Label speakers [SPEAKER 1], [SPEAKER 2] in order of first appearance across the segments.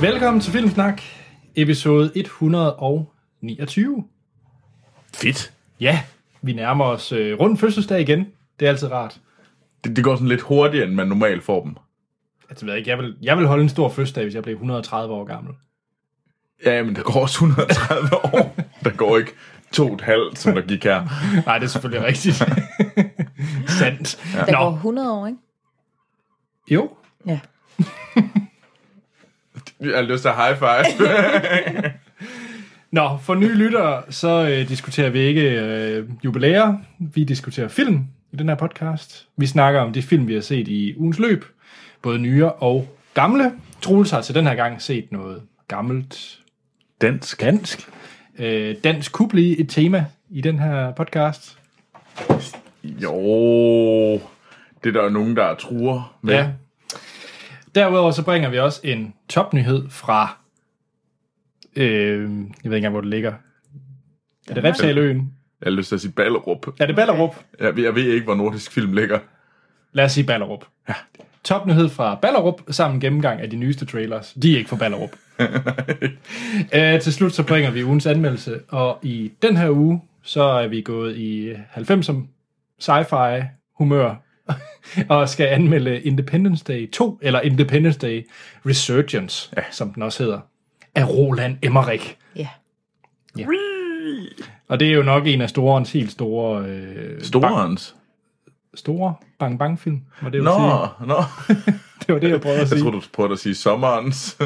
[SPEAKER 1] Velkommen til Filmsnak, episode 129.
[SPEAKER 2] Fedt.
[SPEAKER 1] Ja, vi nærmer os øh, rundt fødselsdag igen. Det er altid rart.
[SPEAKER 2] Det, det går sådan lidt hurtigere, end man normalt får dem.
[SPEAKER 1] Altså, ved jeg, ikke, jeg, vil, jeg vil holde en stor fødselsdag, hvis jeg blev 130 år gammel.
[SPEAKER 2] Ja, men der går også 130 år. Der går ikke to og et halvt, som der gik her.
[SPEAKER 1] Nej, det er selvfølgelig rigtigt. Sandt.
[SPEAKER 3] Der Nå. går
[SPEAKER 1] Nå,
[SPEAKER 3] 100 år, ikke?
[SPEAKER 1] jo.
[SPEAKER 3] Ja.
[SPEAKER 2] Jeg har lyst til at high five.
[SPEAKER 1] Nå, for nye lyttere, så øh, diskuterer vi ikke øh, jubilæer. Vi diskuterer film i den her podcast. Vi snakker om de film, vi har set i ugens løb. Både nye og gamle. Troels har til den her gang set noget gammelt
[SPEAKER 2] Dansk.
[SPEAKER 1] dansk. Øh, dansk kunne blive et tema i den her podcast.
[SPEAKER 2] Jo, det er der jo nogen, der truer med.
[SPEAKER 1] Ja. Derudover så bringer vi også en topnyhed fra, øh, jeg ved ikke engang, hvor det ligger. Er det Repsaløen?
[SPEAKER 2] Jeg har lyst til at sige Ballerup.
[SPEAKER 1] Er det Ballerup?
[SPEAKER 2] Jeg, ved- jeg ved ikke, hvor nordisk film ligger.
[SPEAKER 1] Lad os sige Ballerup. Ja. Topnyhed fra Ballerup, sammen gennemgang af de nyeste trailers. De er ikke fra Ballerup. Æ, til slut så bringer vi ugens anmeldelse, og i den her uge, så er vi gået i 90'er sci-fi humør, og skal anmelde Independence Day 2, eller Independence Day Resurgence, ja. som den også hedder, af Roland Emmerich.
[SPEAKER 3] Ja.
[SPEAKER 1] Og det er jo nok en af storens helt store... Øh,
[SPEAKER 2] Storens.
[SPEAKER 1] store bang bang film, var det jo
[SPEAKER 2] Nå,
[SPEAKER 1] sige.
[SPEAKER 2] nå.
[SPEAKER 1] Det var det, jeg prøvede at sige.
[SPEAKER 2] Jeg tror du prøvede at sige sommerens.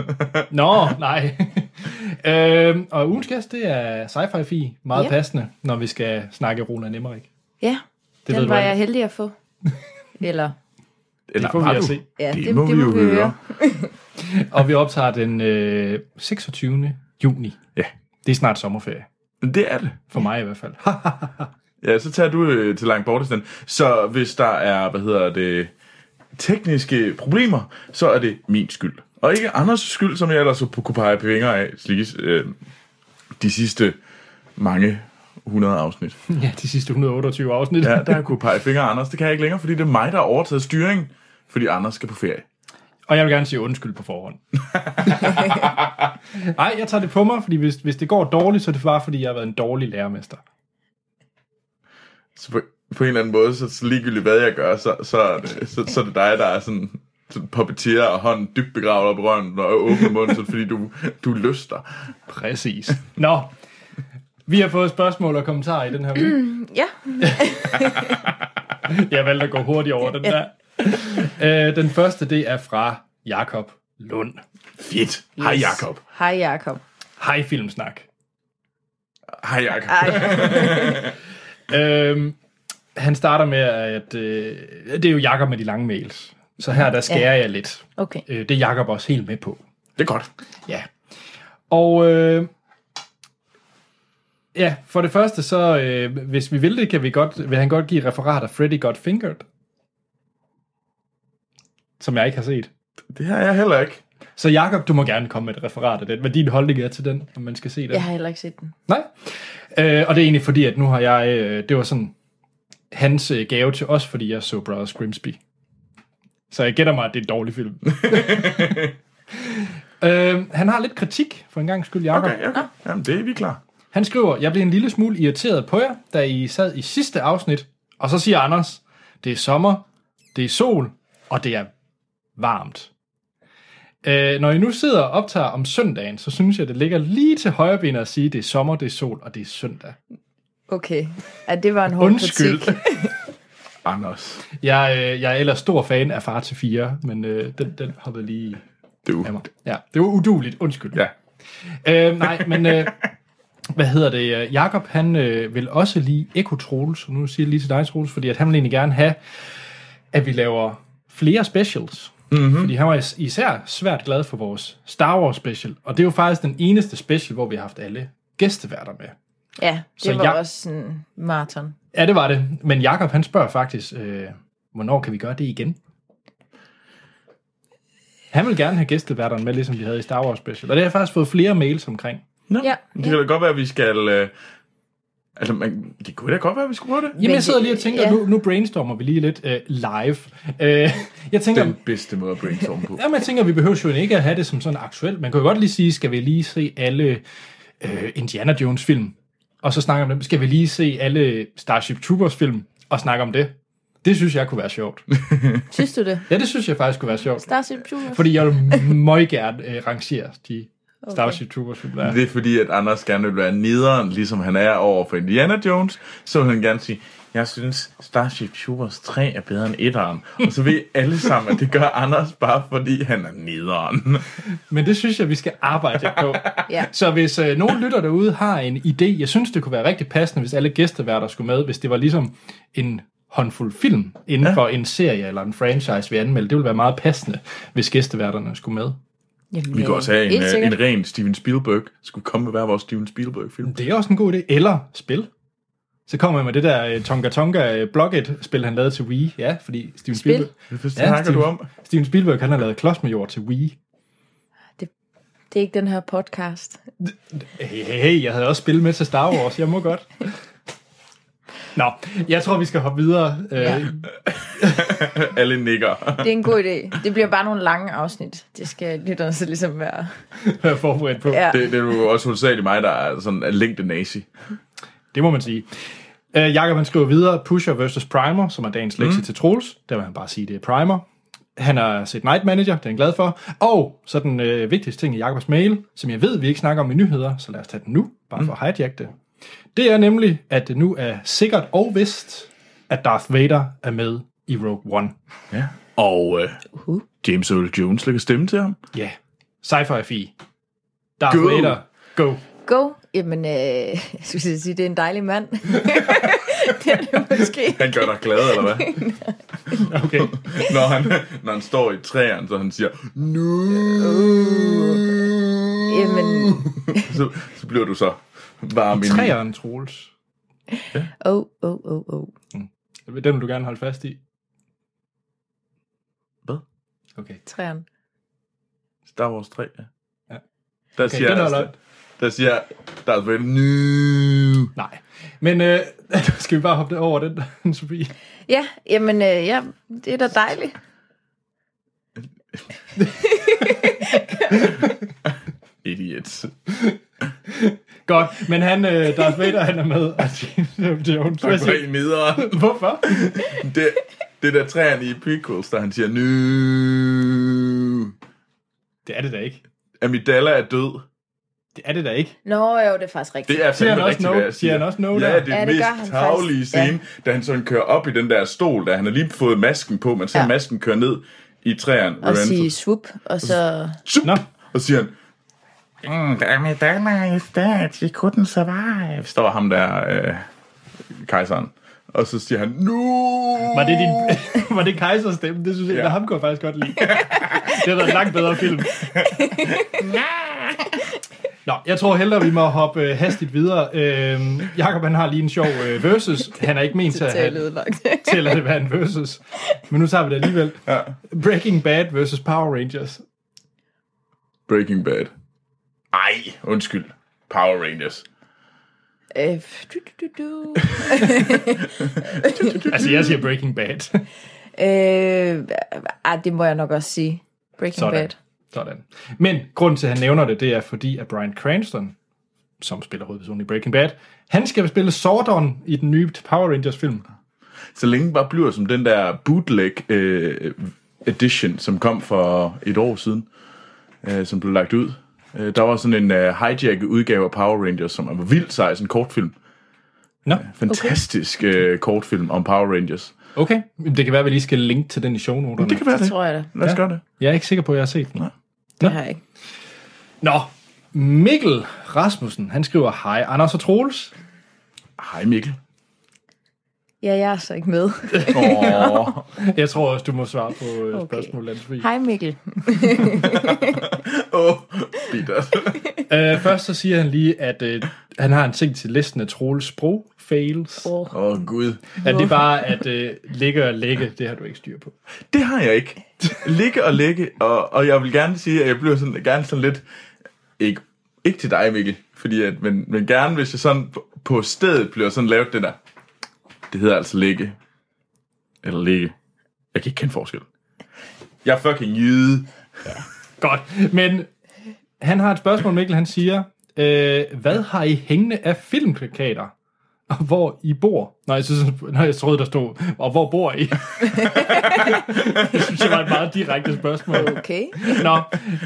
[SPEAKER 1] Nå, nej. øhm, og ugens gæst, det er sci-fi fi Meget
[SPEAKER 3] Ja.
[SPEAKER 1] passende, når vi skal snakke Roland Emmerich.
[SPEAKER 3] Ja,
[SPEAKER 1] Det ved
[SPEAKER 3] det den
[SPEAKER 1] du
[SPEAKER 3] var
[SPEAKER 1] aldrig.
[SPEAKER 3] jeg heldig at få. Eller,
[SPEAKER 2] Eller
[SPEAKER 1] Det får vi
[SPEAKER 2] var
[SPEAKER 1] at
[SPEAKER 2] du?
[SPEAKER 1] se.
[SPEAKER 3] ja,
[SPEAKER 2] Det må vi jo høre.
[SPEAKER 1] Og vi optager den øh, 26. juni.
[SPEAKER 2] Ja.
[SPEAKER 1] Det er snart sommerferie.
[SPEAKER 2] Men det er det.
[SPEAKER 1] For mig i hvert fald.
[SPEAKER 2] Ja, så tager du øh, til langt bort Så hvis der er, hvad hedder det, tekniske problemer, så er det min skyld. Og ikke Anders skyld, som jeg ellers kunne pege fingre af slikkes, øh, de sidste mange hundrede afsnit.
[SPEAKER 1] ja, de sidste 128 afsnit.
[SPEAKER 2] Ja, der har jeg kunne pege fingre af Anders. Det kan jeg ikke længere, fordi det er mig, der har overtaget styringen, fordi Anders skal på ferie.
[SPEAKER 1] Og jeg vil gerne sige undskyld på forhånd. Nej, jeg tager det på mig, fordi hvis, hvis det går dårligt, så er det bare, fordi jeg har været en dårlig lærermester.
[SPEAKER 2] Så på, på en eller anden måde, så, så ligegyldigt hvad jeg gør, så, så, er det, så, så er det dig, der er sådan, sådan puppeterer og hånden dybt begravet op i røven og åbner munden, så er det fordi du, du lyster.
[SPEAKER 1] Præcis. Nå, vi har fået spørgsmål og kommentarer i den her uge.
[SPEAKER 3] ja,
[SPEAKER 1] Jeg valgte at gå hurtigt over den der. Øh, den første, det er fra Jakob Lund.
[SPEAKER 2] Fedt. Hej
[SPEAKER 3] Yes.
[SPEAKER 2] Jakob.
[SPEAKER 3] hej Jakob.
[SPEAKER 1] Hej Filmsnak.
[SPEAKER 2] Hej Jakob.
[SPEAKER 3] Ej,
[SPEAKER 1] Øhm, han starter med, at øh, det er jo Jakob med de lange mails. Så her, der skærer jeg lidt.
[SPEAKER 3] okay.
[SPEAKER 1] Øh, det er Jakob også helt med på.
[SPEAKER 2] Det er godt.
[SPEAKER 1] Ja. Og øh, ja, for det første, så øh, hvis vi vil det, kan vi godt, vil han godt give et referat af Freddy Got Fingered. Som jeg ikke har set.
[SPEAKER 2] Det har jeg heller ikke.
[SPEAKER 1] Så Jakob, du må gerne komme med et referat af den. Hvad din holdning er til den, om man skal se den.
[SPEAKER 3] Jeg har heller ikke set den.
[SPEAKER 1] Nej. Øh, og det er egentlig fordi, at nu har jeg... Øh, det var sådan hans øh, gave til os, fordi jeg så Brothers Grimsby. Så jeg gætter mig, at det er en dårlig film. øh, han har lidt kritik, for en gang skyld, Jacob. Okay.
[SPEAKER 2] Okay, okay. Jamen, det er vi klar.
[SPEAKER 1] Han skriver, jeg blev en lille smule irriteret på jer, da I sad i sidste afsnit. Og så siger Anders, det er sommer, det er sol, og det er varmt. Øh, når I nu sidder og optager om søndagen, så synes jeg, det ligger lige til højre benet at sige, det er sommer, det er sol, og det er søndag.
[SPEAKER 3] Okay, ja, det var en hård
[SPEAKER 1] Undskyld.
[SPEAKER 3] kritik.
[SPEAKER 2] Anders,
[SPEAKER 1] Jeg, øh, jeg er ellers stor fan af Far til 4, men øh, den, den hoppede lige
[SPEAKER 2] du.
[SPEAKER 1] af mig. Ja, det var uduligt. Undskyld.
[SPEAKER 2] Ja.
[SPEAKER 1] Øh, nej, men øh, hvad hedder det? øh, Jakob, han øh, vil også lige Eko Troels, og nu siger jeg lige til dig, Troels, fordi at han vil egentlig gerne have, at vi laver flere specials. Mm-hmm. Fordi han var is- især svært glad for vores Star Wars special, og det er jo faktisk den eneste special, hvor vi har haft alle gæsteværter med.
[SPEAKER 3] Ja, det
[SPEAKER 1] Så
[SPEAKER 3] var
[SPEAKER 1] jeg-
[SPEAKER 3] også sådan maraton.
[SPEAKER 1] Ja, det var det. Men Jakob han spørger faktisk, øh, hvornår kan vi gøre det igen? Han vil gerne have gæsteværterne med, ligesom vi havde i Star Wars Special. Og det har jeg faktisk fået flere mails omkring.
[SPEAKER 2] Nå,
[SPEAKER 3] Ja.
[SPEAKER 2] Det kan da godt være, at vi skal... Øh, Altså, man, det kunne da godt være, at vi skulle prøve det.
[SPEAKER 1] Jamen, jeg
[SPEAKER 3] det-
[SPEAKER 1] sidder lige og tænker,
[SPEAKER 3] ja.
[SPEAKER 1] nu, nu brainstormer vi lige lidt øh, live. Øh, jeg tænker,
[SPEAKER 2] Den bedste måde at brainstorme på.
[SPEAKER 1] Jamen, jeg tænker, vi behøver jo ikke at have det som sådan aktuelt. Man kan jo godt lige sige, skal vi lige se alle øh, Indiana Jones film, og så snakke om dem. Skal vi lige se alle Starship Troopers film, og snakke om det. Det synes jeg kunne være sjovt.
[SPEAKER 3] Synes du det?
[SPEAKER 1] Ja, det synes jeg faktisk kunne være sjovt.
[SPEAKER 3] Starship Troopers?
[SPEAKER 1] Fordi jeg vil meget gerne øh, rangere de Starship Troopers film, der er.
[SPEAKER 2] Det er fordi, at Anders gerne vil være nederen, ligesom han er over for Indiana Jones. Så vil han gerne sige, jeg synes Starship Troopers 3 er bedre end 1'eren. Og så ved alle sammen, at det gør Anders bare, fordi han er nederen.
[SPEAKER 1] Men det synes jeg, vi skal arbejde lidt på.
[SPEAKER 3] Ja.
[SPEAKER 1] Så hvis øh, nogen lytter derude har en idé, jeg synes, det kunne være rigtig passende, hvis alle gæsteværter skulle med, hvis det var ligesom en håndfuld film inden ja. for en serie eller en franchise, vi anmeldte. Det ville være meget passende, hvis gæsteværterne skulle med.
[SPEAKER 3] Jamen,
[SPEAKER 2] Vi kan
[SPEAKER 3] øh,
[SPEAKER 2] også have en,
[SPEAKER 3] helt
[SPEAKER 2] øh,
[SPEAKER 3] sikkert.
[SPEAKER 2] en ren Steven Spielberg. Skulle komme med hver vores Steven Spielberg-film.
[SPEAKER 1] Det er også en god idé. Eller spil. Så kommer jeg med det der øh, Tonga Tonga øh, Block It spil, han lavede til Wii. Ja, fordi Steven
[SPEAKER 3] Spil?
[SPEAKER 1] Spielberg...
[SPEAKER 2] Hvad snakker du om?
[SPEAKER 1] Steven Spielberg, han har lavet Klodsmajor til Wii.
[SPEAKER 3] Det er ikke den her podcast.
[SPEAKER 1] Hey, hey, hey, jeg havde også spillet med til Star Wars, jeg må godt. Nå, jeg tror, vi skal hoppe videre.
[SPEAKER 3] Ja.
[SPEAKER 1] Øh,
[SPEAKER 2] Alle nikker.
[SPEAKER 3] Det er en god idé. Det bliver bare nogle lange afsnit. Det skal lytterne så ligesom være...
[SPEAKER 1] være forberedt på. Ja.
[SPEAKER 3] Ja.
[SPEAKER 2] Det, det er jo også hovedsageligt mig, der er sådan er længde nazi.
[SPEAKER 1] Det må man sige. Øh, Jakob han skriver videre, Pusher vs. Primer, som er dagens lektie til Troels. Der vil han bare sige, det er Primer. Han har set Night Manager, det er han glad for. Og så den øh, vigtigste ting i Jakobs mail, som jeg ved, vi ikke snakker om i nyheder, så lad os tage den nu, bare for at hijack det. Det er nemlig, at det nu er sikkert og vist, at Darth Vader er med i Rogue One.
[SPEAKER 2] Ja. Og øh,
[SPEAKER 3] Uh.
[SPEAKER 2] James Earl Jones lægger stemme til ham.
[SPEAKER 1] Ja. Yeah. Sci-fi FI. Darth
[SPEAKER 2] Go.
[SPEAKER 1] Vader. Go.
[SPEAKER 3] Go. Jamen, øh, jeg skulle til at sige, det er en dejlig mand. det er det måske.
[SPEAKER 2] Han gør dig glad, eller hvad?
[SPEAKER 1] Okay.
[SPEAKER 2] når, han, når han står i træerne, så han siger, nu.
[SPEAKER 3] Jamen,
[SPEAKER 2] Så, så bliver du så varm i
[SPEAKER 1] Træeren, Troels.
[SPEAKER 3] oh, oh, oh, oh.
[SPEAKER 1] Den vil du gerne holde fast i.
[SPEAKER 2] Hvad?
[SPEAKER 1] Okay.
[SPEAKER 3] Træerne.
[SPEAKER 2] Star Wars 3, ja.
[SPEAKER 1] Ja.
[SPEAKER 2] Der
[SPEAKER 1] Okay,
[SPEAKER 2] siger,
[SPEAKER 1] den holder
[SPEAKER 2] der,
[SPEAKER 1] op.
[SPEAKER 2] der siger Darth Vader, nu.
[SPEAKER 1] Nej. Men øh, skal vi bare hoppe over den, Sofie?
[SPEAKER 3] Ja, jamen, øh, ja, det er da dejligt.
[SPEAKER 2] Idiot.
[SPEAKER 1] Godt. Men han, øh, Darth Vader, han er med. Og James Earl Jones. Hvad
[SPEAKER 2] Han går
[SPEAKER 1] siger-
[SPEAKER 2] i nederen.
[SPEAKER 1] Hvorfor?
[SPEAKER 2] Det, det der træerne i prequels, der han siger, nu.
[SPEAKER 1] Det er det da ikke.
[SPEAKER 2] Amidala er død.
[SPEAKER 1] Det er det da ikke.
[SPEAKER 3] Nå, jo, det er faktisk rigtigt.
[SPEAKER 2] Det er
[SPEAKER 1] Siger han
[SPEAKER 2] fandme
[SPEAKER 1] også
[SPEAKER 2] rigtigt,
[SPEAKER 1] no?
[SPEAKER 2] hvad jeg
[SPEAKER 1] Siger han også no
[SPEAKER 2] Ja,
[SPEAKER 1] der?
[SPEAKER 2] det er
[SPEAKER 3] Ja,
[SPEAKER 2] den
[SPEAKER 3] det gør
[SPEAKER 2] mest
[SPEAKER 3] han
[SPEAKER 2] tavlige
[SPEAKER 3] faktisk.
[SPEAKER 2] scene, da han sådan kører op i den der stol, da han har lige fået masken på, man ser
[SPEAKER 3] Ja.
[SPEAKER 2] masken køre ned i træerne.
[SPEAKER 3] Og
[SPEAKER 2] Revenge.
[SPEAKER 3] sige swoop, og så...
[SPEAKER 2] Zup!
[SPEAKER 1] Nå.
[SPEAKER 2] Og siger han, mm, Amidala is dead, she couldn't survive. Står ham der, øh, kejseren. Og så siger han, nu!
[SPEAKER 1] Var det, din, var det Kejsers stemme? Det synes jeg,
[SPEAKER 2] Ja.
[SPEAKER 1] ja. ham kunne jeg faktisk godt lide. det har været en langt bedre film. Nå, jeg tror hellere, vi må hoppe øh, hastigt videre. Øhm, Jakob, han har lige en sjov øh, versus. Han er ikke ment til at
[SPEAKER 3] Det er
[SPEAKER 1] have,
[SPEAKER 3] lødelagt.
[SPEAKER 1] til at det være en versus. Men nu tager vi det alligevel.
[SPEAKER 2] Ja.
[SPEAKER 1] Breaking Bad versus Power Rangers.
[SPEAKER 2] Breaking Bad. Ej, undskyld. Power Rangers.
[SPEAKER 3] Øh, du, du, du, du.
[SPEAKER 1] Altså, jeg siger Breaking Bad.
[SPEAKER 3] Øh, ah, det må jeg nok også sige. Breaking
[SPEAKER 1] Sådan.
[SPEAKER 3] Bad.
[SPEAKER 1] Sådan. Men grunden til, at han nævner det, det er fordi, at Brian Cranston, som spiller hovedpersonen i Breaking Bad, han skal spille Sordon i den nye Power Rangers-film.
[SPEAKER 2] Så længe den bare bliver som den der bootleg øh, edition, som kom for et år siden, øh, som blev lagt ud. Øh, der var sådan en øh, hijacket udgave af Power Rangers, som var vildt sej, sådan en kortfilm.
[SPEAKER 1] Nå,
[SPEAKER 2] Fantastisk øh, kortfilm om Power Rangers.
[SPEAKER 1] okay. Men Det kan være, at vi lige skal linke til den i shownoterne.
[SPEAKER 2] Det kan være
[SPEAKER 3] Det
[SPEAKER 2] det.
[SPEAKER 3] tror jeg da.
[SPEAKER 2] Lad os
[SPEAKER 1] Ja.
[SPEAKER 2] gøre det.
[SPEAKER 1] Jeg er ikke sikker på, at jeg har set den.
[SPEAKER 2] Nej.
[SPEAKER 3] Det har jeg ikke.
[SPEAKER 1] Nå, Mikkel Rasmussen, han skriver, Hej Anders og Troels.
[SPEAKER 2] Hej Mikkel.
[SPEAKER 3] Ja, jeg er så ikke med.
[SPEAKER 2] Åh,
[SPEAKER 1] Jeg tror også, du må svare på øh,
[SPEAKER 3] Okay.
[SPEAKER 1] spørgsmålet. Okay.
[SPEAKER 3] Hej Mikkel.
[SPEAKER 2] oh, bittert.
[SPEAKER 1] Øh, først så siger han lige, at øh, han har en ting til listen af Troels sprog fails.
[SPEAKER 3] Oh.
[SPEAKER 2] Åh, oh, Gud.
[SPEAKER 1] At det bare at øh, ligge og lægge, det har du ikke styr på.
[SPEAKER 2] Det har jeg ikke. Ligge og ligge, og, og jeg vil gerne sige, at jeg bliver sådan, gerne sådan lidt, ikke, ikke til dig Mikkel, fordi at, men, men gerne hvis jeg sådan på, på stedet bliver sådan lavet det der. Det hedder altså ligge. Eller ligge. Jeg kan ikke kende forskel. Jeg er fucking jyde.
[SPEAKER 1] Godt. Men han har et spørgsmål, Mikkel. Han siger, øh, hvad har I hængende af filmplakater? Og hvor I bor? Nej, jeg, synes, nej, jeg troede, der stod, og hvor bor I? det synes jeg var et meget direkte spørgsmål.
[SPEAKER 3] Okay.
[SPEAKER 1] Nå,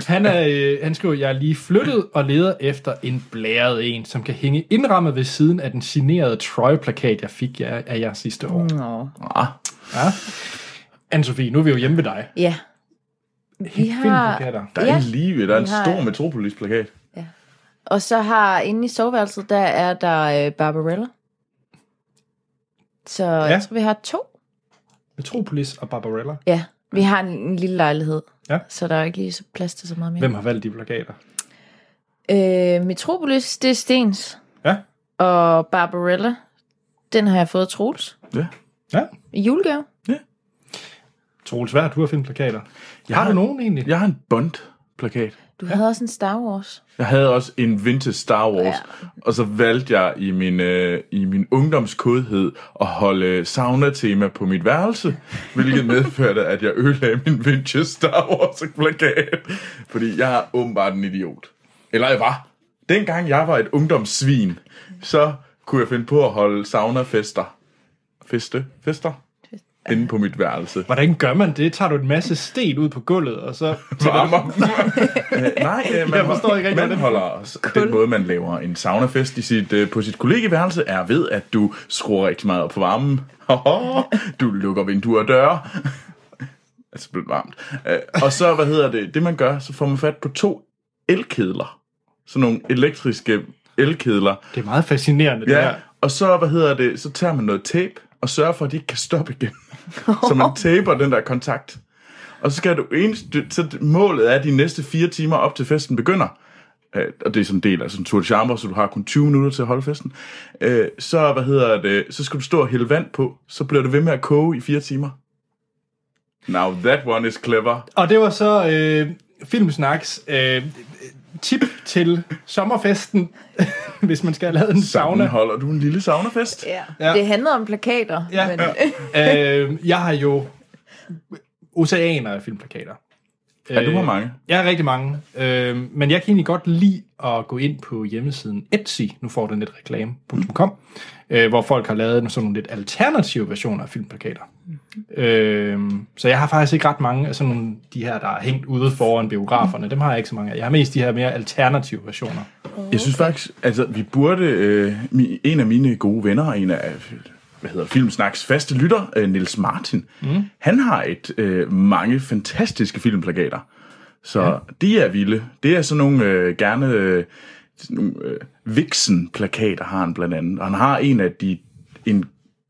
[SPEAKER 1] han, er, øh, han skriver, jeg er lige flyttet og leder efter en blæret en, som kan hænge indrammet ved siden af den signerede Troy-plakat, jeg fik jer, af jer sidste år.
[SPEAKER 3] Nå.
[SPEAKER 2] Ah,
[SPEAKER 1] Ja. Anne-Sophie, nu er vi jo hjemme ved dig.
[SPEAKER 3] Ja. Vi har,
[SPEAKER 1] Filmplakater.
[SPEAKER 2] der er
[SPEAKER 3] Ja.
[SPEAKER 2] ja. lige der er en
[SPEAKER 3] Vi har-
[SPEAKER 2] stor Metropolis-plakat.
[SPEAKER 3] og så har inde i soveværelset, der er der øh, Barbarella. Så ja. jeg tror, vi har to.
[SPEAKER 1] Metropolis og Barbarella.
[SPEAKER 3] Ja, vi har en, en lille lejlighed,
[SPEAKER 1] Ja.
[SPEAKER 3] så der er ikke lige så plads til så meget mere.
[SPEAKER 1] Hvem har valgt de plakater?
[SPEAKER 3] Øh, Metropolis, det er Stens.
[SPEAKER 1] Ja.
[SPEAKER 3] Og Barbarella, den har jeg fået af Troels.
[SPEAKER 2] Ja.
[SPEAKER 1] Ja.
[SPEAKER 3] I julegave.
[SPEAKER 1] Troels, hvad har du af filmplakater?
[SPEAKER 2] Jeg
[SPEAKER 1] Har du nogen egentlig?
[SPEAKER 2] Jeg har en Bond-plakat.
[SPEAKER 3] Du havde også en Star Wars.
[SPEAKER 2] Jeg havde også en vintage Star Wars, ja. og så valgte jeg i min, øh, i min ungdomskodhed at holde sauna-tema på mit værelse, hvilket medførte, at jeg ødelagde min vintage Star Wars-plakat, fordi jeg er åbenbart en idiot. Eller jeg var. Dengang jeg var et ungdomssvin, så kunne jeg finde på at holde sauna-fester. Feste? Fester? Inde på mit værelse.
[SPEAKER 1] Hvordan gør man det? Tager du en masse sten ud på gulvet, og så...
[SPEAKER 2] varmer. Øh, Nej, øh, man,
[SPEAKER 1] Jeg forstår ikke rigtig,
[SPEAKER 2] man
[SPEAKER 1] hvordan-
[SPEAKER 2] holder den måde, man laver en saunafest i sit, øh, på sit kollegeværelse, er ved, at du skruer rigtig meget op på varmen. Haha, du lukker vinduer og døre. altså, det bliver varmt. Øh, Og så, hvad hedder det, det man gør, så får man fat på to elkedler. Sådan nogle elektriske elkedler.
[SPEAKER 1] Det er meget fascinerende, det
[SPEAKER 2] Ja,
[SPEAKER 1] her.
[SPEAKER 2] og så, hvad hedder det, så tager man noget tape og sørger for, at de ikke kan stoppe igen. så man taper den der kontakt. Og så skal du ens, du- så målet er de næste fire timer op til festen begynder. Øh, og det er sådan en del af sådan en tour de chambre, så du har kun 20 minutter til at holde festen. Øh, så, hvad hedder det, så skal du stå og hælde vand på, så bliver du ved med at koge i fire timer. Now that one is clever.
[SPEAKER 1] Og det var så øh, Filmsnaks øh, tip til sommerfesten, hvis man skal have lavet en
[SPEAKER 2] Sauna.
[SPEAKER 1] sauna.
[SPEAKER 2] Holder du en lille saunafest?
[SPEAKER 3] Ja.
[SPEAKER 1] Ja.
[SPEAKER 3] Det handlede om plakater.
[SPEAKER 1] Ja.
[SPEAKER 3] Men,
[SPEAKER 1] øh, jeg har jo oceaner af filmplakater.
[SPEAKER 2] Ja, du har
[SPEAKER 1] Øh,
[SPEAKER 2] mange.
[SPEAKER 1] Jeg har rigtig mange, øh, men jeg kan egentlig godt lide at gå ind på hjemmesiden Etsy, nu får den lidt reklame.com, øh, hvor folk har lavet sådan nogle lidt alternative versioner af filmplakater. Øh, så jeg har faktisk ikke ret mange af sådan nogle, de her, der er hængt ude foran biograferne. Dem har jeg ikke så mange af. Jeg har mest de her mere alternative versioner.
[SPEAKER 2] Jeg synes faktisk, altså vi burde, øh, mi- en af mine gode venner, en af hvad hedder Filmsnaks faste lytter, øh, Nils Martin, mm. han har et øh, mange fantastiske filmplakater. Så ja. de er vilde. Det er sådan nogle øh, gerne øh, sådan nogle, øh, Vixen-plakater har han blandt andet. Og han har en af de, en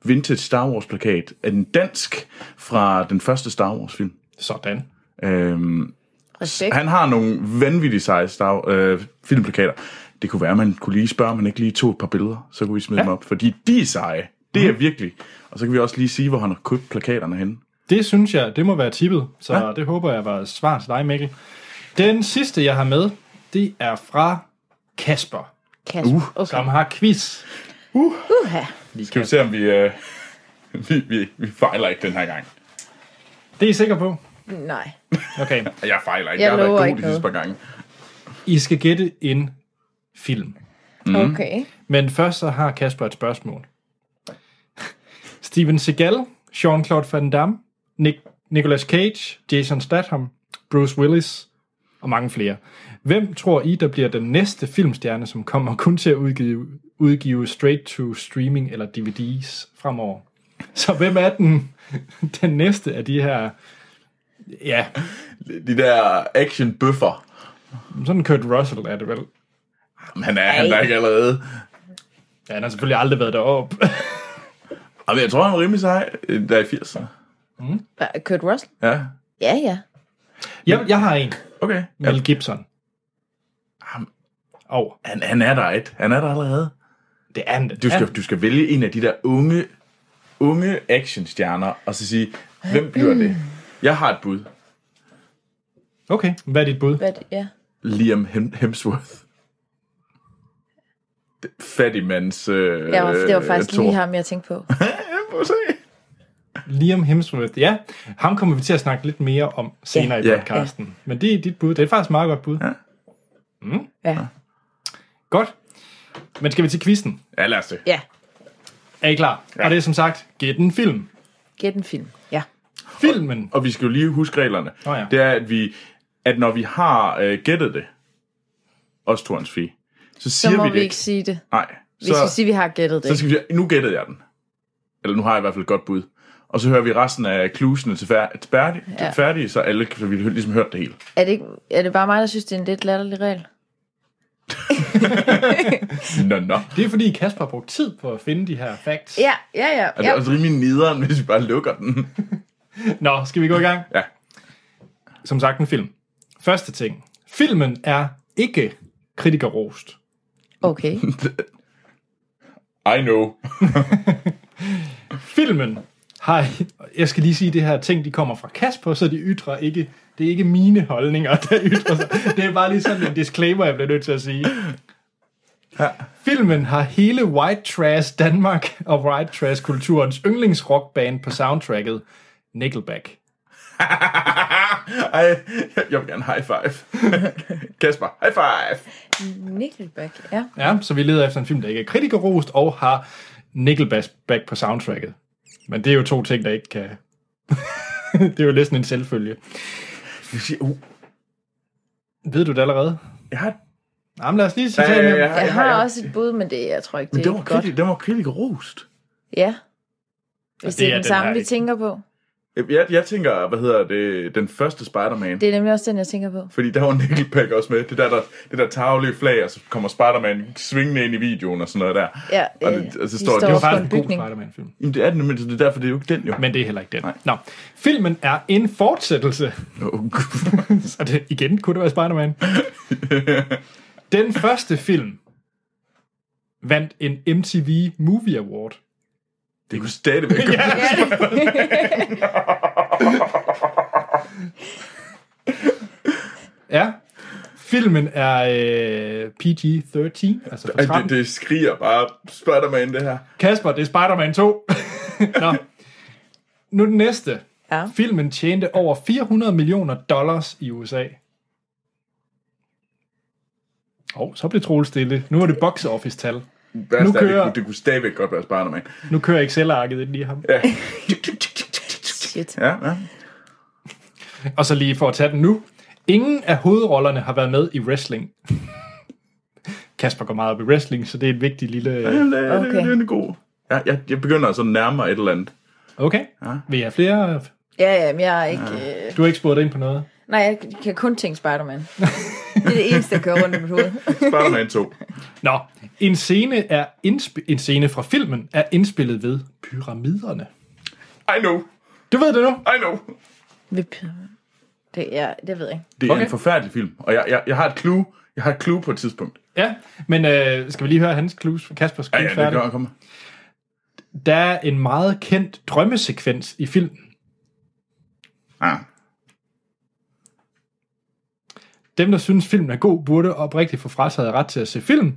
[SPEAKER 2] vintage Star Wars-plakat, en dansk fra den første Star Wars-film.
[SPEAKER 1] Sådan.
[SPEAKER 2] Øhm,
[SPEAKER 3] respekt.
[SPEAKER 2] han har nogle vanvittige size star, øh, filmplakater. Det kunne være, at man kunne lige spørge, om man ikke lige tog et par billeder, så kunne vi smide ja. dem op. Fordi de er seje. Det er
[SPEAKER 3] Mhm.
[SPEAKER 2] virkelig. Og så kan vi også lige sige, hvor han har købt plakaterne henne.
[SPEAKER 1] Det synes jeg, det må være tippet, så ja. det håber jeg var et svar til dig, Mikkel. Den sidste, jeg har med, det er fra Kasper,
[SPEAKER 3] Kasper.
[SPEAKER 2] Uh,
[SPEAKER 3] okay.
[SPEAKER 1] som har quiz.
[SPEAKER 3] Uha.
[SPEAKER 2] Skal vi se, om vi, øh, vi, vi, vi fejler ikke den her gang.
[SPEAKER 1] Det er I sikre på?
[SPEAKER 3] Nej.
[SPEAKER 1] Okay.
[SPEAKER 2] Jeg fejler ikke. Jeg, jeg
[SPEAKER 3] Jeg
[SPEAKER 2] har
[SPEAKER 3] lover
[SPEAKER 2] været god
[SPEAKER 3] ikke
[SPEAKER 2] de sidste
[SPEAKER 3] noget.
[SPEAKER 2] par gange.
[SPEAKER 1] I skal gætte en film.
[SPEAKER 3] Mm. Okay.
[SPEAKER 1] Men først så har Kasper et spørgsmål. Steven Seagal, Jean-Claude Van Damme, Nick, Nicolas Cage, Jason Statham, Bruce Willis og mange flere. Hvem tror I, der bliver den næste filmstjerne, som kommer kun til at udgive, udgive straight to streaming eller DVD's fremover? Så hvem er den, den næste af de her... Ja,
[SPEAKER 2] De der action bøffer.
[SPEAKER 1] sådan Kurt Russell er det vel.
[SPEAKER 2] Han er han er der ikke allerede.
[SPEAKER 1] Ja, han har selvfølgelig aldrig været deroppe.
[SPEAKER 2] Og jeg tror, han var rimelig sej. øh, Der er i 80'erne.
[SPEAKER 3] Hva- Kurt Russell?
[SPEAKER 2] Ja.
[SPEAKER 3] Ja, ja.
[SPEAKER 1] jeg, jeg har en.
[SPEAKER 2] Okay.
[SPEAKER 3] Mm.
[SPEAKER 2] Ja.
[SPEAKER 1] Mel Gibson.
[SPEAKER 2] Ham.
[SPEAKER 1] Og
[SPEAKER 2] Han, han er der et. Han er der allerede.
[SPEAKER 1] det er han. det
[SPEAKER 2] Du skal,
[SPEAKER 1] er.
[SPEAKER 2] du skal vælge en af de der unge, unge actionstjerner, og så sige, hvem bliver det? Jeg har et bud.
[SPEAKER 1] Okay, hvad er dit bud?
[SPEAKER 3] Hvad, ja.
[SPEAKER 2] Liam Hem- Hemsworth. fattigmands... Øh,
[SPEAKER 3] Ja, det var faktisk
[SPEAKER 2] Thor.
[SPEAKER 3] lige ham, jeg tænkte på.
[SPEAKER 2] Ja, prøv at se.
[SPEAKER 1] Liam Hemsworth. Ja, ham kommer vi til at snakke lidt mere om senere
[SPEAKER 2] Ja.
[SPEAKER 1] i podcasten. Men det er dit bud. Det er faktisk et meget godt bud. Ja.
[SPEAKER 3] Ja.
[SPEAKER 1] Godt. Men skal vi til quizzen?
[SPEAKER 2] Ja, lad os det.
[SPEAKER 3] ja.
[SPEAKER 1] Er I klar? Ja. Og det er som sagt, gæt en film.
[SPEAKER 3] Gæt en film. Ja.
[SPEAKER 1] Filmen.
[SPEAKER 2] Og vi skal jo lige huske reglerne.
[SPEAKER 1] Nå ja.
[SPEAKER 2] Det er, at, vi, at når vi har øh, gættet det, os to hans fie, så
[SPEAKER 3] Så
[SPEAKER 2] siger
[SPEAKER 3] må
[SPEAKER 2] vi
[SPEAKER 3] vi,
[SPEAKER 2] det
[SPEAKER 3] ikke sige det.
[SPEAKER 2] Nej.
[SPEAKER 3] Vi skal sige, at vi har gættet
[SPEAKER 2] Så
[SPEAKER 3] det.
[SPEAKER 2] skal vi sige, nu gættede jeg den. Eller nu har jeg i hvert fald et godt bud. Og så hører vi resten af klusene til færdige, til færdige,
[SPEAKER 3] Ja.
[SPEAKER 2] ja. færdige så alle så vi har ligesom hørt det hele.
[SPEAKER 3] Er det, ikke, er det bare mig, der synes, det er en lidt latterlig regel?
[SPEAKER 2] Nå, nå.
[SPEAKER 1] Det er fordi Kasper har brugt tid på at finde de her facts.
[SPEAKER 3] Ja, ja, ja.
[SPEAKER 2] Er det
[SPEAKER 3] ja.
[SPEAKER 2] også rimelig nederen, hvis vi bare lukker den?
[SPEAKER 1] Nå, skal vi gå i gang?
[SPEAKER 2] Ja.
[SPEAKER 1] Som sagt, en film. Første ting. Filmen er ikke kritikerrost.
[SPEAKER 3] Okay.
[SPEAKER 2] I know.
[SPEAKER 1] Filmen har... Jeg skal lige sige, det her ting, de kommer fra Kasper, så de ytrer ikke... Det er ikke mine holdninger, der ytrer sig. Det er bare lige sådan en disclaimer, jeg bliver nødt til at sige.
[SPEAKER 2] Ja.
[SPEAKER 1] Filmen har hele White Trash Danmark og White Trash kulturens yndlingsrockband på soundtracket, Nickelback.
[SPEAKER 2] Ej, jeg- jeg vil gerne high five. Kasper, high five.
[SPEAKER 3] Nickelback, ja.
[SPEAKER 1] Ja, så vi leder efter en film, der ikke er kritikerrost og har Nickelback på soundtracket. Men det er jo to ting, der ikke kan... det er jo næsten en selvfølge.
[SPEAKER 2] Jeg siger, uh,
[SPEAKER 1] Ved du det allerede?
[SPEAKER 2] jeg har,
[SPEAKER 1] Jamen lad os lige
[SPEAKER 2] ja,
[SPEAKER 1] tage
[SPEAKER 2] ja,
[SPEAKER 1] ja,
[SPEAKER 2] ja,
[SPEAKER 3] Jeg
[SPEAKER 2] ja, ja.
[SPEAKER 3] har også et bud, men det, jeg tror ikke, det
[SPEAKER 2] Men
[SPEAKER 3] er
[SPEAKER 2] det var,
[SPEAKER 3] ikke godt.
[SPEAKER 2] kritik, det var kritik rost.
[SPEAKER 3] Ja. Hvis
[SPEAKER 1] Og
[SPEAKER 3] det
[SPEAKER 1] det
[SPEAKER 3] er
[SPEAKER 1] er
[SPEAKER 3] den
[SPEAKER 1] den
[SPEAKER 3] samme,
[SPEAKER 1] her,
[SPEAKER 3] vi
[SPEAKER 1] ikke?
[SPEAKER 3] tænker på.
[SPEAKER 2] Jeg, jeg tænker, hvad hedder det, den første Spider-Man.
[SPEAKER 3] Det er nemlig også den, jeg tænker på.
[SPEAKER 2] Fordi der var Nickelback også med. Det der, der, det der tagelige flag, og så kommer Spider-Man svingende ind i videoen og sådan noget der.
[SPEAKER 3] Ja,
[SPEAKER 2] og
[SPEAKER 3] øh,
[SPEAKER 2] det, og så
[SPEAKER 3] de
[SPEAKER 2] står,
[SPEAKER 3] står-
[SPEAKER 2] det,
[SPEAKER 1] Det
[SPEAKER 2] var,
[SPEAKER 1] var
[SPEAKER 3] Også
[SPEAKER 1] faktisk
[SPEAKER 3] for
[SPEAKER 1] en
[SPEAKER 3] en
[SPEAKER 1] god
[SPEAKER 3] bygning.
[SPEAKER 1] Spider-Man-film.
[SPEAKER 2] jamen, det er den, men det er derfor, det er jo ikke den jo.
[SPEAKER 1] Men det er heller ikke den.
[SPEAKER 2] Nej.
[SPEAKER 1] Nå, filmen er en fortsættelse.
[SPEAKER 2] Oh,
[SPEAKER 1] Så det, igen kunne det være Spider-Man. Den første film vandt en MTV Movie Award.
[SPEAKER 2] det kunne stadigvæk godt.
[SPEAKER 1] Ja. Ja. Filmen er øh, PG-13, altså for
[SPEAKER 2] Ej,
[SPEAKER 1] 13.
[SPEAKER 2] det, det skriger bare Spider-Man, det her.
[SPEAKER 1] Kasper, det er Spider-Man 2. Nå. Nu den næste.
[SPEAKER 3] Ja.
[SPEAKER 1] Filmen tjente over 400 millioner dollars i USA. Og oh, så blev Troel stille. Nu er det box office tal.
[SPEAKER 2] Værst nu kører... det,
[SPEAKER 1] kører-
[SPEAKER 2] kunne, det kunne stadigvæk godt være Spider-Man.
[SPEAKER 1] Nu kører Excel-arket ind i ham.
[SPEAKER 2] Ja.
[SPEAKER 3] Shit.
[SPEAKER 2] ja, ja.
[SPEAKER 1] Og så lige for at tage den nu. Ingen af hovedrollerne har været med i wrestling. Kasper går meget op i wrestling, så det er et vigtigt lille...
[SPEAKER 2] Jamen, det, okay.
[SPEAKER 3] Okay.
[SPEAKER 2] det, det, er en god. Ja, jeg, jeg begynder altså at nærme mig et eller andet.
[SPEAKER 1] Okay, vil I have flere?
[SPEAKER 3] Ja, ja, men jeg er ikke... Øh...
[SPEAKER 1] Du har ikke spurgt ind på noget.
[SPEAKER 3] Nej, jeg kan kun tænke Spider-Man. Det er det eneste, der kører rundt i mit hoved.
[SPEAKER 2] Spider-Man 2.
[SPEAKER 1] Nå, en scene, er indsp- en scene fra filmen er indspillet ved pyramiderne.
[SPEAKER 2] I know,
[SPEAKER 1] Du ved det nu.
[SPEAKER 2] I know.
[SPEAKER 3] Vip. Det, ja, det ved jeg ikke.
[SPEAKER 2] Det er okay.
[SPEAKER 1] Okay.
[SPEAKER 2] en forfærdelig film, og jeg, jeg, jeg har et clue. Jeg har et clue på et tidspunkt.
[SPEAKER 1] Ja, men øh, skal vi lige høre hans clues, Kaspers
[SPEAKER 2] Ja,
[SPEAKER 1] clues
[SPEAKER 2] ja, det
[SPEAKER 1] færdig?
[SPEAKER 2] gør jeg komme.
[SPEAKER 1] Der er en meget kendt drømmesekvens i filmen.
[SPEAKER 2] Ah.
[SPEAKER 1] Dem, der synes, filmen er god, burde oprigtigt få frataget ret til at se film.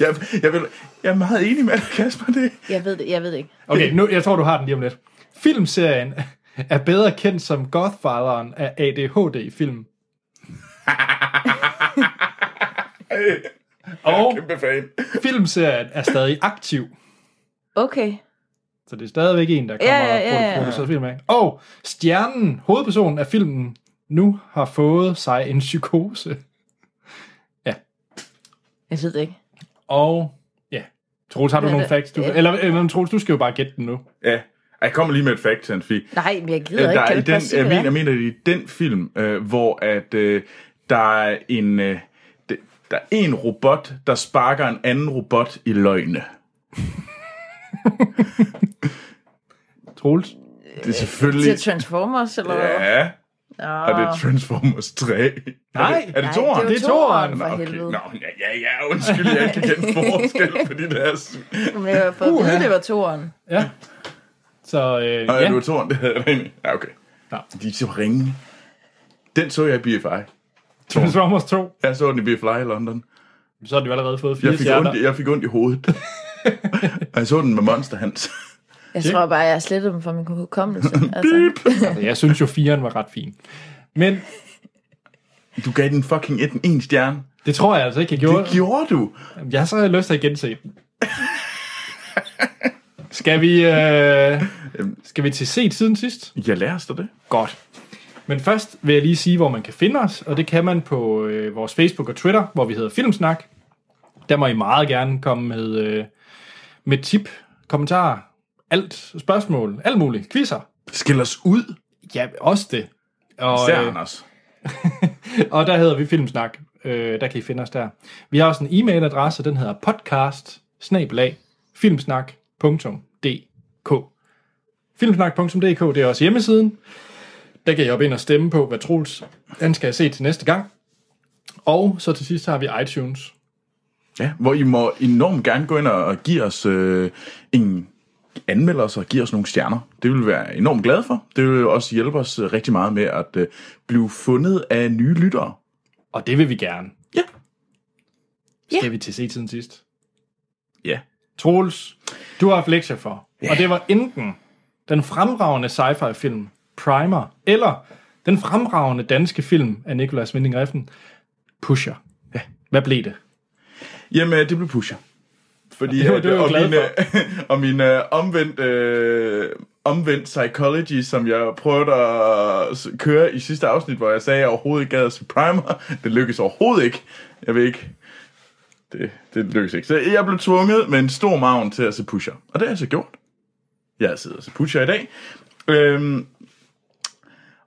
[SPEAKER 2] Jeg, jeg, vil, jeg er meget enig med dig, Kasper. Det.
[SPEAKER 3] Jeg ved det, jeg ved det ikke.
[SPEAKER 1] Okay, nu, jeg tror, du har den lige om lidt. Filmserien er bedre kendt som Godfatheren af ADHD-film. Og
[SPEAKER 2] Kæmpe fan.
[SPEAKER 1] filmserien er stadig aktiv.
[SPEAKER 3] Okay.
[SPEAKER 1] Så det er stadigvæk en, der kommer
[SPEAKER 3] Ja, ja, ja,
[SPEAKER 1] og
[SPEAKER 3] ja.
[SPEAKER 1] producerer film af. Og stjernen, hovedpersonen af filmen, nu har fået sig en psykose.
[SPEAKER 3] Jeg ved det ikke.
[SPEAKER 1] Og ja, Troels, har du
[SPEAKER 3] Hvad er
[SPEAKER 1] nogle
[SPEAKER 3] det?
[SPEAKER 1] facts? Du,
[SPEAKER 3] Ja.
[SPEAKER 1] eller, eller Troels, du skal jo bare gætte den nu.
[SPEAKER 2] Ja. Ej, Jeg kommer lige med et fact til en fi.
[SPEAKER 3] Nej, men jeg gider
[SPEAKER 2] Der
[SPEAKER 3] ikke.
[SPEAKER 2] er i
[SPEAKER 3] Kan du ikke
[SPEAKER 2] den,
[SPEAKER 3] bare sige,
[SPEAKER 2] jeg, mener,
[SPEAKER 3] hvad det
[SPEAKER 2] jeg
[SPEAKER 3] er?
[SPEAKER 2] mener, det er i den film, øh, hvor at, øh, der er en... Øh, det- der er en robot, der sparker en anden robot i løgne.
[SPEAKER 1] Troels?
[SPEAKER 2] Det er
[SPEAKER 3] Øh, Til
[SPEAKER 2] selvfølgelig...
[SPEAKER 3] Transformers, eller hvad?
[SPEAKER 2] Ja, og det er Transformers 3.
[SPEAKER 1] Nej.
[SPEAKER 2] er det, er
[SPEAKER 3] Nej,
[SPEAKER 2] det toeren?
[SPEAKER 1] det
[SPEAKER 3] Det
[SPEAKER 1] er
[SPEAKER 3] er
[SPEAKER 1] toeren.
[SPEAKER 3] toeren,
[SPEAKER 2] Nå,
[SPEAKER 3] for
[SPEAKER 2] okay.
[SPEAKER 3] helvede.
[SPEAKER 2] Nå, ja, ja, ja, undskyld, jeg ikke kan kende forskel på de der...
[SPEAKER 3] Men jeg har fået at vide,
[SPEAKER 1] Uha.
[SPEAKER 3] det var toeren.
[SPEAKER 1] Ja. Så øh,
[SPEAKER 2] Nå, ja, det
[SPEAKER 1] ja.
[SPEAKER 2] var toeren, det havde jeg egentlig. Ja, okay.
[SPEAKER 1] Nå.
[SPEAKER 2] De er så ringe. Den så jeg i BFI.
[SPEAKER 1] Transformers 2.
[SPEAKER 2] Jeg så den i BFI i London.
[SPEAKER 1] Så har du allerede fået fire
[SPEAKER 2] Jeg fik,
[SPEAKER 1] stjerner.
[SPEAKER 2] ondt, i- jeg fik ondt i hovedet. og jeg så den med Monster Hans.
[SPEAKER 3] Jeg tror bare, jeg har slettet dem fra min hukommelse. Altså,
[SPEAKER 1] Altså, jeg synes jo, firen var ret fin. Men
[SPEAKER 2] Du gav den fucking et, en stjerne.
[SPEAKER 1] det tror jeg altså ikke, jeg gjorde.
[SPEAKER 2] Det gjorde du.
[SPEAKER 1] Jeg har så lyst til at gense den. Skal vi, øh, skal vi til set siden sidst?
[SPEAKER 2] Jeg lærer dig det.
[SPEAKER 1] Godt. Men først vil jeg lige sige, hvor man kan finde os, og det kan man på øh, vores Facebook og Twitter, hvor vi hedder Filmsnak. Der må I meget gerne komme med, øh, med tip, kommentarer, alt, spørgsmål, alt muligt, quizzer.
[SPEAKER 2] Skil os ud.
[SPEAKER 1] Ja, også det. Og, øh,
[SPEAKER 2] Især Anders.
[SPEAKER 1] og der hedder vi Filmsnak. Øh, der kan I finde os der. Vi har også en e-mailadresse, den hedder podcast filmsnak.dk Filmsnak.dk, det er også hjemmesiden. Der kan I op ind og stemme på, hvad Troels han skal se til næste gang. Og så til sidst har vi iTunes.
[SPEAKER 2] Ja, hvor I må enormt gerne gå ind og- og give os øh, en anmelde os og give os nogle stjerner. Det vil vi være enormt glade for. Det vil også hjælpe os øh, rigtig meget med at øh, blive fundet af nye lyttere.
[SPEAKER 1] Og det vil vi gerne.
[SPEAKER 2] Ja.
[SPEAKER 1] Skal vi til se siden sidst?
[SPEAKER 2] Ja.
[SPEAKER 1] Troels, du har haft lektier for. Og det var enten den fremragende sci-fi film Primer, eller den fremragende danske film af Nikolaj Winding Refn, Pusher. Ja. Hvad blev det?
[SPEAKER 2] Jamen, øh, det blev pusher. Fordi, øh,
[SPEAKER 1] Det var- det var jeg
[SPEAKER 2] og,
[SPEAKER 1] glad
[SPEAKER 2] min, og min øh, omvendt, øh, omvendt psychology, som jeg prøvede at s- køre i sidste afsnit, hvor jeg sagde, at jeg overhovedet ikke gad at se Primer, det lykkedes overhovedet ikke. Jeg ved ikke. Det, det lykkedes ikke. Så jeg blev tvunget med en stor maven til at se pusher. Og det har jeg så gjort. Jeg sidder og ser pusher i dag. Øhm,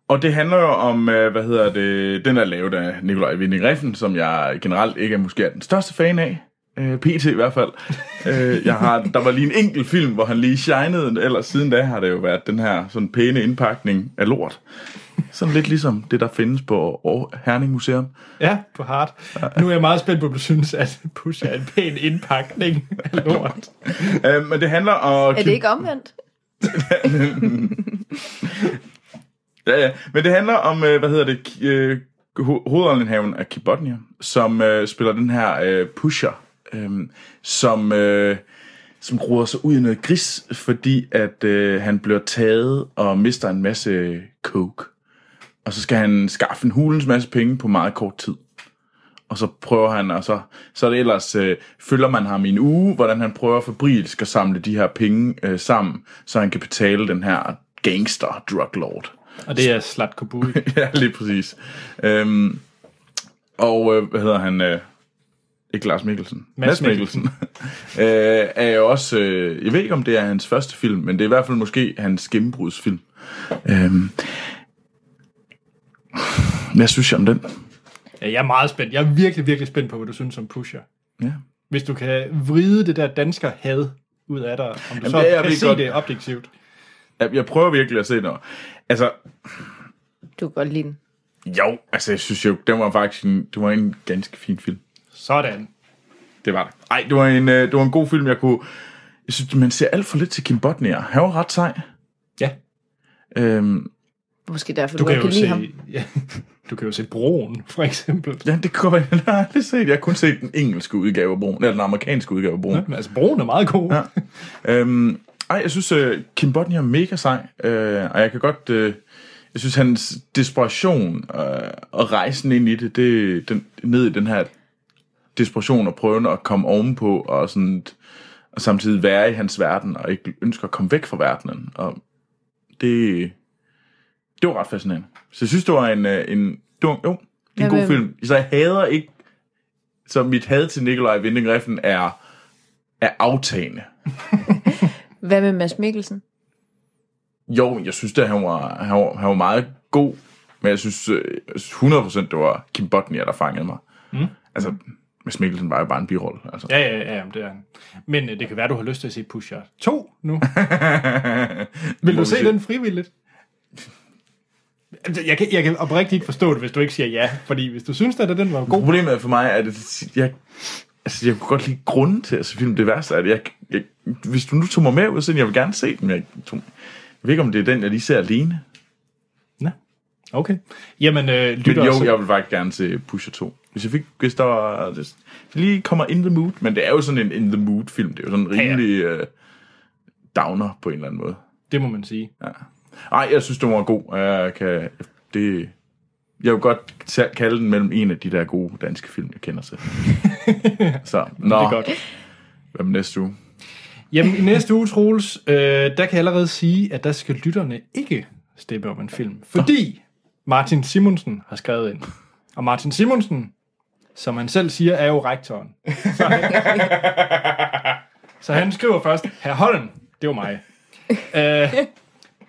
[SPEAKER 2] og det handler jo om, øh, hvad hedder det, den er lavet af Nikolaj Winding Refn, som jeg generelt ikke er måske er den største fan af. Øh, PT i hvert fald. øh, jeg har, der var lige en enkelt film, hvor han lige shinede, ellers siden da har det jo været den her sådan pæne indpakning af lort. Sådan lidt ligesom det, der findes på Aar- Herning Museum.
[SPEAKER 1] Ja, på hard. Nu er jeg meget spændt på, om du synes, at Pusher er en pæn indpakning af lort.
[SPEAKER 2] Øh, men det handler om...
[SPEAKER 3] er det ikke omvendt?
[SPEAKER 2] Ja, ja. Men det handler om, øh, hvad hedder det, Ki- øh, ho- hovedåndenhaven af Kibotnia, som øh, spiller den her øh, pusher, øh, som, øh, som roder sig ud i noget gris, fordi at øh, han bliver taget og mister en masse coke. Og så skal han skaffe en hulens masse penge på meget kort tid. Og så prøver han, og så, så er det ellers, øh, følger man ham i en uge, hvordan han prøver fabrilsk at samle de her penge øh, sammen, så han kan betale den her gangster drug lord.
[SPEAKER 1] Og det er Slat Kobui.
[SPEAKER 2] Ja, lige præcis. Øhm, og øh, hvad hedder han? Øh, ikke Lars Mikkelsen.
[SPEAKER 1] Mads
[SPEAKER 2] Mikkelsen. øh, er jo også, øh, jeg ved ikke om det er hans første film, men det er i hvert fald måske hans gennembrudsfilm. Øhm, hvad synes jeg om den?
[SPEAKER 1] Ja, jeg er meget spændt. Jeg er virkelig, virkelig spændt på, hvad du synes om Pusher.
[SPEAKER 2] Ja.
[SPEAKER 1] Hvis du kan vride det der dansker had ud af dig, om du Jamen, så
[SPEAKER 2] det er jeg
[SPEAKER 1] kan
[SPEAKER 2] ved
[SPEAKER 1] se
[SPEAKER 2] godt.
[SPEAKER 1] det objektivt.
[SPEAKER 2] Jeg, jeg prøver virkelig at se noget. Altså,
[SPEAKER 3] Du kan godt lide den.
[SPEAKER 2] jo, altså jeg synes jo, den var faktisk en, det var en ganske fin film.
[SPEAKER 1] Sådan.
[SPEAKER 2] Det var det. Ej, det var en, øh, det var en god film, jeg kunne... Jeg synes, man ser alt for lidt til Kim Bodnia. Han var ret sej.
[SPEAKER 1] Ja,
[SPEAKER 2] Øhm,
[SPEAKER 3] Måske derfor,
[SPEAKER 1] Du
[SPEAKER 3] du,
[SPEAKER 1] kan,
[SPEAKER 3] godt
[SPEAKER 1] jo
[SPEAKER 3] kan lide ham.
[SPEAKER 1] se, ja, du kan jo se Broen, for eksempel.
[SPEAKER 2] Ja, det kunne jeg jeg har aldrig set. Jeg har kun set den engelske udgave af Broen, eller den amerikanske udgave af Broen.
[SPEAKER 1] Men altså, Broen er meget god. Ja.
[SPEAKER 2] Ja. Øhm, ej, jeg synes, uh, Kim Bodnia er mega sej, øh, og jeg kan godt... Øh, jeg synes, hans desperation øh, og rejsen ind i det, det den, ned i den her desperation og prøven at komme ovenpå, og, sådan, og samtidig være i hans verden, og ikke ønsker at komme væk fra verdenen. Og det, det var ret fascinerende. Så jeg synes, det var en, øh, en, det var, jo, det er en
[SPEAKER 3] Jamen.
[SPEAKER 2] god film. Så jeg hader ikke, så mit had til Nikolaj Winding Refn er, er aftagende.
[SPEAKER 3] Hvad med Mads Mikkelsen?
[SPEAKER 2] Jo, jeg synes da, han var, han var, han var meget god, men jeg synes øh, jeg synes 100% det var Kim Bodnia, der fangede mig. Mm. Altså, Mads Mikkelsen var jo bare en birolle. Altså.
[SPEAKER 1] Ja, ja, ja, det er han. Men øh, det kan være, du har lyst til at se Pusher 2 nu. Vil
[SPEAKER 2] Må
[SPEAKER 1] du
[SPEAKER 2] vi
[SPEAKER 1] se
[SPEAKER 2] se.
[SPEAKER 1] den frivilligt? Altså, Jeg kan, jeg kan oprigtigt ikke forstå det, hvis du ikke siger ja. Fordi hvis du synes, at den var god...
[SPEAKER 2] Problemet for mig er, at det- jeg, altså, jeg kunne godt lide grunden til at se film. Det værste er, at jeg, jeg, hvis du nu tog mig med ud, så jeg vil gerne se den. men Jeg, tog, jeg ved ikke, om det er den, jeg lige ser alene.
[SPEAKER 1] Nå. Okay. Jamen, øh,
[SPEAKER 2] Men
[SPEAKER 1] lytter
[SPEAKER 2] jo,
[SPEAKER 1] også-
[SPEAKER 2] jeg vil faktisk gerne se Pusher 2. Hvis jeg fik, hvis der var, hvis jeg lige kommer in the mood, men det er jo sådan en in the mood film, det er jo sådan en
[SPEAKER 1] ja.
[SPEAKER 2] rimelig øh, downer på en eller anden måde.
[SPEAKER 1] det må man sige.
[SPEAKER 2] Ja. Ej, jeg synes, den var god. og Jeg kan, det, jeg vil godt selv kalde den mellem en af de der gode danske film, jeg kender selv. Så, nå,
[SPEAKER 1] Det er godt.
[SPEAKER 2] hvad med næste uge?
[SPEAKER 1] Jamen, i næste uge, Troels, øh, der kan jeg allerede sige, at der skal lytterne ikke stemme om en film. Fordi Martin Simonsen har skrevet ind. Og Martin Simonsen, som han selv siger, er jo rektoren. Så han, så han skriver først, Herr Holm, det var mig. Øh,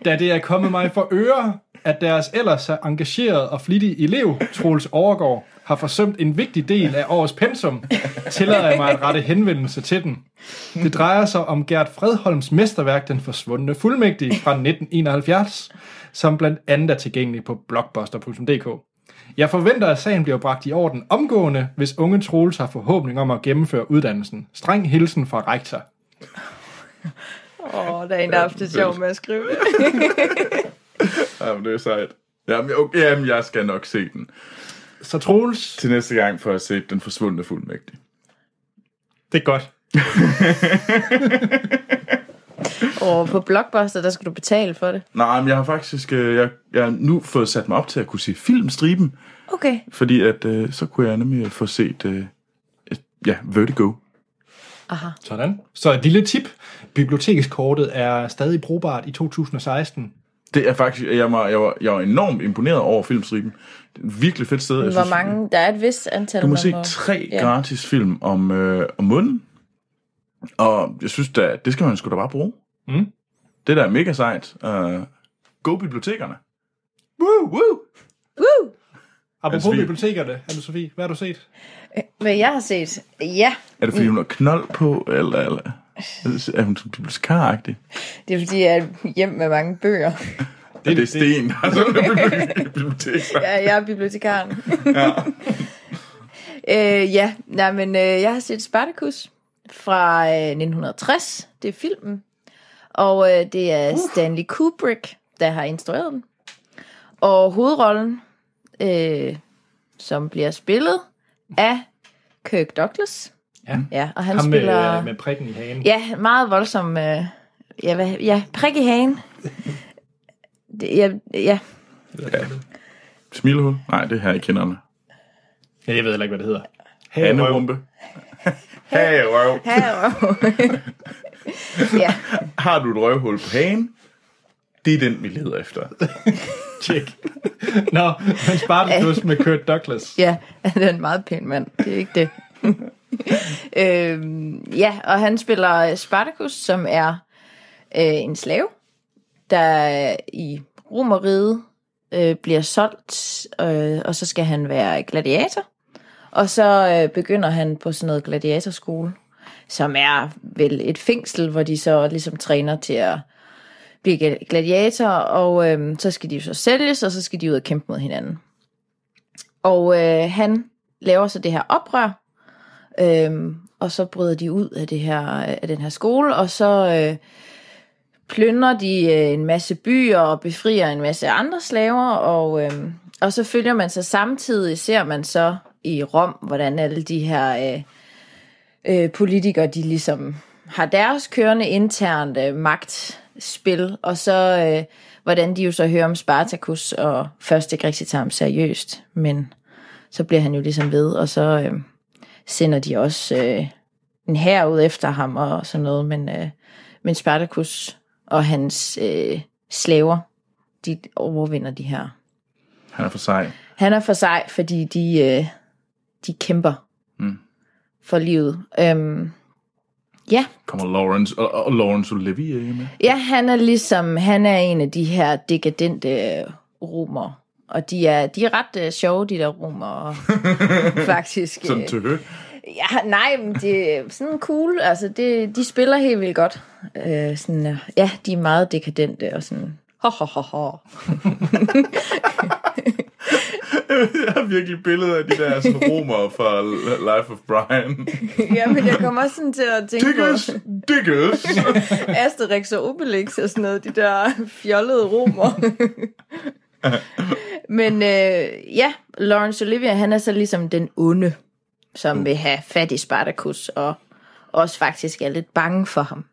[SPEAKER 1] da det er kommet mig for øre, at deres ellers så engagerede og flittige elev, Troels Overgaard, har forsømt en vigtig del af årets pensum, tillader jeg mig at rette henvendelse til den. Det drejer sig om Gert Fredholms mesterværk Den Forsvundne Fuldmægtige fra 1971, som blandt andet er tilgængelig på blockbuster.dk. Jeg forventer, at sagen bliver bragt i orden omgående, hvis unge Troels har forhåbning om at gennemføre uddannelsen. Streng hilsen fra rektor.
[SPEAKER 3] Åh, oh, der er en, der har haft det sjovt med at skrive det.
[SPEAKER 2] Jamen, det er sejt. Jamen, jeg, okay, jamen, jeg skal nok se den.
[SPEAKER 1] Så Troels,
[SPEAKER 2] Til næste gang får jeg set Den Forsvundne Fuldmægtige.
[SPEAKER 1] det er godt.
[SPEAKER 3] Og på Blockbuster, der skal du betale for det.
[SPEAKER 2] Nej, men jeg har faktisk øh, jeg, jeg har nu fået sat mig op til at kunne se filmstriben,
[SPEAKER 3] Okay.
[SPEAKER 2] fordi at, øh, så kunne jeg nemlig få set øh, et- ja, Vertigo.
[SPEAKER 1] Sådan. Så et lille tip. Bibliotekskortet er stadig brugbart i 2016.
[SPEAKER 2] Det er faktisk, jeg var, jeg var, jeg var enormt imponeret over filmstriben. Det er et virkelig fedt sted. Jeg
[SPEAKER 3] Hvor mange? Der er et vist antal,
[SPEAKER 2] Du må
[SPEAKER 3] man
[SPEAKER 2] se
[SPEAKER 3] må...
[SPEAKER 2] tre
[SPEAKER 3] Ja.
[SPEAKER 2] gratis film om, øh, om munden. Og jeg synes da, det skal man sgu da bare bruge.
[SPEAKER 1] Mm.
[SPEAKER 2] Det der er mega sejt. Uh, go bibliotekerne.
[SPEAKER 1] Woo!
[SPEAKER 2] Woo!
[SPEAKER 3] Woo!
[SPEAKER 1] Apropos
[SPEAKER 2] Altså, vi-
[SPEAKER 1] bibliotekerne, Anne-Sophie, hvad har du set?
[SPEAKER 3] Hvad jeg har set? Ja,
[SPEAKER 2] Er det fordi, hun har knold på, eller, eller er hun sådan bibliotekaragtig?
[SPEAKER 3] det er fordi, jeg er hjem med mange bøger.
[SPEAKER 2] Det, det, det er Sten, der er sådan en bibli- bibliotek.
[SPEAKER 3] Jeg, jeg er bibliotekaren. Ja, øh, ja. Nej, men øh, jeg har set Spartacus fra øh, 1960. Det er filmen. Og øh, det
[SPEAKER 1] Uh.
[SPEAKER 3] er Stanley Kubrick, der har instrueret den. Og hovedrollen, øh, som bliver spillet af Kirk Douglas.
[SPEAKER 1] Ja.
[SPEAKER 3] ja og han
[SPEAKER 1] Ham øh,
[SPEAKER 3] spiller...
[SPEAKER 1] med, med prikken i hagen.
[SPEAKER 3] Ja, meget voldsom. Øh, ja, hvad, ja, prik i hagen. Det, ja, ja,
[SPEAKER 2] Smilehul? Nej, det er her i kinderne.
[SPEAKER 1] Ja, jeg ved heller ikke, hvad det hedder. Hey,
[SPEAKER 2] Anne
[SPEAKER 1] røv.
[SPEAKER 2] rumpe. Hey, røv.
[SPEAKER 3] ja.
[SPEAKER 2] Har du et røvhul på hagen? Det er den, vi leder efter.
[SPEAKER 1] Tjek. Nå, men Spartacus med Kurt Douglas.
[SPEAKER 3] Ja, han er en meget pæn mand. Det er ikke det. øhm, ja, og han spiller Spartacus, som er øh, en slave, der i Romeriet øh, bliver solgt, øh, og så skal han være gladiator. Og så øh, begynder han på sådan noget gladiatorskole, som er vel et fængsel, hvor de så ligesom træner til at blive gla- gladiator, og øh, så skal de jo så sælges, og så skal de ud og kæmpe mod hinanden. Og øh, han laver så det her oprør, øhm, og så bryder de ud af, det her, af den her skole, og så øh, plyndrer de øh, en masse byer og befrier en masse andre slaver, og, øhm, og så følger man så samtidig, ser man så i Rom, hvordan alle de her øh, øh, politikere, de ligesom har deres kørende internt øh, magtspil, og så øh, hvordan de jo så hører om Spartacus, og først ikke rigtig tager ham seriøst, men så bliver han jo ligesom ved, og så øh, sender de også øh, en hær ud efter ham og sådan noget, men, øh, men Spartacus og hans øh, slaver, de overvinder de her.
[SPEAKER 2] Han er for sej.
[SPEAKER 3] Han er for sej, fordi de, øh, de kæmper
[SPEAKER 2] Mm.
[SPEAKER 3] for livet. Øhm, ja,
[SPEAKER 2] Kommer Lawrence og, og Lawrence Olivier med?
[SPEAKER 3] Ja, han er ligesom, han er en af de her dekadente øh, romer. Og de er, de er ret øh, sjove, de der romer, faktisk.
[SPEAKER 2] Sådan
[SPEAKER 3] øh.
[SPEAKER 2] tøhø.
[SPEAKER 3] ja, nej, men det er sådan cool. Altså, det, de spiller helt vildt godt. Øh, sådan, øh, ja, de er meget dekadente og sådan... Ho, ho, ho, ho.
[SPEAKER 2] Jeg har virkelig billeder af de der sådan, romer fra Life of Brian.
[SPEAKER 3] Ja, men jeg kommer også sådan til at tænke
[SPEAKER 2] Diggers!
[SPEAKER 3] på
[SPEAKER 2] Diggers!
[SPEAKER 3] Asterix og Obelix og sådan noget, de der fjollede romer. Men øh, ja, Lawrence Olivia, han er så ligesom den onde, som mm. vil have fat i Spartacus, og også faktisk er lidt bange for ham.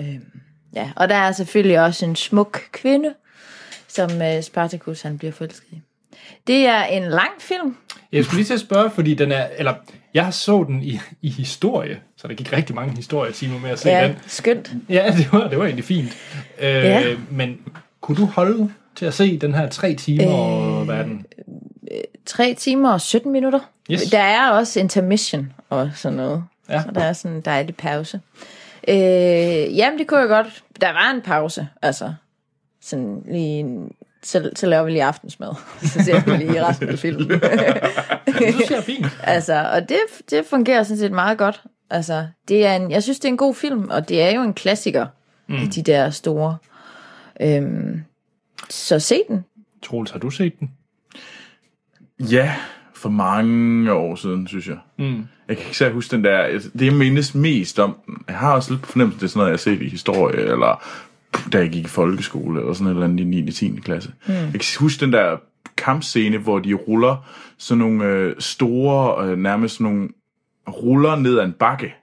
[SPEAKER 3] Øh, ja, og der er selvfølgelig også en smuk kvinde, som øh, Spartacus han bliver forelsket i. Det er en lang film.
[SPEAKER 1] Jeg skulle lige til at spørge, fordi den er... Eller, jeg så den i, i historie, så der gik rigtig mange historietimer med at se ja. den.
[SPEAKER 3] skønt.
[SPEAKER 1] Ja, det var, det var egentlig fint. Øh,
[SPEAKER 3] Ja.
[SPEAKER 1] Men kunne du holde til at se den her tre timer
[SPEAKER 3] Øh.
[SPEAKER 1] og hvad er den?
[SPEAKER 3] 3 timer og 17 minutter.
[SPEAKER 1] Yes.
[SPEAKER 3] Der er også intermission og sådan noget.
[SPEAKER 1] Ja.
[SPEAKER 3] Så der er sådan en dejlig pause. Øh, jamen, det kunne jeg godt. Der var en pause, altså. Sådan lige en, så, så laver vi lige aftensmad. Så ser vi lige resten af filmen.
[SPEAKER 1] Det synes jeg er fint.
[SPEAKER 3] altså, og det, det fungerer sådan set meget godt. Altså, det er en, jeg synes, det er en god film, og det er jo en klassiker mm. i de der store. Øhm, så se den.
[SPEAKER 1] Troels, har du set den?
[SPEAKER 2] Ja, for mange år siden, synes jeg. Mm. Jeg kan ikke særlig huske den der... altså, Det, jeg mindes mest om den- Jeg har også lidt på fornemmelsen, det er sådan noget, jeg har set i historie, eller da jeg gik i folkeskole, eller sådan et eller andet i 9. og 10. klasse. Mm. Jeg kan huske den der kampscene, hvor de ruller sådan nogle øh, store, øh, nærmest sådan nogle ruller ned ad en bakke,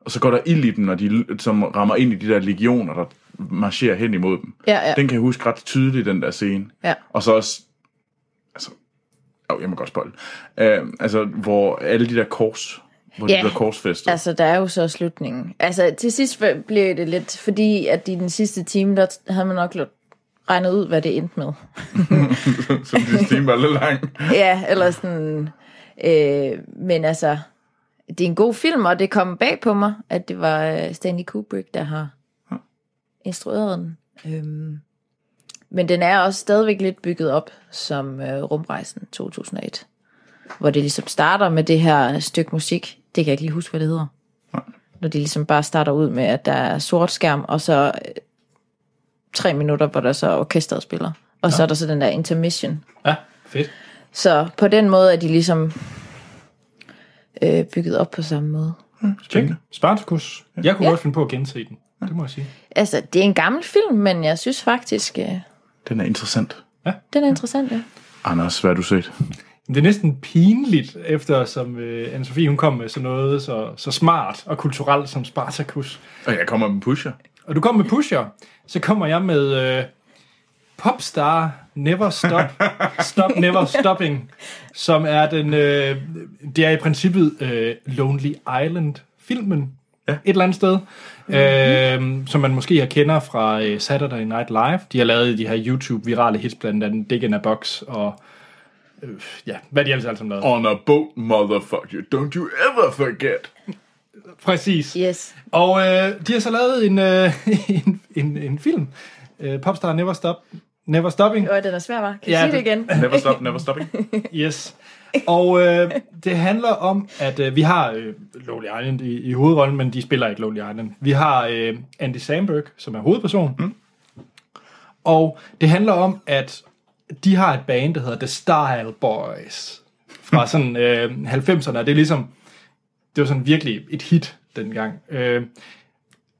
[SPEAKER 2] og så går der ild i dem, når de, som rammer ind i de der legioner, der marcherer hen imod dem.
[SPEAKER 3] Ja, ja.
[SPEAKER 2] Den kan jeg huske ret tydeligt, den der scene.
[SPEAKER 3] Ja.
[SPEAKER 2] Og så også... Altså, jo, jeg må godt spoil. Øh, altså, hvor alle de der kors... Hvor de
[SPEAKER 3] Ja.
[SPEAKER 2] bliver korsfæstet.
[SPEAKER 3] Altså, der er jo så slutningen. Altså, til sidst blev det lidt, fordi at i den sidste time, der t- havde man nok lidt regnet ud, hvad det endte med.
[SPEAKER 2] så de stemme var lidt lang.
[SPEAKER 3] ja, eller sådan... Øh, men altså, det er en god film, og det kom bag på mig, at det var øh, Stanley Kubrick, der har instrueret den. Øhm, men den er også stadigvæk lidt bygget op som øh, Rumrejsen 2001, hvor det ligesom starter med det her stykke musik. Det kan jeg ikke lige huske, hvad det hedder. Når de ligesom bare starter ud med, at der er sort skærm, og så øh, tre minutter, hvor der så orkestret spiller. Og ja. så er der så den der intermission,
[SPEAKER 1] Ja, fedt.
[SPEAKER 3] så på den måde er de ligesom øh, bygget op på samme måde.
[SPEAKER 1] Tjek. Spartacus. Jeg kunne
[SPEAKER 3] Ja.
[SPEAKER 1] godt finde på at gense den. Det må jeg sige.
[SPEAKER 3] Altså, det er en gammel film, men jeg synes faktisk, øh,
[SPEAKER 2] Den er interessant.
[SPEAKER 3] den er interessant, ja.
[SPEAKER 2] Anders, hvad har du set?
[SPEAKER 1] Men Det er næsten pinligt, efter som øh, Anne-Sophie hun kom med sådan noget så, så smart og kulturelt som Spartacus.
[SPEAKER 2] Og jeg kommer med pusher.
[SPEAKER 1] Og du kom med Pusher, så kommer jeg med øh, Popstar Never Stop, Stop Never Stopping, som er den, øh, det er i princippet øh, Lonely Island-filmen. Ja. Et eller andet sted, mm-hmm. øh, som man måske har kender fra øh, Saturday Night Live. De har lavet de her YouTube-virale hits, blandt andet Dick in a Box og øh, ja, hvad de ellers alle sammen lavede.
[SPEAKER 2] On a boat, motherfucker. Don't you ever forget.
[SPEAKER 1] Præcis.
[SPEAKER 3] Yes.
[SPEAKER 1] Og øh, de har så lavet en, øh, en, en, en film, øh, Popstar Never Stop, Never Stopping.
[SPEAKER 3] Og den er svær, var. Kan
[SPEAKER 1] Ja,
[SPEAKER 3] ja, sige det
[SPEAKER 1] det-
[SPEAKER 3] igen?
[SPEAKER 2] Never stop, never stopping.
[SPEAKER 1] Yes. Og øh, det handler om, at øh, vi har øh, Lonely Island i, i hovedrollen, men de spiller ikke Lonely Island. Vi har øh, Andy Samberg, som er hovedpersonen. Mm. Og det handler om, at de har et band, der hedder The Style Boys. Fra sådan øh, 90'erne. Og Det er ligesom, det var sådan virkelig et hit dengang. Øh,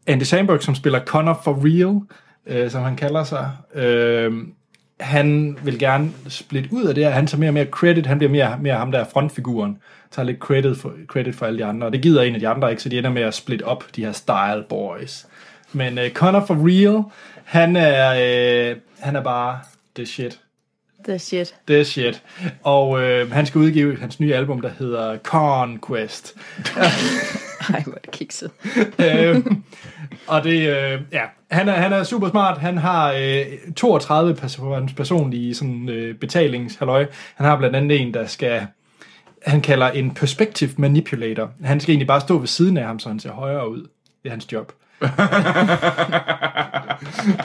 [SPEAKER 1] Andy Samberg, som spiller Connor for real, øh, som han kalder sig, øh, han vil gerne splitte ud af det her. Han tager mere og mere credit. Han bliver mere, mere ham, der er frontfiguren. Tager lidt credit for, credit for alle de andre. Og det gider en af de andre ikke, så de ender med at splitte op de her style boys. Men øh, Connor for real, han er, øh, han er bare det shit.
[SPEAKER 3] Det er shit.
[SPEAKER 1] Det er shit. Og øh, han skal udgive hans nye album, der hedder Conquest.
[SPEAKER 3] Ej, hvor er det kikset.
[SPEAKER 1] øh, og det, øh, ja, han er, han er super smart. Han har øh, 32 pers- personlige sådan, øh, betalingshalløj. Han har blandt andet en, der skal han kalder en perspective manipulator. Han skal egentlig bare stå ved siden af ham, så han ser højere ud. Det er hans job.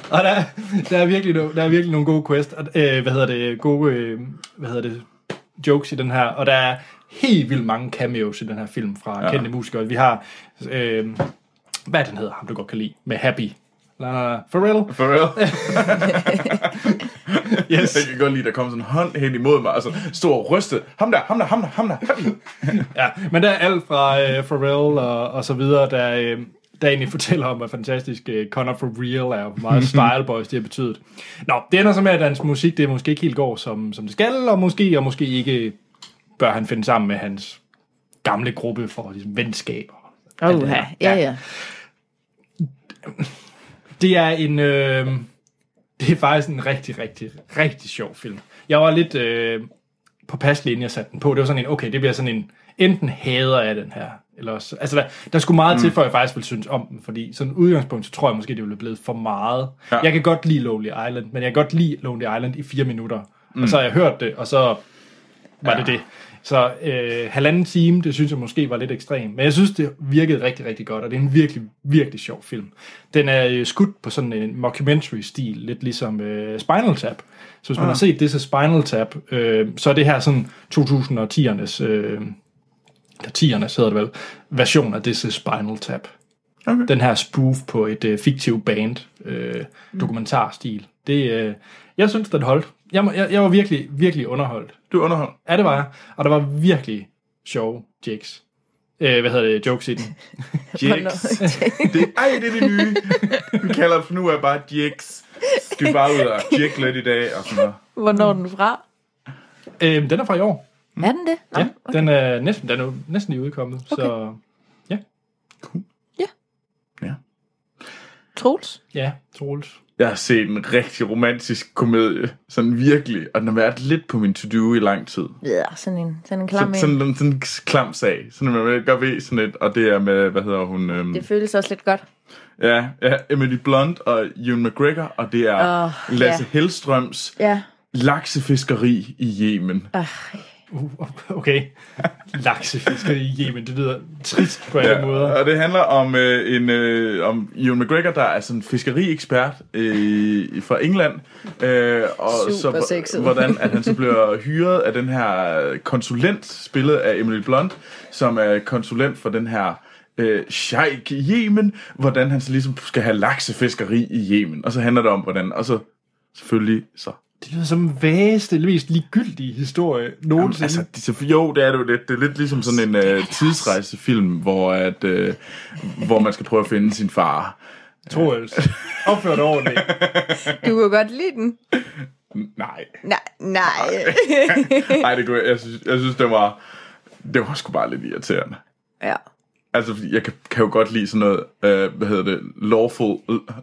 [SPEAKER 1] og der, der, er virkelig, no- der er virkelig nogle gode quest, og, øh, hvad hedder det, gode, øh, hvad hedder det, jokes i den her, og der er helt vildt mange cameos i den her film fra ja. kendte musikere. Vi har, øh, hvad er den hedder, ham du godt kan lide, med Happy. La, la, la. Pharrell.
[SPEAKER 2] For real.
[SPEAKER 1] Yes.
[SPEAKER 2] Jeg kan godt lide, der kom sådan en hånd hen imod mig, og så stod og rystede. Ham der, ham der, ham der, ham der.
[SPEAKER 1] Ja, men der er alt fra øh, Pharrell og, og så videre, der, øh, der egentlig fortæller om, hvor fantastisk uh, Connor for Real er, og hvor meget Style Boys det har betydet. Nå, det ender så med, at hans musik det måske ikke helt går, som, som det skal, og måske og måske ikke bør han finde sammen med hans gamle gruppe for ligesom, venskaber.
[SPEAKER 3] Åh, oh, ja, ja. ja.
[SPEAKER 1] Det er en... Øh, det er faktisk en rigtig, rigtig, rigtig sjov film. Jeg var lidt øh, på paslinjen, jeg satte den på. Det var sådan en, okay, det bliver sådan en... Enten hader jeg den her, eller også... Altså, der, der skulle meget mm. til, før jeg faktisk ville synes om den, fordi sådan udgangspunkt, så tror jeg måske, det ville blive for meget. Ja.
[SPEAKER 2] Ja.
[SPEAKER 1] Jeg kan godt lide Lonely Island, men jeg kan godt lide Lonely Island i fire minutter. Mm. Og så har jeg hørt det, og så var ja. det det. Så øh, halvanden time, det synes jeg måske var lidt ekstrem. Men jeg synes, det virkede rigtig, rigtig godt, og det er en virkelig, virkelig sjov film. Den er øh, skudt på sådan en mockumentary-stil, lidt ligesom øh, Spinal Tap. Så hvis man har set det så Spinal Tap, øh, så er det her sådan 2010'ernes, øh, 10'ernes hedder det vel, version af This is Spinal Tap.
[SPEAKER 2] Okay.
[SPEAKER 1] Den her spoof på et øh, fiktivt band, øh, dokumentarstil. Det, øh, jeg synes, den holdt. Jeg, må- jeg, jeg var virkelig, virkelig underholdt.
[SPEAKER 2] Du er underholdt.
[SPEAKER 1] Ja, det var jeg. Og der var virkelig sjove jigs. Øh, hvad hedder det? Jokes i den.
[SPEAKER 2] Jigs. Det, ej, det er det nye. Vi kalder det for nu er bare Jigs. Skal vi bare ud og jigge lidt i dag og sådan noget.
[SPEAKER 3] Hvornår er den fra?
[SPEAKER 1] øh, den er fra i år.
[SPEAKER 3] Mm. Er den det? Nå,
[SPEAKER 1] Ja, den er næsten, den er jo næsten lige udkommet. Okay. Så
[SPEAKER 3] Troels?
[SPEAKER 1] ja, Troels.
[SPEAKER 2] Jeg har set en rigtig romantisk komedie, sådan virkelig, og den har været lidt på min to-do i lang tid.
[SPEAKER 3] Ja, sådan en, sådan en
[SPEAKER 2] Sådan,
[SPEAKER 3] klam en.
[SPEAKER 2] sådan, sådan, sådan en klam sag, sådan at man godt ved sådan lidt, og det er med, hvad hedder hun, øhm,
[SPEAKER 3] Det føles også lidt godt.
[SPEAKER 2] ja, ja, Emily Blunt og Ewan McGregor, og det er
[SPEAKER 3] Åh,
[SPEAKER 2] Lasse
[SPEAKER 3] ja.
[SPEAKER 2] Hellstrøms
[SPEAKER 3] Ja.
[SPEAKER 2] laksefiskeri i Yemen.
[SPEAKER 1] Uh, okay. Laksefiskeri i Yemen, det lyder trist på alle ja.
[SPEAKER 2] Ja,
[SPEAKER 1] måder.
[SPEAKER 2] og det handler om øh, en øh, om Ewan McGregor, der er sådan en fiskeriekspert øh, fra England. Øh, og
[SPEAKER 3] Super
[SPEAKER 2] så,
[SPEAKER 3] sexet.
[SPEAKER 2] Hvordan at han så bliver hyret af den her konsulent, spillet af Emily Blunt, som er konsulent for den her øh, sheik i Yemen, hvordan han så ligesom skal have laksefiskeri i Yemen. Og så handler det om, hvordan, og så selvfølgelig så
[SPEAKER 1] Det lyder som den vægeste, mest ligegyldige historie nogensinde.
[SPEAKER 2] Altså, de, så- jo, det er det jo lidt. Det er lidt ligesom sådan en øh, tidsrejsefilm, hvor, at, øh, hvor man skal prøve at finde sin far.
[SPEAKER 1] altså, Troels. Opført ordentligt.
[SPEAKER 3] Du kunne godt lide den.
[SPEAKER 2] Nej.
[SPEAKER 3] Nej, nej.
[SPEAKER 2] Nej, det kunne jeg, jeg synes, jeg synes det var... Det var sgu bare lidt irriterende.
[SPEAKER 3] ja.
[SPEAKER 2] Altså, fordi jeg kan, kan jo godt lide sådan noget, øh, hvad hedder det, lawful,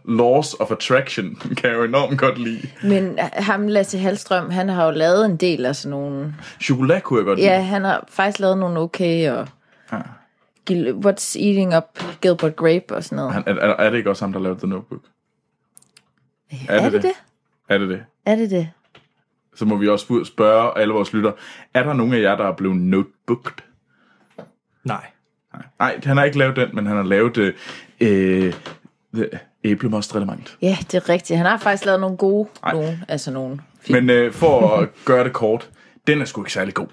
[SPEAKER 2] laws of attraction, kan jeg jo enormt godt lide.
[SPEAKER 3] Men øh, ham, Lasse Halstrøm, han har jo lavet en del af sådan nogle...
[SPEAKER 2] Chokolade kunne jeg godt
[SPEAKER 3] Ja,
[SPEAKER 2] lide.
[SPEAKER 3] han har faktisk lavet nogle okay og...
[SPEAKER 2] Ja.
[SPEAKER 3] Gil- What's Eating Up Gilbert Grape og sådan noget.
[SPEAKER 2] Han, er, er, er det ikke også ham, der lavede The Notebook?
[SPEAKER 3] Øh, Er, er det det?
[SPEAKER 2] Er det det?
[SPEAKER 3] Er det det?
[SPEAKER 2] Så må vi også spørge alle vores lytter, er der nogen af jer, der er blevet notebooked?
[SPEAKER 1] Nej.
[SPEAKER 2] Nej, han har ikke lavet den, men han har lavet øh, øh, The æblemost relevant.
[SPEAKER 3] Ja, det er rigtigt. Han har faktisk lavet nogle gode
[SPEAKER 2] Ej.
[SPEAKER 3] nogen, altså nogle film.
[SPEAKER 2] Men øh, for at gøre det kort, den er sgu ikke særlig god.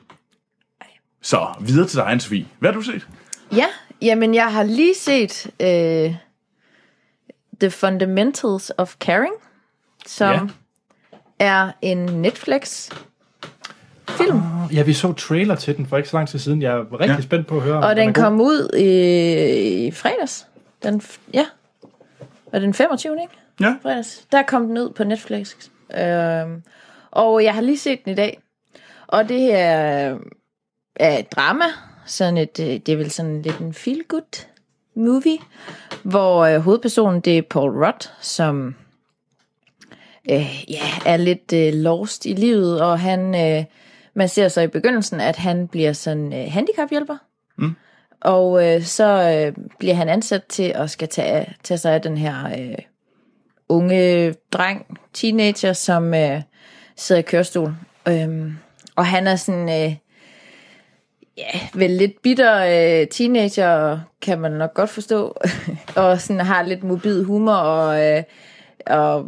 [SPEAKER 2] Så videre til dig, Sofie. Hvad har du set?
[SPEAKER 3] Ja, jamen jeg har lige set øh, The Fundamentals of Caring, som
[SPEAKER 1] Ja.
[SPEAKER 3] ja. er en Netflix-film,
[SPEAKER 1] Ja, vi så trailer til den for ikke så lang tid siden. Jeg var rigtig ja.
[SPEAKER 2] Ja.
[SPEAKER 1] spændt på at høre. om
[SPEAKER 3] og den
[SPEAKER 1] er god.
[SPEAKER 3] kom ud i, i fredags. Den, f- ja, var den 25. Ikke?
[SPEAKER 2] Ja.
[SPEAKER 3] fredags. Der kom den ud på Netflix. Øhm, og jeg har lige set den i dag. Og det er, er et drama. Sådan et, øh, det er vel sådan lidt en feel-good movie, hvor øh, hovedpersonen, det er Paul Rudd, som øh, ja, er lidt øh, lost i livet, og han, øh, man ser så i begyndelsen, at han bliver sådan øh, handicaphjælper. Og øh, så øh, bliver han ansat til at skal tage, tage sig af den her øh, unge dreng, teenager, som øh, sidder i kørestol. Øhm, og han er sådan, øh, ja, vel lidt bitter øh, teenager, kan man nok godt forstå. og sådan har lidt mobil humor og, øh, og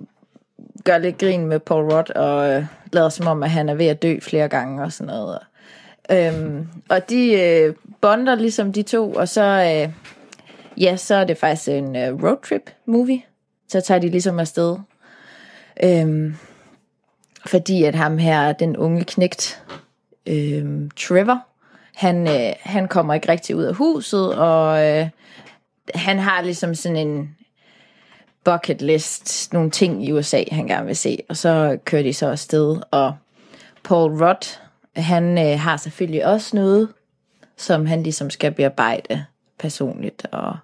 [SPEAKER 3] gør lidt grin med Paul Rudd og øh, lader som om, at han er ved at dø flere gange og sådan noget. Øhm, og de øh, bonder ligesom de to, og så, øh, ja, så er det faktisk en øh, roadtrip-movie. Så tager de ligesom afsted. Øhm, fordi at ham her, den unge knægt, øhm, Trevor, han, øh, han kommer ikke rigtig ud af huset, og øh, han har ligesom sådan en bucket list, nogle ting i USA, han gerne vil se. Og så kører de så afsted, og Paul Rudd, han øh, har selvfølgelig også noget, som han ligesom skal bearbejde personligt. Og,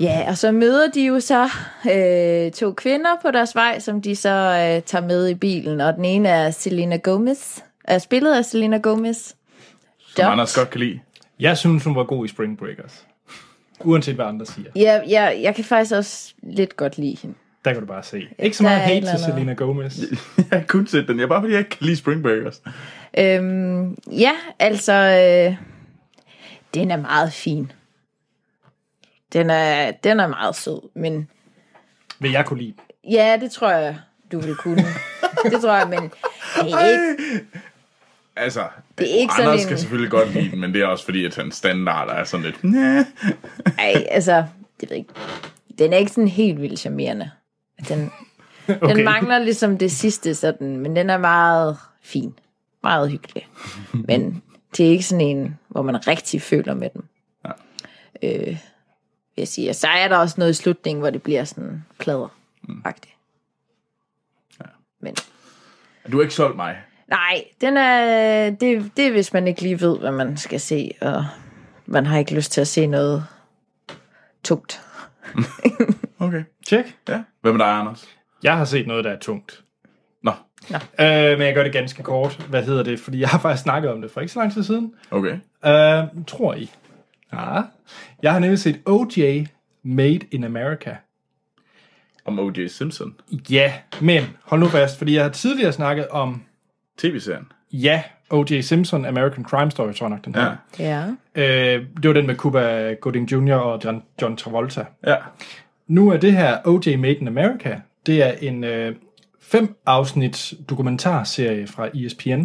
[SPEAKER 3] Ja, og så møder de jo så øh, to kvinder på deres vej, som de så øh, tager med i bilen. Og den ene er Selena Gomez, er spillet af Selena Gomez.
[SPEAKER 2] Som
[SPEAKER 3] Dot.
[SPEAKER 2] Anders godt kan lide.
[SPEAKER 1] Jeg synes, hun var god i Spring Breakers. Uanset hvad andre siger.
[SPEAKER 3] Ja, jeg, jeg kan faktisk også lidt godt lide hende.
[SPEAKER 1] Der kan du bare se. Ikke så
[SPEAKER 3] Der
[SPEAKER 1] meget
[SPEAKER 3] er et
[SPEAKER 1] hate
[SPEAKER 3] eller
[SPEAKER 1] til
[SPEAKER 3] andet.
[SPEAKER 1] Selena Gomez.
[SPEAKER 2] Jeg har kun set den. Jeg er bare fordi, jeg ikke kan lide Spring Breakers.
[SPEAKER 3] Øhm, ja, altså, øh, den er meget fin. Den er, den er meget sød, men
[SPEAKER 1] Vil jeg kunne lide. den.
[SPEAKER 3] ja, det tror jeg, du vil kunne. det tror jeg, men det er ikke,
[SPEAKER 2] Altså,
[SPEAKER 3] Det er ikke sådan
[SPEAKER 2] Anders
[SPEAKER 3] en-
[SPEAKER 2] kan selvfølgelig godt lide den, men det er også fordi, at hans standard er sådan lidt... Næh.
[SPEAKER 3] ej, altså, det ved jeg ikke. Den er ikke sådan helt vildt charmerende. Den, okay. den mangler ligesom det sidste sådan, men den er meget fin. Meget hyggelig. Men det er ikke sådan en, hvor man rigtig føler med den. Ja. Øh, vil jeg sige. Og så er der også noget i slutningen, hvor det bliver sådan plader. Mm. Ja. Mm. Men
[SPEAKER 2] Du har ikke solgt mig.
[SPEAKER 3] nej, den er, det, det er, hvis man ikke lige ved, hvad man skal se, og man har ikke lyst til at se noget tungt.
[SPEAKER 2] Okay.
[SPEAKER 1] Tjek.
[SPEAKER 2] Ja. Hvad med dig, Anders?
[SPEAKER 1] Jeg har set noget, der er tungt.
[SPEAKER 2] Nå,
[SPEAKER 1] Øh, men jeg gør det ganske kort. Hvad hedder det? Fordi jeg har faktisk snakket om det for ikke så lang tid siden.
[SPEAKER 2] okay.
[SPEAKER 1] Øh, tror I? Ja. Jeg har nemlig set OJ Made in America.
[SPEAKER 2] Om O.J. Simpson.
[SPEAKER 1] Ja, men hold nu fast, fordi jeg har tidligere snakket om,
[SPEAKER 2] TV-serien.
[SPEAKER 1] ja, O.J. Simpson, American Crime Story, tror jeg nok, den her.
[SPEAKER 2] Ja.
[SPEAKER 1] Ja.
[SPEAKER 3] Ja.
[SPEAKER 1] Øh, det var den med Cuba Gooding Jr. og John, John Travolta.
[SPEAKER 2] Ja.
[SPEAKER 1] Nu er det her O.J. Made in America, det er en øh, fem afsnit dokumentarserie fra E ESPN.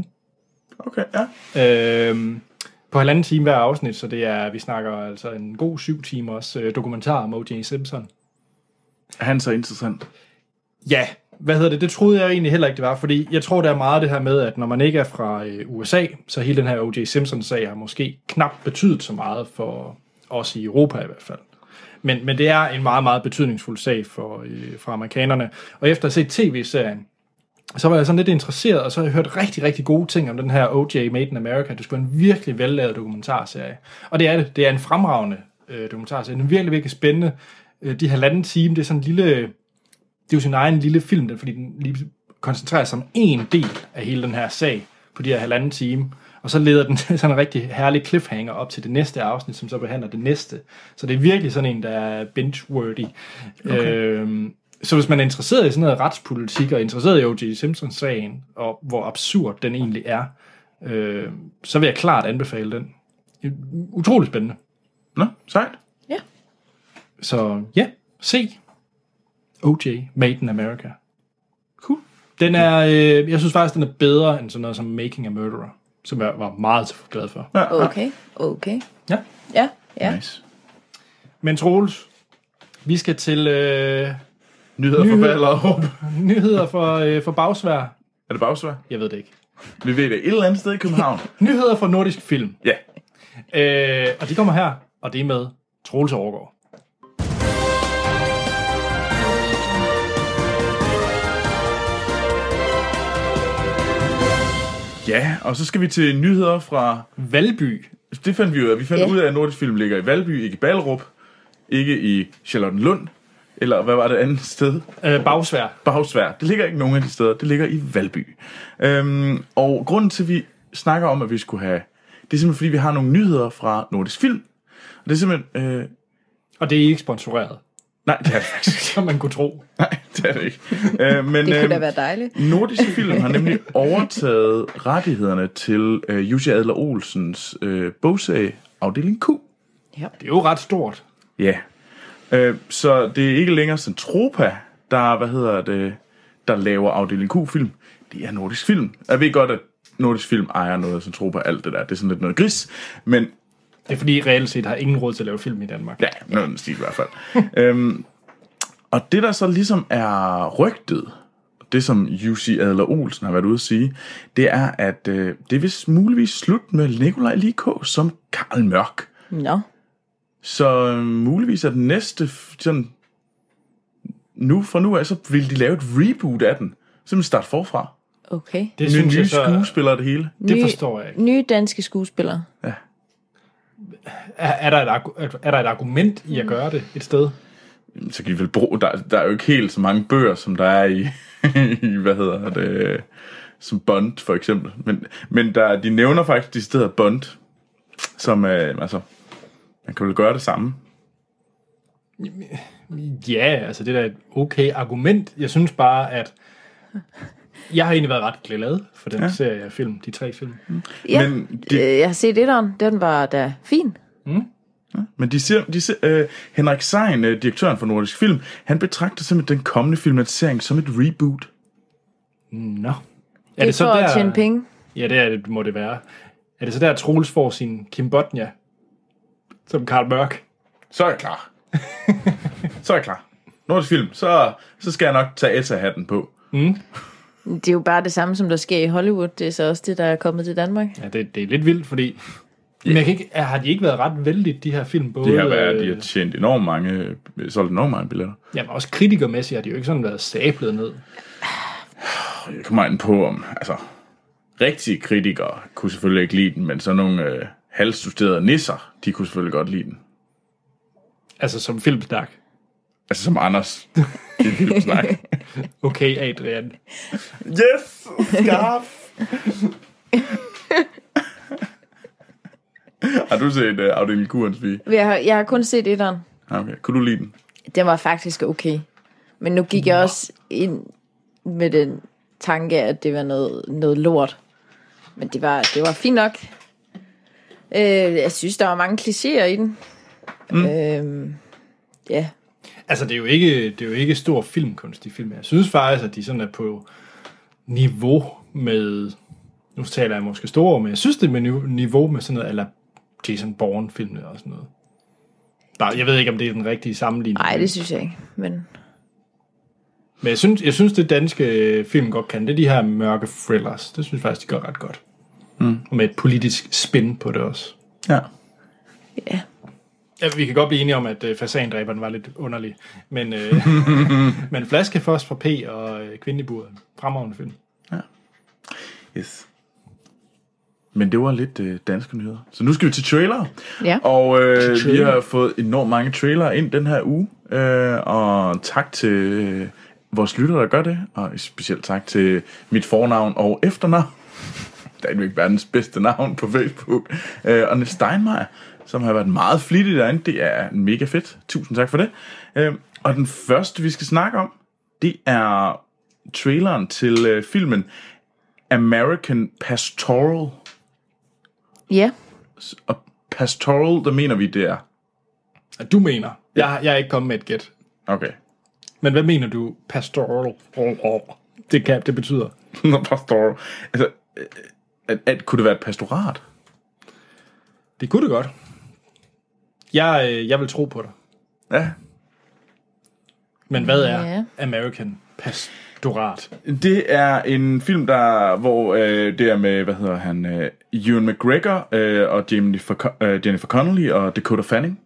[SPEAKER 2] Okay, ja.
[SPEAKER 1] Øh, på halvanden time hver afsnit, så det er, vi snakker altså en god syv timers øh, dokumentar om O.J. Simpson.
[SPEAKER 2] Er han så interessant?
[SPEAKER 1] Ja, hvad hedder det? Det troede jeg egentlig heller ikke, det var, fordi jeg tror, der er meget det her med, at når man ikke er fra øh, USA, så hele den her O.J. Simpson-sag har måske knap betydet så meget for os i Europa i hvert fald. Men, men det er en meget, meget betydningsfuld sag for, øh, for amerikanerne. Og efter at have set tv-serien, så var jeg sådan lidt interesseret, og så har jeg hørt rigtig, rigtig gode ting om den her O.J. Made in America. Det skulle en virkelig vellavet dokumentarserie. Og det er det. Det er en fremragende øh, dokumentarserie. Den er virkelig, virkelig spændende. Øh, de halvanden time, det er sådan en lille... Øh, det er jo sin egen lille film, den, fordi den lige koncentrerer sig om en del af hele den her sag på de her halvanden time. Og så leder den til sådan en rigtig herlig cliffhanger op til det næste afsnit, som så behandler det næste. Så det er virkelig sådan en, der er binge-worthy. Okay. Øhm, så hvis man er interesseret i sådan noget retspolitik, og interesseret i O.J. Simpsons-sagen, og hvor absurd den egentlig er, øh, så vil jeg klart anbefale den. Utrolig spændende.
[SPEAKER 2] Nå, sejt.
[SPEAKER 3] Ja.
[SPEAKER 1] Så ja, se OJ Made in America. Cool. Den er, øh, jeg synes faktisk, den er bedre end sådan noget som Making a Murderer, som jeg var meget glad for.
[SPEAKER 2] Ja, ja.
[SPEAKER 3] Okay, okay.
[SPEAKER 1] Ja.
[SPEAKER 3] Ja, ja.
[SPEAKER 2] Nice.
[SPEAKER 1] Men Troels, vi skal til øh,
[SPEAKER 2] Nyheder for
[SPEAKER 1] Nyheder.
[SPEAKER 2] Ballerup.
[SPEAKER 1] nyheder for, øh, for bagsvær.
[SPEAKER 2] Er det bagsvær?
[SPEAKER 1] Jeg ved det ikke.
[SPEAKER 2] Vi ved det. Et eller andet sted i København.
[SPEAKER 1] Nyheder for nordisk film.
[SPEAKER 2] ja.
[SPEAKER 1] Øh, og de kommer her, og det er med Troels Overgaard.
[SPEAKER 2] Ja, og så skal vi til nyheder fra...
[SPEAKER 1] Valby.
[SPEAKER 2] Det fandt vi jo, vi fandt
[SPEAKER 3] Ja.
[SPEAKER 2] ud af, at Nordisk Film ligger i Valby, ikke i Ballerup, ikke i Charlottenlund, eller hvad var det andet sted?
[SPEAKER 1] Øh, bagsvær.
[SPEAKER 2] Bagsvær. Det ligger ikke nogen af de steder. Det ligger i Valby. Øhm, og grunden til, at vi snakker om, at vi skulle have... Det er simpelthen, fordi vi har nogle nyheder fra Nordisk Film. Og det er simpelthen... Øh,
[SPEAKER 1] Og det er ikke sponsoreret,
[SPEAKER 2] nej, det er det faktisk ikke.
[SPEAKER 1] som man kunne tro.
[SPEAKER 2] Nej, det er det ikke. Øh, men,
[SPEAKER 3] Det kunne
[SPEAKER 2] øhm,
[SPEAKER 3] da være dejligt.
[SPEAKER 2] Nordisk Film har nemlig overtaget rettighederne til øh, Jussi Adler Olsens øh, bogserie Afdeling Q.
[SPEAKER 1] Det er jo ret stort.
[SPEAKER 2] Ja. Øh, så det er ikke længere Centropa, der, hvad hedder det, der laver Afdeling Q-film. Det er Nordisk Film. Jeg ved godt, at Nordisk Film ejer noget af Centropa, alt det der. Det er sådan lidt noget gris. Men
[SPEAKER 1] Det er fordi, reelt set har ingen råd til at lave film i Danmark.
[SPEAKER 2] Ja, noget i den stil i hvert fald. øhm, og det, der så ligesom er rygtet, det som Jussi Adler Olsen har været ude at sige, det er, at øh, det er vist muligvis slut med Nikolaj Liko som Karl Mørk.
[SPEAKER 3] Nå,
[SPEAKER 2] Så øh, muligvis er den næste, f- sådan, nu fra nu af, så vil de lave et reboot af den. Simpelthen starte forfra.
[SPEAKER 3] Okay.
[SPEAKER 1] Det
[SPEAKER 2] Med
[SPEAKER 1] synes
[SPEAKER 2] nye
[SPEAKER 1] jeg så...
[SPEAKER 2] skuespillere og det hele.
[SPEAKER 1] Det
[SPEAKER 3] Nye-
[SPEAKER 1] forstår jeg ikke.
[SPEAKER 3] Nye danske skuespillere.
[SPEAKER 1] Er, er, der et, argu- er der et argument i at gøre det et sted?
[SPEAKER 2] Jamen, Så kan de vel bruge, der, der er jo ikke helt så mange bøger, som der er i, i hvad hedder det, som Bond for eksempel. Men, men der, de nævner faktisk de steder Bond, som øh, altså, man kan vel gøre det samme.
[SPEAKER 1] Ja, altså det er da et okay argument. Jeg synes bare, at jeg har egentlig været ret glad for den ja. serie af film, de tre film.
[SPEAKER 3] Ja,
[SPEAKER 2] Men
[SPEAKER 3] men
[SPEAKER 2] det-
[SPEAKER 3] det... øh, jeg har set etteren. Den var da fin.
[SPEAKER 2] Men de siger, de siger, øh, Henrik Sein, øh, direktøren for Nordisk Film, han betragter simpelthen den kommende filmatisering som et reboot.
[SPEAKER 1] Nå. Er
[SPEAKER 3] Det er det for at tjene penge.
[SPEAKER 1] Ja, det er det, må det være. Er det så der, Troels får sin Kim Bodnia? Som Karl Mørk?
[SPEAKER 2] Så er jeg klar. så er jeg klar. Nordisk Film, så, så skal jeg nok tage ETA-hatten på.
[SPEAKER 3] Det er jo bare det samme, som der sker i Hollywood. Det er så også det, der er kommet til Danmark.
[SPEAKER 1] Ja, det, det er lidt vildt, fordi... Men jeg kan ikke, er- har de ikke været ret vældigt, de her film? Både,
[SPEAKER 2] Det har været,
[SPEAKER 1] øh,
[SPEAKER 2] de har tjent enormt mange, øh, solgt enormt mange billetter.
[SPEAKER 1] Jamen, også kritikermæssigt har de jo ikke sådan været sablet ned.
[SPEAKER 2] Det kommer an på, om altså, rigtige kritikere kunne selvfølgelig ikke lide den, men sådan nogle øh, halvstuderede nisser, de kunne selvfølgelig godt lide den.
[SPEAKER 1] Altså, som filmsnak.
[SPEAKER 2] Altså som Anders i Filmsnak.
[SPEAKER 1] Okay, Adrian.
[SPEAKER 2] yes! Skarf! har du set uh, Afdeling Kurens Pige?
[SPEAKER 3] Jeg har, jeg har kun set etteren.
[SPEAKER 2] Ah, Okay. Kunne du lide den?
[SPEAKER 3] Den var faktisk okay. Men nu gik jeg også ind med den tanke, at det var noget, noget lort. Men det var, det var fint nok. Øh, jeg synes, der var mange klichéer i den. Mm. Øh, ja,
[SPEAKER 1] Altså, det er jo ikke, det er jo ikke stor filmkunst, de film er. Jeg synes faktisk, at de sådan er på niveau med... Nu taler jeg måske store ord, men jeg synes, det er med niveau- niveau med sådan noget, eller Jason Bourne-filmene og sådan noget. Bare, jeg ved ikke, om det er den rigtige sammenligning.
[SPEAKER 3] nej, det synes jeg ikke. Men
[SPEAKER 1] Men jeg synes, jeg synes, det danske øh, film godt kan, det er de her mørke thrillers. Det synes jeg faktisk, de gør ret godt. Mm. Og med et politisk spin på det også.
[SPEAKER 2] Ja.
[SPEAKER 1] Ja, vi kan godt blive enige om, at øh, fasandræberen var lidt underlig. Men, øh, men Flaskefoss fra P og øh, Kvindeburet. Fremragende film.
[SPEAKER 2] Yes. Men det var lidt øh, danske nyheder. Så nu skal vi til trailer.
[SPEAKER 3] Ja.
[SPEAKER 2] Og øh, vi
[SPEAKER 1] trailer.
[SPEAKER 2] har fået enormt mange trailere ind den her uge. Øh, og tak til øh, vores lyttere, der gør det. Og specielt tak til mit fornavn og efternavn. Der er jo ikke verdens bedste navn på Facebook. Øh, og Niels Steinmeier, som har været meget flittig derinde. Det er mega fedt. Tusind tak for det. Øh, og den første, vi skal snakke om, det er traileren til øh, filmen American Pastoral.
[SPEAKER 3] ja,
[SPEAKER 2] Og pastoral, der mener vi, det er.
[SPEAKER 1] Og du mener. Jeg, jeg er ikke kommet med et gæt.
[SPEAKER 2] Okay.
[SPEAKER 1] Men hvad mener du? Pastoral. Det, kan, det betyder.
[SPEAKER 2] Nå, pastoral. Altså, øh, at, at, kunne det være et pastorat?
[SPEAKER 1] Det kunne det godt. Jeg, øh, jeg vil tro på dig.
[SPEAKER 2] Ja.
[SPEAKER 1] Men hvad er
[SPEAKER 3] Ja.
[SPEAKER 1] American Pastorat?
[SPEAKER 2] Det er en film, der, hvor øh, det er med, hvad hedder han, øh, Ewan McGregor øh, og Jennifer, Con- øh, Jennifer Connelly og Dakota Fanning.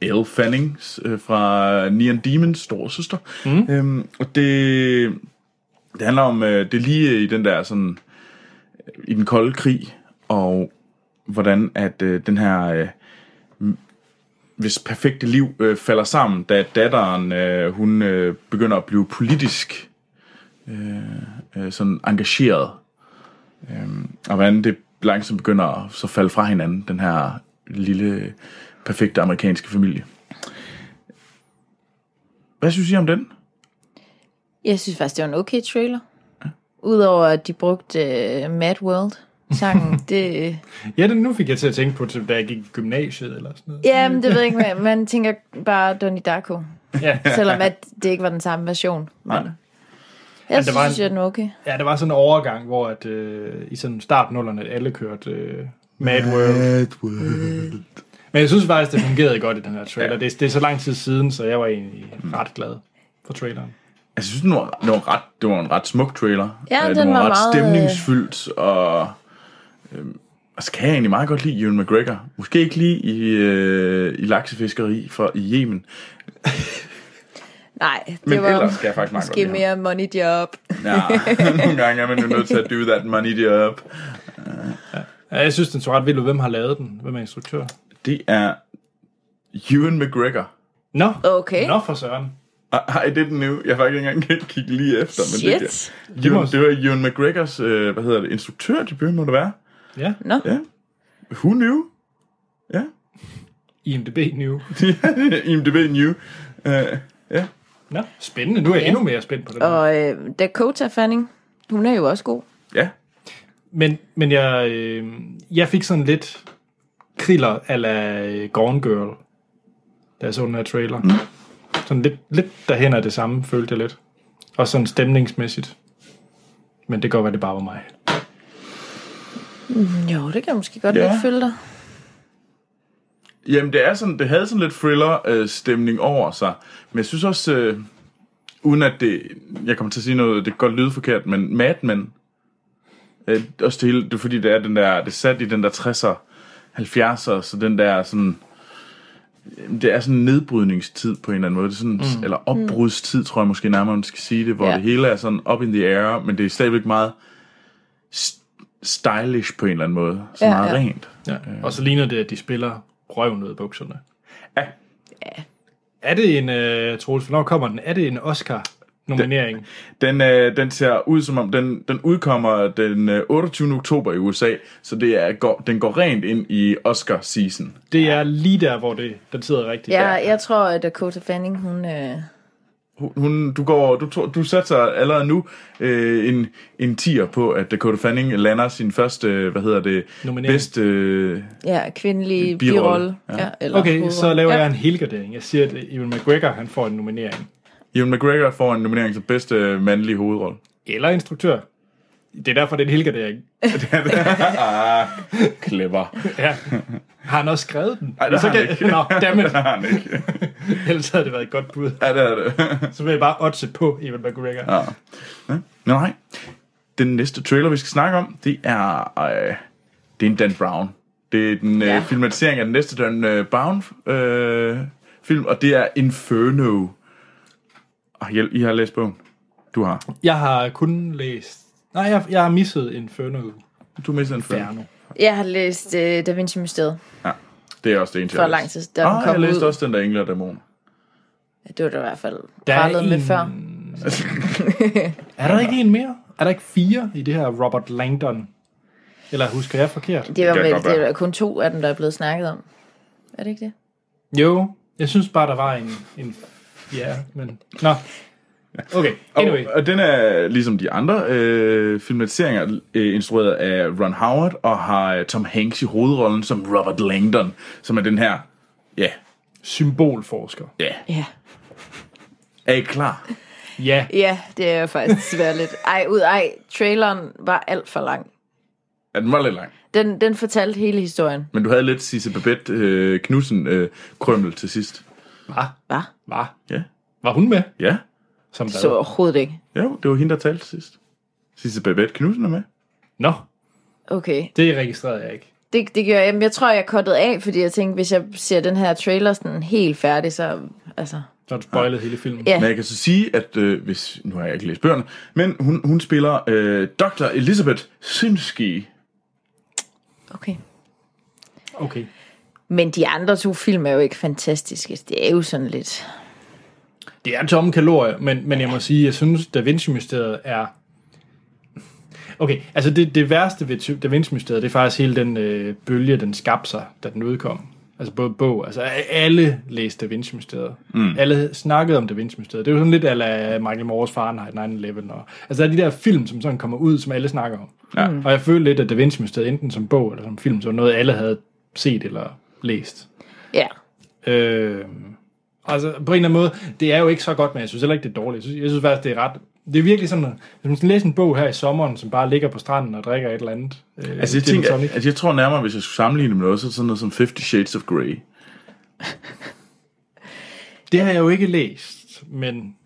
[SPEAKER 2] Elle Fannings øh, fra Neon Demons store søster. Mm. Øhm, og det, det handler om, øh, det er lige i den der sådan, øh, i den kolde krig, og hvordan at øh, den her, øh, m- hvis perfekte liv øh, falder sammen, da datteren, øh, hun øh, begynder at blive politisk øh, øh, sådan engageret, øh, og hvordan det langsomt begynder at så falde fra hinanden, den her lille, perfekte amerikanske familie. Hvad synes I om den?
[SPEAKER 3] jeg synes faktisk, det var en okay trailer. Udover at de brugte uh, Mad World sangen. det, øh,
[SPEAKER 1] Ja, det nu fik jeg til at tænke på, til, da jeg gik i gymnasiet eller sådan noget.
[SPEAKER 3] ja, men det ved jeg ikke, man, man tænker bare Donnie Darko.
[SPEAKER 1] Ja,
[SPEAKER 3] Selvom at det ikke var den samme version. Men
[SPEAKER 2] Nej.
[SPEAKER 1] Men
[SPEAKER 3] jeg
[SPEAKER 1] der var
[SPEAKER 3] synes,
[SPEAKER 1] en-
[SPEAKER 3] jeg den er okay.
[SPEAKER 1] ja der var sådan en overgang, hvor at, øh, i sådan startnullerne, at alle kørte øh, Mad World.
[SPEAKER 2] Øh,
[SPEAKER 1] Men jeg synes faktisk, det fungerede godt i den her trailer.
[SPEAKER 2] Ja.
[SPEAKER 1] Ja. Det, det er så lang tid siden, så jeg var egentlig ret glad for traileren.
[SPEAKER 2] Jeg synes, den var, den var ret, det var en ret smuk trailer.
[SPEAKER 3] Ja,
[SPEAKER 2] Øh,
[SPEAKER 3] den
[SPEAKER 2] var,
[SPEAKER 3] var
[SPEAKER 2] ret
[SPEAKER 3] meget, øh,
[SPEAKER 2] stemningsfyldt, og øh, Og så kan jeg egentlig meget godt lide Ewan McGregor. Måske ikke lige i, øh, i laksefiskeri fra i Yemen.
[SPEAKER 3] Nej, det
[SPEAKER 2] Men
[SPEAKER 3] var
[SPEAKER 2] ellers kan jeg faktisk meget godt
[SPEAKER 3] måske
[SPEAKER 2] lide
[SPEAKER 3] mere money job.
[SPEAKER 2] Ja, nogle gange er man jo nødt til at do that money deroppe.
[SPEAKER 1] Ja, jeg synes, den så ret vild ud. Hvem har lavet den? Hvem er instruktør?
[SPEAKER 2] Det er Ewan McGregor.
[SPEAKER 1] Nå,
[SPEAKER 3] Okay.
[SPEAKER 1] Nå for søren.
[SPEAKER 2] Ah, I didn't know. Jeg har faktisk ikke engang kigge lige efter. Men det, er-
[SPEAKER 3] Shit.
[SPEAKER 1] Det må
[SPEAKER 2] Ewan, det var Ewan McGregors, øh, hvad hedder det, instruktørdebut, må det være.
[SPEAKER 1] Ja,
[SPEAKER 3] Nå,
[SPEAKER 2] Ja. Who knew? Ja.
[SPEAKER 1] IMDB New.
[SPEAKER 2] IMDb knew. Uh, ja.
[SPEAKER 1] Nå, spændende. Nu er jeg
[SPEAKER 3] Ja.
[SPEAKER 1] endnu mere spændt på det.
[SPEAKER 3] og øh, Dakota Fanning, hun er jo også god.
[SPEAKER 2] Ja.
[SPEAKER 1] Men, men jeg, øh, jeg fik sådan lidt kriller ala øh, Gone Girl, da jeg så den her trailer. Mm. Sådan lidt, lidt derhen af det samme, følte jeg lidt. Og sådan stemningsmæssigt. Men det kan godt være, det bare var mig.
[SPEAKER 3] Jo, det kan jeg måske godt
[SPEAKER 2] Ja.
[SPEAKER 3] lidt følge dig.
[SPEAKER 2] Jamen, det, er sådan, det havde sådan lidt thriller-stemning over sig. Men jeg synes også, øh, uden at det... Jeg kommer til at sige noget, det kan godt lyde forkert, men Mad Men... Øh, også det hele, det er fordi, det er, den der, det er sat i den der 60'er, 70'er, så den der sådan... Jamen, Det er sådan en nedbrydningstid på en eller anden måde. Det er sådan, mm. Eller opbrudstid, tror jeg måske nærmere, man skal sige det, hvor
[SPEAKER 3] Ja.
[SPEAKER 2] ja. det hele er sådan up in the air, men det er stadigvæk meget st- stylish på en eller anden måde. Så
[SPEAKER 3] Ja,
[SPEAKER 2] ja, meget
[SPEAKER 3] ja.
[SPEAKER 2] ja. rent.
[SPEAKER 1] Ja. Og så ligner det, at de spiller røven ud af bukserne.
[SPEAKER 2] Ja.
[SPEAKER 1] Er det en, øh, Troels, hvornår kommer den? Er det en Oscar-nominering?
[SPEAKER 2] Den, øh, den ser ud som om, den, den udkommer den øh, 28. oktober i USA, så det er, går, den går rent ind i Oscar-season.
[SPEAKER 1] Det er lige der, hvor det, den sidder rigtigt.
[SPEAKER 3] Ja, jeg tror, at Dakota Fanning, hun... Øh,
[SPEAKER 2] Hun- Hun, du, går, du, tror- du satser allerede nu øh, en, en tier på, at Dakota Fanning lander sin første, øh, hvad hedder det,
[SPEAKER 1] Nominering.
[SPEAKER 2] bedste... Øh,
[SPEAKER 3] ja, kvindelig
[SPEAKER 2] Birolle.
[SPEAKER 3] birolle.
[SPEAKER 2] Ja.
[SPEAKER 3] Ja, eller
[SPEAKER 1] Okay, så
[SPEAKER 3] hovedrolle.
[SPEAKER 1] laver
[SPEAKER 3] ja.
[SPEAKER 1] jeg en helgardering. Jeg siger, at Ewan McGregor han får en nominering.
[SPEAKER 2] Ewan McGregor får en nominering til bedste øh, mandlige hovedrolle.
[SPEAKER 1] Eller instruktør. Det er derfor, det er en helgardering.
[SPEAKER 2] Clever.
[SPEAKER 1] Ja. Har han også skrevet den?
[SPEAKER 2] Ej, det har
[SPEAKER 1] Så
[SPEAKER 2] han
[SPEAKER 1] kan-
[SPEAKER 2] ikke.
[SPEAKER 1] Nå, dammit.
[SPEAKER 2] det har han ikke.
[SPEAKER 1] Ellers havde det været et godt bud.
[SPEAKER 2] Ja, det er det.
[SPEAKER 1] Så vil jeg bare oddse på Ewan McGregor. Ja.
[SPEAKER 2] Ja. Ja. Nå, nej. Den næste trailer, vi skal snakke om, det er, øh, det er en Dan Brown. Det er den ja.
[SPEAKER 3] Ja.
[SPEAKER 2] øh, filmatisering af den næste Dan øh, Brown øh, film, og det er Inferno. Og I, I har læst bogen. Du har.
[SPEAKER 1] Jeg har kun læst... Nej, jeg, jeg har misset Inferno.
[SPEAKER 2] Du mistede Inferno.
[SPEAKER 1] Inferno.
[SPEAKER 3] Jeg har læst øh, Da Vinci Mysteriet
[SPEAKER 2] Ja. Det er også det eneste,
[SPEAKER 3] for
[SPEAKER 2] jeg har
[SPEAKER 3] lang
[SPEAKER 2] læst.
[SPEAKER 3] tid, da den
[SPEAKER 2] Ah,
[SPEAKER 3] kom
[SPEAKER 2] jeg læste
[SPEAKER 3] ud.
[SPEAKER 2] også den der Engler og Dæmoner.
[SPEAKER 3] Det var det i hvert fald
[SPEAKER 1] Der er
[SPEAKER 3] prallet med
[SPEAKER 1] en-
[SPEAKER 3] før.
[SPEAKER 1] Er der ikke en mere? Er der ikke fire i det her Robert Langdon? Eller husker jeg forkert?
[SPEAKER 3] Det var
[SPEAKER 2] kan
[SPEAKER 3] vel
[SPEAKER 2] godt
[SPEAKER 3] det
[SPEAKER 2] være.
[SPEAKER 3] var kun to af dem, der er blevet snakket om. Er det ikke det?
[SPEAKER 1] Jo, jeg synes bare, der var en... en ja, men... Nå. Okay, anyway.
[SPEAKER 2] Og, og den er ligesom de andre øh, filmatiseringer øh, instrueret af Ron Howard og har øh, Tom Hanks i hovedrollen som Robert Langdon, som er den her... Ja,
[SPEAKER 1] Symbolforsker.
[SPEAKER 2] ja.
[SPEAKER 3] Ja.
[SPEAKER 2] Er I klar?
[SPEAKER 1] Ja,
[SPEAKER 3] Ja, det er faktisk svært lidt. Ej, ud, ej, traileren var alt for lang.
[SPEAKER 2] Ja, den var lidt lang.
[SPEAKER 3] Den, den fortalte hele historien.
[SPEAKER 2] Men du havde lidt Sisse Babette øh, Knudsen øh, krømmel til sidst.
[SPEAKER 1] var,
[SPEAKER 3] Hva?
[SPEAKER 1] var,
[SPEAKER 2] Ja.
[SPEAKER 1] var hun med?
[SPEAKER 2] Ja.
[SPEAKER 1] Som der
[SPEAKER 3] Så overhovedet ikke.
[SPEAKER 2] Jo, det var hende, der talte sidst. Sisse Babette Knudsen er med.
[SPEAKER 1] Nå,
[SPEAKER 3] Okay.
[SPEAKER 1] det registrerede jeg ikke.
[SPEAKER 3] Det, det gjorde jeg. Jamen, Jeg tror, jeg kottede af, fordi jeg tænkte, hvis jeg ser den her trailer sådan helt færdig, så... Altså,
[SPEAKER 1] Så har du spoilet hele filmen.
[SPEAKER 3] Ja.
[SPEAKER 2] Men jeg kan så sige, at øh, hvis... Nu har jeg ikke læst bøgerne. Men hun, hun spiller øh, Dr. Elizabeth Simski.
[SPEAKER 3] okay.
[SPEAKER 1] Okay.
[SPEAKER 3] Men de andre to film er jo ikke fantastiske. Det er jo sådan lidt...
[SPEAKER 1] Det er tomme kalorier, men, men jeg må sige, jeg synes, Da Vinci-mysteriet er... Okay, altså det, det værste ved Ty- Da Vinci-mysteriet, det er faktisk hele den øh, bølge, den skabte sig, da den udkom. Altså både bog, altså alle læste Da Vinci-mysteriet. Mm. Alle snakkede om Da Vinci-mysteriet. Det er jo sådan lidt ala Michael Moores Fahrenheit 9-11. Og, altså der er de der film, som sådan kommer ud, som alle snakker om.
[SPEAKER 2] Ja.
[SPEAKER 1] Og jeg følte lidt, at Da Vinci-mysteriet, enten som bog eller som film, så var noget, alle havde set eller læst.
[SPEAKER 3] Ja.
[SPEAKER 1] Øh, altså, på en eller anden måde, det er jo ikke så godt, men jeg synes heller ikke, det er dårligt. Jeg synes, jeg synes faktisk, det er ret... Det er virkelig sådan, at hvis man skal læse en bog her i sommeren, som bare ligger på stranden og drikker et eller andet. Øh,
[SPEAKER 2] Altså, jeg,
[SPEAKER 1] gin
[SPEAKER 2] tænker,
[SPEAKER 1] og tonic.
[SPEAKER 2] altså, jeg tror nærmere, hvis jeg skulle sammenligne det med noget, så er det sådan noget som 50 Shades of Grey.
[SPEAKER 1] Det har jeg jo ikke læst, men...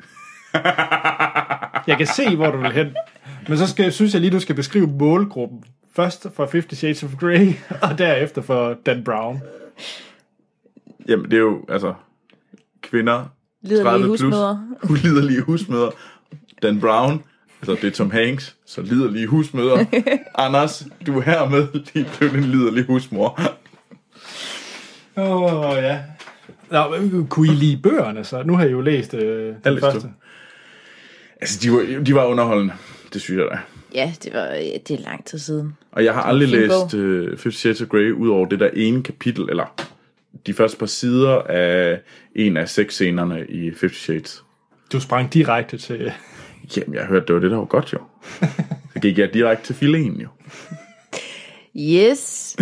[SPEAKER 1] Jeg kan se, hvor du vil hen. Men så skal, synes jeg lige, du skal beskrive målgruppen Først for Fifty Shades of Grey, og derefter for Dan Brown.
[SPEAKER 2] Jamen, det er jo, altså, kvinder,
[SPEAKER 3] Liderlige
[SPEAKER 2] 30 plus,
[SPEAKER 3] husmødre.
[SPEAKER 2] uliderlige husmøder. Dan Brown, altså det er Tom Hanks, så liderlige husmøder. Anders, du er hermed lige blevet en liderlig husmor.
[SPEAKER 1] Åh, oh, ja. Nå, men kunne I lide bøgerne så? Nu har jeg jo læst øh, den
[SPEAKER 2] læste
[SPEAKER 1] første.
[SPEAKER 2] dem. Altså, de var, de var underholdende, det synes jeg da.
[SPEAKER 3] Ja, det var ja, det er lang tid siden.
[SPEAKER 2] Og jeg har aldrig
[SPEAKER 3] fin bog.
[SPEAKER 2] læst uh, Fifty Shades of Grey, ud over det der ene kapitel, eller de første par sider af en af seks scenerne i Fifty Shades.
[SPEAKER 1] Du sprang direkte til...
[SPEAKER 2] Jamen, jeg hørte, det var det, der var godt jo. Så gik jeg direkte til filen jo.
[SPEAKER 3] Yes.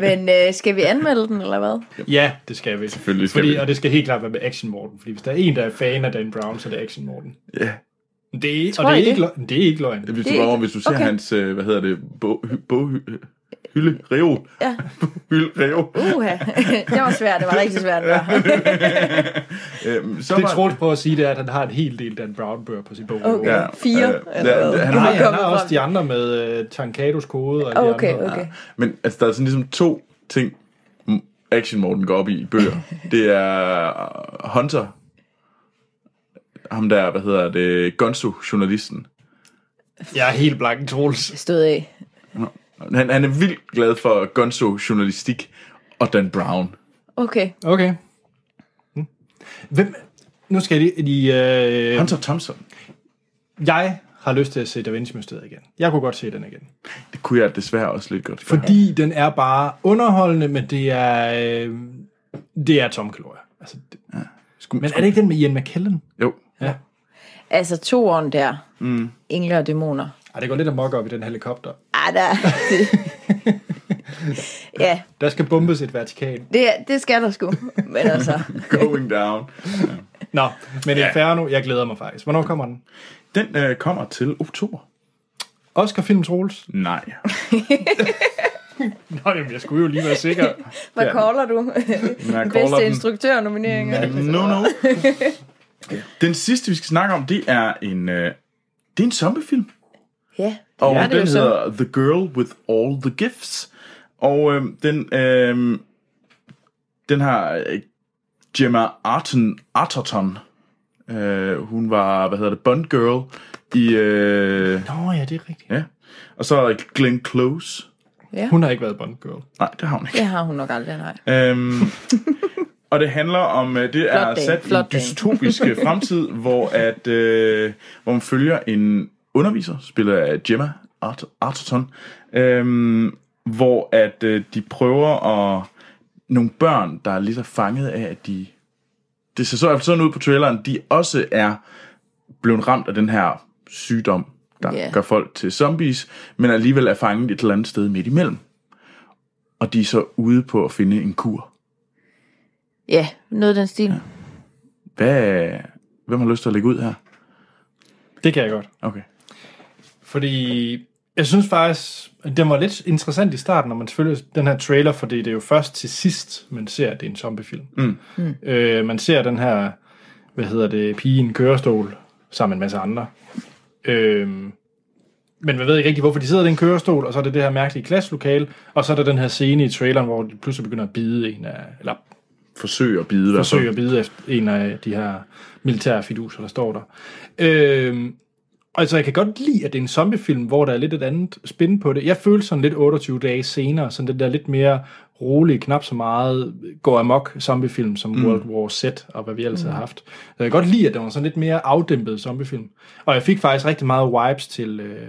[SPEAKER 3] Men øh, skal vi anmelde den, eller hvad?
[SPEAKER 1] Ja, det skal vi.
[SPEAKER 2] Selvfølgelig skal
[SPEAKER 1] fordi,
[SPEAKER 2] vi.
[SPEAKER 1] Og det skal helt klart være med Action Morten. Fordi hvis der er en, der er fan af Dan Brown, så er det Action Morten.
[SPEAKER 2] Ja.
[SPEAKER 1] Det er,
[SPEAKER 3] Tror
[SPEAKER 1] og det
[SPEAKER 3] I
[SPEAKER 1] er,
[SPEAKER 3] det?
[SPEAKER 1] ikke, løgn. det er ikke løgn.
[SPEAKER 2] Hvis
[SPEAKER 3] Det
[SPEAKER 2] du,
[SPEAKER 3] er
[SPEAKER 2] bare,
[SPEAKER 3] ikke-
[SPEAKER 2] hvis du ser
[SPEAKER 3] okay.
[SPEAKER 2] okay. hans, øh, hvad hedder det, bog, hy, bog, hy, hylde, reol,
[SPEAKER 3] Ja.
[SPEAKER 2] hylde, reol,
[SPEAKER 3] Uha. det var svært. Det var rigtig svært. Det var.
[SPEAKER 2] øhm, så
[SPEAKER 1] Det
[SPEAKER 2] var-
[SPEAKER 1] Troels prøver at sige, det er, at han har en hel del Dan Brown-bøger på sit bog.
[SPEAKER 3] Okay.
[SPEAKER 2] Ja,
[SPEAKER 3] Fire,
[SPEAKER 2] øh,
[SPEAKER 3] eller
[SPEAKER 2] ja,
[SPEAKER 3] hvad?
[SPEAKER 2] han
[SPEAKER 1] Nej,
[SPEAKER 2] har,
[SPEAKER 1] han har
[SPEAKER 3] Kommet
[SPEAKER 1] også
[SPEAKER 3] frem.
[SPEAKER 1] de andre med uh, Tankados kode og alle de
[SPEAKER 3] Okay,
[SPEAKER 1] andre.
[SPEAKER 3] okay.
[SPEAKER 2] Men altså, der er sådan ligesom to ting, m- Action Morten går op i i bøger. Det er øh, Hunter, ham der, hvad hedder det, Gonzo, journalisten.
[SPEAKER 1] Jeg er helt blank, Troels.
[SPEAKER 3] Stod af.
[SPEAKER 2] Han, han er vildt glad for Gonzo, journalistik og Dan Brown.
[SPEAKER 1] Øhm.
[SPEAKER 3] Okay.
[SPEAKER 1] Okay. Hm. Hvem... Nu skal jeg lige... lige øh,
[SPEAKER 2] Hunter Thompson.
[SPEAKER 1] jeg har lyst til at se Da Vinci-mysteriet igen. Jeg kunne godt se den igen.
[SPEAKER 2] Det kunne jeg desværre også lidt godt. For...
[SPEAKER 1] Fordi ja. den er bare underholdende, men det er, øh, det er tom kalorier. Altså, det,
[SPEAKER 2] Skulle,
[SPEAKER 1] men er det ikke den med Ian McKellen?
[SPEAKER 2] Jo.
[SPEAKER 1] Ja.
[SPEAKER 3] Altså toeren der. Mm. Engle og dæmoner.
[SPEAKER 1] Ej, det går lidt amok op i den helikopter.
[SPEAKER 3] Ah, der. ja,
[SPEAKER 1] Der skal bombes et vertikal.
[SPEAKER 3] det, det skal der sgu. Men altså,
[SPEAKER 2] Going down.
[SPEAKER 1] Nå, men
[SPEAKER 2] Ja.
[SPEAKER 1] Inferno, jeg glæder mig faktisk. Hvornår kommer den?
[SPEAKER 2] Den øh, kommer til oktober.
[SPEAKER 1] Oscar Film Troels?
[SPEAKER 2] Nej.
[SPEAKER 1] Nå, jamen, jeg skulle jo lige være sikker.
[SPEAKER 3] hvad
[SPEAKER 2] Ja.
[SPEAKER 3] caller du?
[SPEAKER 2] Jeg caller
[SPEAKER 3] Bedste
[SPEAKER 2] den.
[SPEAKER 3] instruktørnominering. eller?
[SPEAKER 2] No, no. Den sidste, vi skal snakke om, det er en, øh, det er en zombiefilm.
[SPEAKER 3] Ja,
[SPEAKER 2] Og
[SPEAKER 3] ja,
[SPEAKER 2] ja,
[SPEAKER 3] det er
[SPEAKER 2] den
[SPEAKER 3] jo så.
[SPEAKER 2] hedder The Girl with All the Gifts. Og øh, den, øh, den har øh, Gemma Arton, Arterton. Øh, hun var, hvad hedder det, Bond Girl i... Øh,
[SPEAKER 1] Nå, ja, det er rigtigt.
[SPEAKER 2] ja. Og så er der Glenn Close.
[SPEAKER 1] Hun har ikke været Bond Girl.
[SPEAKER 2] Nej, det har hun ikke.
[SPEAKER 3] Det har hun nok aldrig, nej.
[SPEAKER 2] Øhm, og det handler om, øh, det er
[SPEAKER 3] Flot dame,
[SPEAKER 2] sat i en
[SPEAKER 3] flot dame.
[SPEAKER 2] dystopisk øh, fremtid, hvor, at, øh, hvor man følger en underviser, spiller af Gemma Art- Arterton, øhm, hvor at øh, de prøver at nogle børn, der er lige så fanget af, at de, det ser så altså sådan ud på traileren, de også er blevet ramt af den her sygdom, der
[SPEAKER 3] Ja.
[SPEAKER 2] yeah. gør folk til zombies, men alligevel er fanget et eller andet sted midt imellem. Og de er så ude på at finde en kur.
[SPEAKER 3] Ja, noget af den stil.
[SPEAKER 2] Hvad, hvem har lyst til at lægge ud her?
[SPEAKER 1] Det kan jeg godt.
[SPEAKER 2] Okay.
[SPEAKER 1] Fordi jeg synes faktisk, at den var lidt interessant i starten, når man følger den her trailer, fordi det er jo først til sidst, man ser, at det er en zombiefilm.
[SPEAKER 2] Mm.
[SPEAKER 1] Øh, man ser den her, hvad hedder det, pige i en kørestol, sammen med en masse andre. Øh, men man ved ikke rigtig, hvorfor de sidder i den kørestol, og så er det det her mærkelige klasselokale, og så er der den her scene i traileren, hvor de pludselig begynder at bide en af, eller
[SPEAKER 2] Forsøg at bide.
[SPEAKER 1] forsøge at bide efter en af de her militære fiduser, der står der. Øhm, altså, jeg kan godt lide, at det er en zombiefilm, hvor der er lidt et andet spin på det. Jeg følte sådan lidt 28 dage senere, sådan den der lidt mere rolige, knap så meget går amok zombiefilm som mm. World War Z og hvad vi ellers mm. har haft. Så jeg kan godt lide, at det var sådan lidt mere afdæmpet zombiefilm. Og jeg fik faktisk rigtig meget vibes til øh,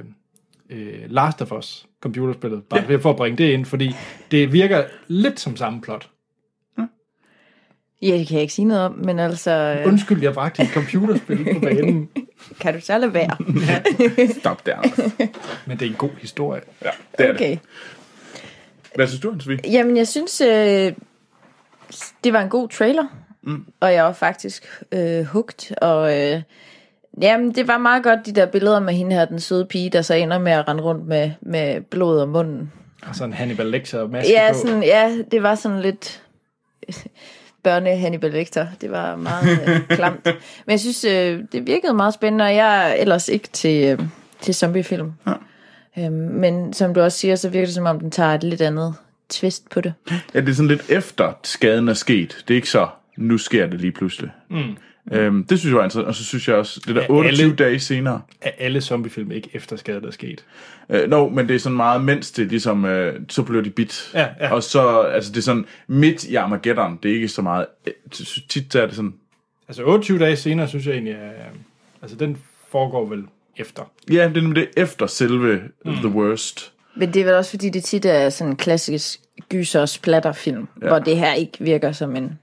[SPEAKER 1] øh, Last of Us computerspillet, bare ja. for at bringe det ind, fordi det virker lidt som samme plot.
[SPEAKER 3] Ja, det kan jeg ikke sige noget om, men altså, øh,
[SPEAKER 1] Undskyld, jeg bragte et computerspil på banen.
[SPEAKER 3] kan du så lade være?
[SPEAKER 2] Stop der. Anders.
[SPEAKER 1] Men det er en god historie.
[SPEAKER 2] Ja, det er okay.
[SPEAKER 3] Okay.
[SPEAKER 2] det. Hvad synes du, Hans Vig?
[SPEAKER 3] Jamen, jeg synes, øh, det var en god trailer. Mm. Og jeg var faktisk øh, hugt. Og øh, jamen, det var meget godt, de der billeder med hende her, den søde pige, der så ender med at rende rundt med, med blod om munden.
[SPEAKER 1] Og sådan Hannibal Lecter maske
[SPEAKER 3] Ja,
[SPEAKER 1] på.
[SPEAKER 3] sådan, ja, det var sådan lidt børne Hannibal Lecter. Det var meget øh, klamt. Men jeg synes, øh, det virkede meget spændende, og jeg er ellers ikke til, øh, til zombiefilm. Øhm, men som du også siger, så virker det som om, den tager et lidt andet twist på det.
[SPEAKER 2] Ja, det er sådan lidt efter skaden er sket. Det er ikke så, nu sker det lige pludselig. Mm. Øhm, det synes jeg var interessant. Og så synes jeg også, det der
[SPEAKER 1] Ja,
[SPEAKER 2] 28
[SPEAKER 1] alle-
[SPEAKER 2] dage senere.
[SPEAKER 1] Er alle zombiefilm ikke efter skade, der er sket?
[SPEAKER 2] Øh, no, men det er sådan meget, mens det ligesom, øh, så blev de bit.
[SPEAKER 1] Ja, ja.
[SPEAKER 2] Og så, altså det er sådan midt i Armageddon. Det er ikke så meget. øh, t- Tit er det sådan,
[SPEAKER 1] Altså 28 dage senere, synes jeg egentlig, er, altså den foregår vel efter.
[SPEAKER 2] ja, det er nemlig det efter selve mm. The Worst.
[SPEAKER 3] Men det er vel også, fordi det tit er sådan en klassisk gyser- og splatterfilm, ja. hvor det her ikke virker som en...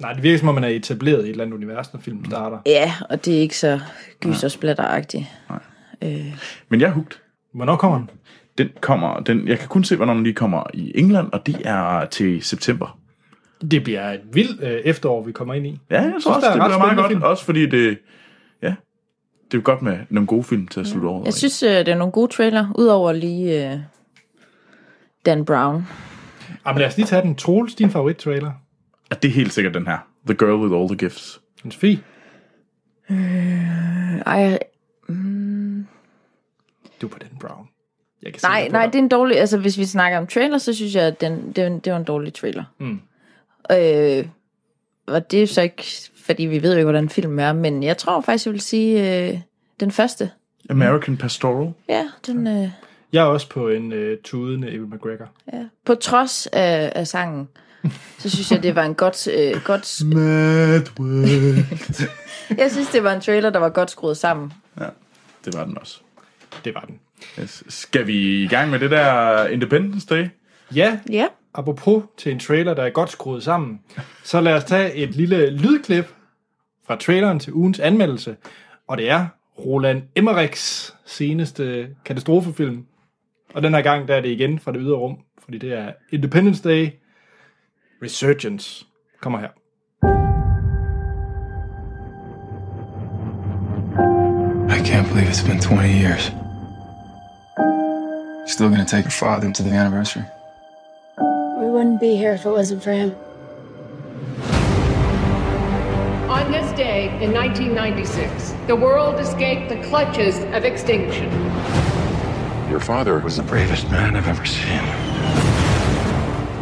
[SPEAKER 1] Nej, det virker som om, man er etableret i et eller andet univers, når filmen starter.
[SPEAKER 3] Ja, og det er ikke så gyser- og splatteragtigt.
[SPEAKER 2] Men jeg er hugt.
[SPEAKER 1] Hvornår kommer den?
[SPEAKER 2] Den kommer, den, jeg kan kun se, hvornår den lige kommer i England, og det er til september.
[SPEAKER 1] Det bliver et vildt øh, efterår, vi kommer ind i.
[SPEAKER 2] Ja, jeg tror
[SPEAKER 1] der
[SPEAKER 2] også,
[SPEAKER 1] er
[SPEAKER 2] det
[SPEAKER 1] ret
[SPEAKER 2] bliver meget
[SPEAKER 1] spændende
[SPEAKER 2] godt.
[SPEAKER 1] film.
[SPEAKER 2] Også fordi det, ja, det er godt med nogle gode film til at slutte over.
[SPEAKER 3] Jeg synes, øh, det er nogle gode trailer, udover lige øh, Dan Brown.
[SPEAKER 1] Jamen lad os lige tage den. Troels, din favorit-trailer.
[SPEAKER 2] Og det er helt sikkert den her. The Girl with All the Gifts.
[SPEAKER 1] Den Sofie.
[SPEAKER 3] Ej,
[SPEAKER 1] Du er på den Brown. Jeg kan se
[SPEAKER 3] nej,
[SPEAKER 1] dig på
[SPEAKER 3] nej,
[SPEAKER 1] dig.
[SPEAKER 3] det er en dårlig... Altså, hvis vi snakker om trailer, så synes jeg, at den, det, var en- det var en dårlig trailer. Mm. Øh, og det er så ikke... Fordi vi ved jo ikke, hvordan filmen er, men jeg tror faktisk, jeg vil sige øh, den første.
[SPEAKER 2] American Pastoral.
[SPEAKER 3] Ja, den... Øh,
[SPEAKER 1] Jeg er også på en øh, tudende Ewan McGregor.
[SPEAKER 3] Ja. På trods af, af sangen, så synes jeg, det var en godt, øh, godt... Jeg synes, det var en trailer, der var godt skruet sammen.
[SPEAKER 2] Ja, det var den også.
[SPEAKER 1] Det var den.
[SPEAKER 2] Yes. Skal vi i gang med det der Independence Day?
[SPEAKER 1] Ja,
[SPEAKER 3] Ja.
[SPEAKER 1] apropos til en trailer, der er godt skruet sammen, så lad os tage et lille lydklip fra traileren til ugens anmeldelse, og det er Roland Emmerichs seneste katastrofefilm. Og den her gang, der er det igen fra det ydre rum, fordi det er Independence Day Resurgence. Kommer her.
[SPEAKER 4] I can't believe it's been 20 years. Still gonna take your father to the anniversary.
[SPEAKER 5] We wouldn't be here if it wasn't for him.
[SPEAKER 6] On this day in 1996, the world escaped the clutches of extinction.
[SPEAKER 7] Your father was the bravest man I've ever seen.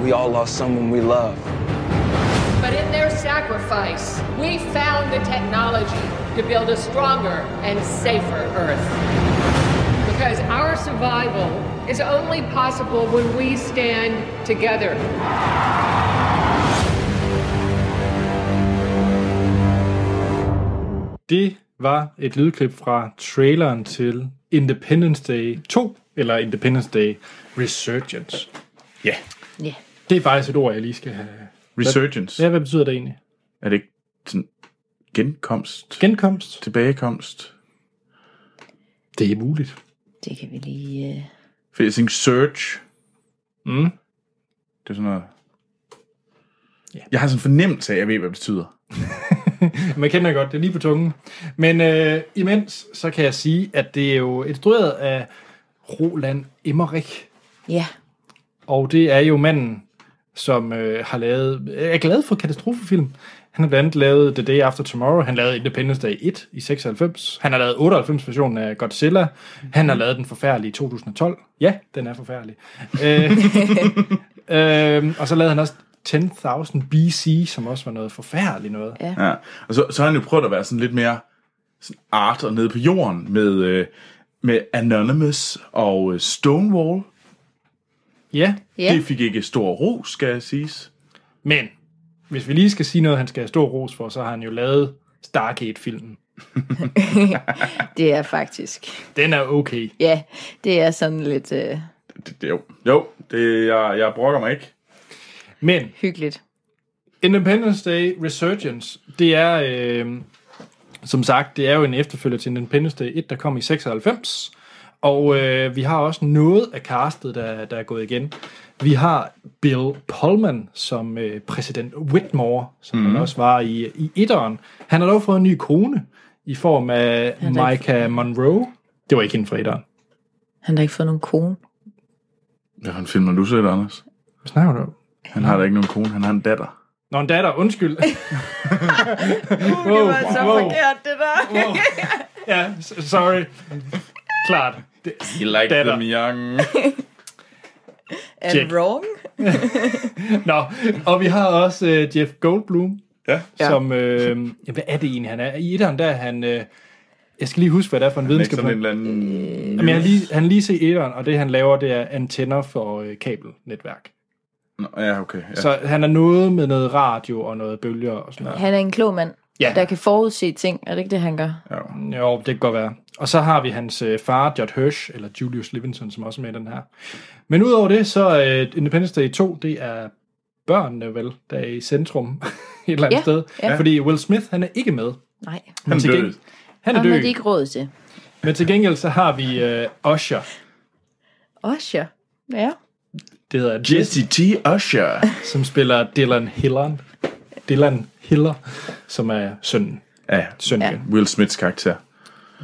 [SPEAKER 8] We all lost someone we love.
[SPEAKER 6] But in their sacrifice, we found the technology to build a stronger and safer Earth. Because our survival is only possible when we stand together.
[SPEAKER 1] Det var et lydklip fra traileren til Independence Day 2, eller Independence Day Resurgence.
[SPEAKER 2] Ja.
[SPEAKER 3] Ja.
[SPEAKER 1] Det er faktisk et ord, jeg lige skal have.
[SPEAKER 2] Resurgence.
[SPEAKER 1] Ja, hvad betyder det egentlig?
[SPEAKER 2] Er det ikke sådan genkomst?
[SPEAKER 1] Genkomst?
[SPEAKER 2] tilbagekomst?
[SPEAKER 1] Det er muligt.
[SPEAKER 3] Det kan vi lige... Øh...
[SPEAKER 2] For jeg tænker search.
[SPEAKER 1] Mm.
[SPEAKER 2] Det er sådan noget... Jeg har sådan en fornemmelse af, at jeg ved, hvad det betyder.
[SPEAKER 1] Man kender det godt, det er lige på tungen. Men øh, imens, så kan jeg sige, at det er jo instrueret af Roland Emmerich.
[SPEAKER 3] Ja.
[SPEAKER 1] Og det er jo manden, som øh, har lavet, er glad for katastrofefilm. Han har blandt andet lavet The Day After Tomorrow. Han lavede Independence Day 1 i 96. Han har lavet 98-versionen af Godzilla. Han har lavet den forfærdelige 2012. Ja, den er forfærdelig. øh, øh, og så lavede han også 10.000 BC, som også var noget forfærdeligt noget.
[SPEAKER 2] Ja. Og så, så har han jo prøvet at være sådan lidt mere sådan art og nede på jorden med, øh, med Anonymous og øh, Stonewall.
[SPEAKER 1] Ja,
[SPEAKER 3] Ja.
[SPEAKER 2] Det fik ikke stor ro, skal jeg sige.
[SPEAKER 1] Men hvis vi lige skal sige noget, han skal have stor ros for, så har han jo lavet Stargate-filmen.
[SPEAKER 3] Det er faktisk...
[SPEAKER 1] Den er okay.
[SPEAKER 3] Ja, det er sådan lidt øh,
[SPEAKER 2] Det, det, jo, jo det, jeg, jeg brokker mig ikke.
[SPEAKER 1] Men
[SPEAKER 3] hyggeligt.
[SPEAKER 1] Independence Day Resurgence, det er, øh, som sagt, det er jo en efterfølger til Independence Day 1, der kom i 96. Og øh, vi har også noget af castet, der, der er gået igen. Vi har Bill Pullman som øh, præsident Whitmore, som mm. han også var i, i etteren. Han har dog fået en ny kone i form af
[SPEAKER 3] Han har ikke
[SPEAKER 1] Micah Monroe. Det var ikke hende fra etteren.
[SPEAKER 3] Han har ikke fået nogen kone.
[SPEAKER 2] Ja, han filmer nu selv, Anders.
[SPEAKER 1] Hvad snakker du om?
[SPEAKER 2] Han har da ikke nogen kone, han har en datter.
[SPEAKER 1] Nå, en datter, undskyld.
[SPEAKER 3] Uh, det var så
[SPEAKER 1] wow.
[SPEAKER 3] forkert, det der.
[SPEAKER 1] ja, s- sorry. Klart.
[SPEAKER 2] He liked
[SPEAKER 1] Datter.
[SPEAKER 2] them young.
[SPEAKER 3] Er
[SPEAKER 1] Check.
[SPEAKER 3] det wrong?
[SPEAKER 1] Nå, og vi har også øh, Jeff Goldblum,
[SPEAKER 2] ja.
[SPEAKER 1] ja. som... Øh, ja, hvad er det egentlig, han er? I etteren, der er han... Øh, jeg skal lige huske, hvad det er for en
[SPEAKER 2] Ikke sådan en
[SPEAKER 1] videnskab.
[SPEAKER 2] eller anden...
[SPEAKER 1] Men jeg har lige, han har lige set etteren, og det han laver, det er antenner for øh, kabelnetværk.
[SPEAKER 2] Nå, ja, okay. Ja.
[SPEAKER 1] Ja. Så han er noget med noget radio og noget bølger og sådan noget.
[SPEAKER 3] Han er en klog mand,
[SPEAKER 1] Ja.
[SPEAKER 3] der kan forudse ting. Er det ikke det, han gør?
[SPEAKER 2] ja.
[SPEAKER 1] Jo, det kan godt være. Og så har vi hans øh, far, Judd Hirsch, eller Julius Levinson, som også er med i den her. Men udover det, så øh, Independence Day 2, det er børnene vel, der er i centrum et eller andet
[SPEAKER 3] Ja,
[SPEAKER 1] sted.
[SPEAKER 3] ja.
[SPEAKER 1] Fordi Will Smith, han er ikke med.
[SPEAKER 3] Nej.
[SPEAKER 2] Han
[SPEAKER 1] til
[SPEAKER 2] døde.
[SPEAKER 1] gengæld- Han er
[SPEAKER 3] Ham har de
[SPEAKER 1] død.
[SPEAKER 3] ikke råd til.
[SPEAKER 1] Men til gengæld, så har vi øh, Usher.
[SPEAKER 3] Osher. Ja.
[SPEAKER 1] Det hedder Jesse,
[SPEAKER 2] Jesse T. Usher.
[SPEAKER 1] som spiller Dylan Hiller. Dylan Hiller, som er sønnen.
[SPEAKER 2] ja,
[SPEAKER 1] Søn
[SPEAKER 3] Ja.
[SPEAKER 1] igen.
[SPEAKER 2] Will Smiths karakter.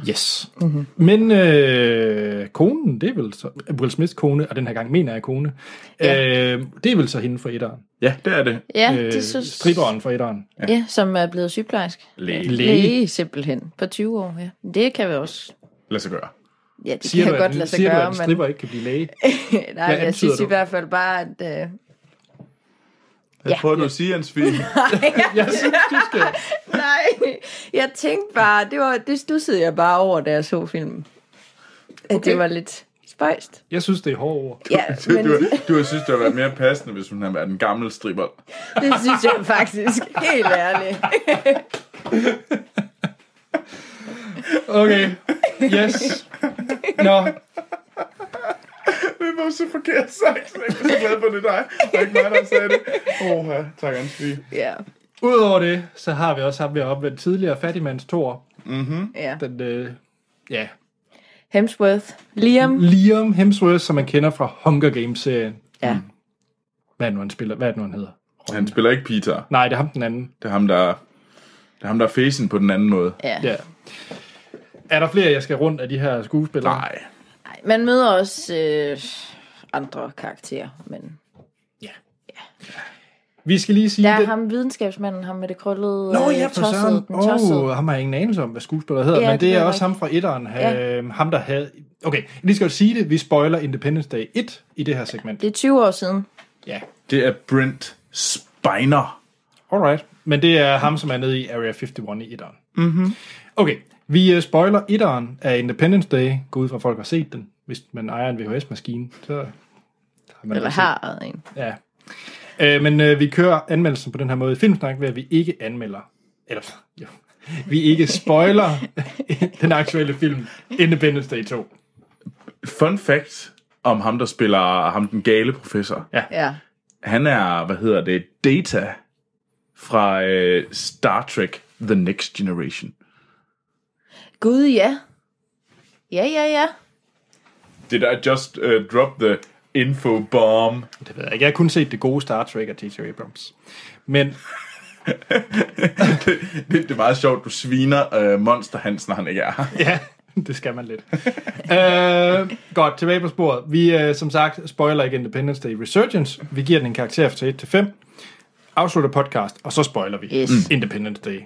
[SPEAKER 1] Yes. Mm-hmm. Men øh, konen, det er vel så, Will Smiths kone, og den her gang mener jeg kone, ja. øh, det er vel så hende fra etteren.
[SPEAKER 2] Ja, det er det.
[SPEAKER 3] Ja,
[SPEAKER 1] øh,
[SPEAKER 3] det synes...
[SPEAKER 1] Striberen fra etteren.
[SPEAKER 3] Ja, som er blevet sygeplejersk.
[SPEAKER 2] Læge.
[SPEAKER 1] Læge.
[SPEAKER 3] Læge simpelthen. På 20 år, ja. Det kan vi også...
[SPEAKER 2] Lad sig gøre.
[SPEAKER 3] Ja, det
[SPEAKER 1] Siger
[SPEAKER 3] kan
[SPEAKER 1] du,
[SPEAKER 3] godt
[SPEAKER 1] at,
[SPEAKER 3] lade sig
[SPEAKER 1] siger
[SPEAKER 3] gøre,
[SPEAKER 1] du, at en stripper ikke kan blive læge?
[SPEAKER 3] men nej,
[SPEAKER 1] antyder
[SPEAKER 3] jeg synes
[SPEAKER 1] du?
[SPEAKER 3] i hvert fald bare, at... Øh,
[SPEAKER 2] Jeg prøver du at sige, Hans Fien.
[SPEAKER 1] jeg synes, du skal.
[SPEAKER 3] nej, jeg tænkte bare, det, var, det stussede jeg bare over, da jeg så filmen. At okay.
[SPEAKER 1] Okay.
[SPEAKER 3] det var lidt spøjst.
[SPEAKER 1] Jeg synes, det er hårde ord.
[SPEAKER 3] Ja,
[SPEAKER 2] Du,
[SPEAKER 3] men
[SPEAKER 2] du, du har synes, det havde været mere passende, hvis hun havde været en gammel stripper.
[SPEAKER 3] det synes jeg faktisk, helt ærligt.
[SPEAKER 1] Okay. Yes. Nå,
[SPEAKER 2] Det var så forkert sagt. Jeg er så glad for, det er dig. Det er ikke mig, der sagde det. Åh, oh, tak, Hans Fien.
[SPEAKER 3] Ja,
[SPEAKER 1] udover det, så har vi også ham, vi har opvendt tidligere, Fattigmands Thor.
[SPEAKER 3] ja.
[SPEAKER 1] Den, øh, ja.
[SPEAKER 3] Hemsworth. Liam.
[SPEAKER 1] Liam Hemsworth, som man kender fra Hunger Games-serien. Hmm.
[SPEAKER 3] Ja.
[SPEAKER 1] Hvad er det nu, han spiller? Hvad er det nu, han hedder?
[SPEAKER 2] Han spiller ikke Peter.
[SPEAKER 1] Nej, det er ham den anden.
[SPEAKER 2] Det er ham, der... Det er ham, der er fesen på den anden måde.
[SPEAKER 3] ja.
[SPEAKER 1] Ja. Er der flere, jeg skal rundt af de her skuespillere?
[SPEAKER 2] Nej.
[SPEAKER 3] Ej, Man møder også øh, andre karakterer, men...
[SPEAKER 1] Vi skal lige sige...
[SPEAKER 3] Der er
[SPEAKER 1] den-
[SPEAKER 3] ham videnskabsmanden, ham med det krøllede...
[SPEAKER 1] Nå
[SPEAKER 3] øh,
[SPEAKER 1] ja, for
[SPEAKER 3] tossede-
[SPEAKER 1] søren.
[SPEAKER 3] den tossede.
[SPEAKER 1] Åh, oh, ham har jeg ingen anelse om, hvad skuespiller hedder,
[SPEAKER 3] Ja,
[SPEAKER 1] ja, men
[SPEAKER 3] det
[SPEAKER 1] det
[SPEAKER 3] ved
[SPEAKER 1] er
[SPEAKER 3] jeg
[SPEAKER 1] også
[SPEAKER 3] ikke.
[SPEAKER 1] ham fra etteren.
[SPEAKER 3] Ja.
[SPEAKER 1] Ja. Ham, der havde... Okay, jeg lige skal jo sige det. Vi spoiler Independence Day 1 i det her segment.
[SPEAKER 3] Det er 20 år siden.
[SPEAKER 1] Ja.
[SPEAKER 2] Det er Brent Spiner.
[SPEAKER 1] Alright. Men det er ham, som er nede i Area 51 i etteren. Mm-hmm.
[SPEAKER 3] Mhm.
[SPEAKER 1] Okay, vi øh, spoiler etteren af Independence Day. Gå ud fra, at folk har set den. Hvis man ejer en VHS-maskine, så har man
[SPEAKER 3] Eller
[SPEAKER 1] vel set
[SPEAKER 3] har ejet en.
[SPEAKER 1] Ja. Øh, men øh, vi kører anmeldelsen på den her måde i Filmsnak, ved at vi ikke anmelder, eller jo, vi ikke spoiler den aktuelle film Independence Day 2.
[SPEAKER 2] Fun fact om ham, der spiller ham den gale professor.
[SPEAKER 3] Ja.
[SPEAKER 2] Han er, hvad hedder det, Data fra øh, Star Trek The Next Generation.
[SPEAKER 3] Gud, ja. Ja, ja, ja.
[SPEAKER 2] Did I just uh, drop the info bomb?
[SPEAKER 1] Det ved jeg ikke. Jeg har kun set det gode Star Trek af T.J. Abrams. Men
[SPEAKER 2] det, det er meget sjovt, du sviner uh, Monster Hans, når han ikke er her.
[SPEAKER 1] ja, det skal man lidt. øh, godt, tilbage på sporet. Vi, øh, som sagt, spoiler ikke Independence Day Resurgence. Vi giver den en karakter fra 1 til 5. Afslutter podcast, og så spoiler vi
[SPEAKER 3] Yes. Mm.
[SPEAKER 1] Independence Day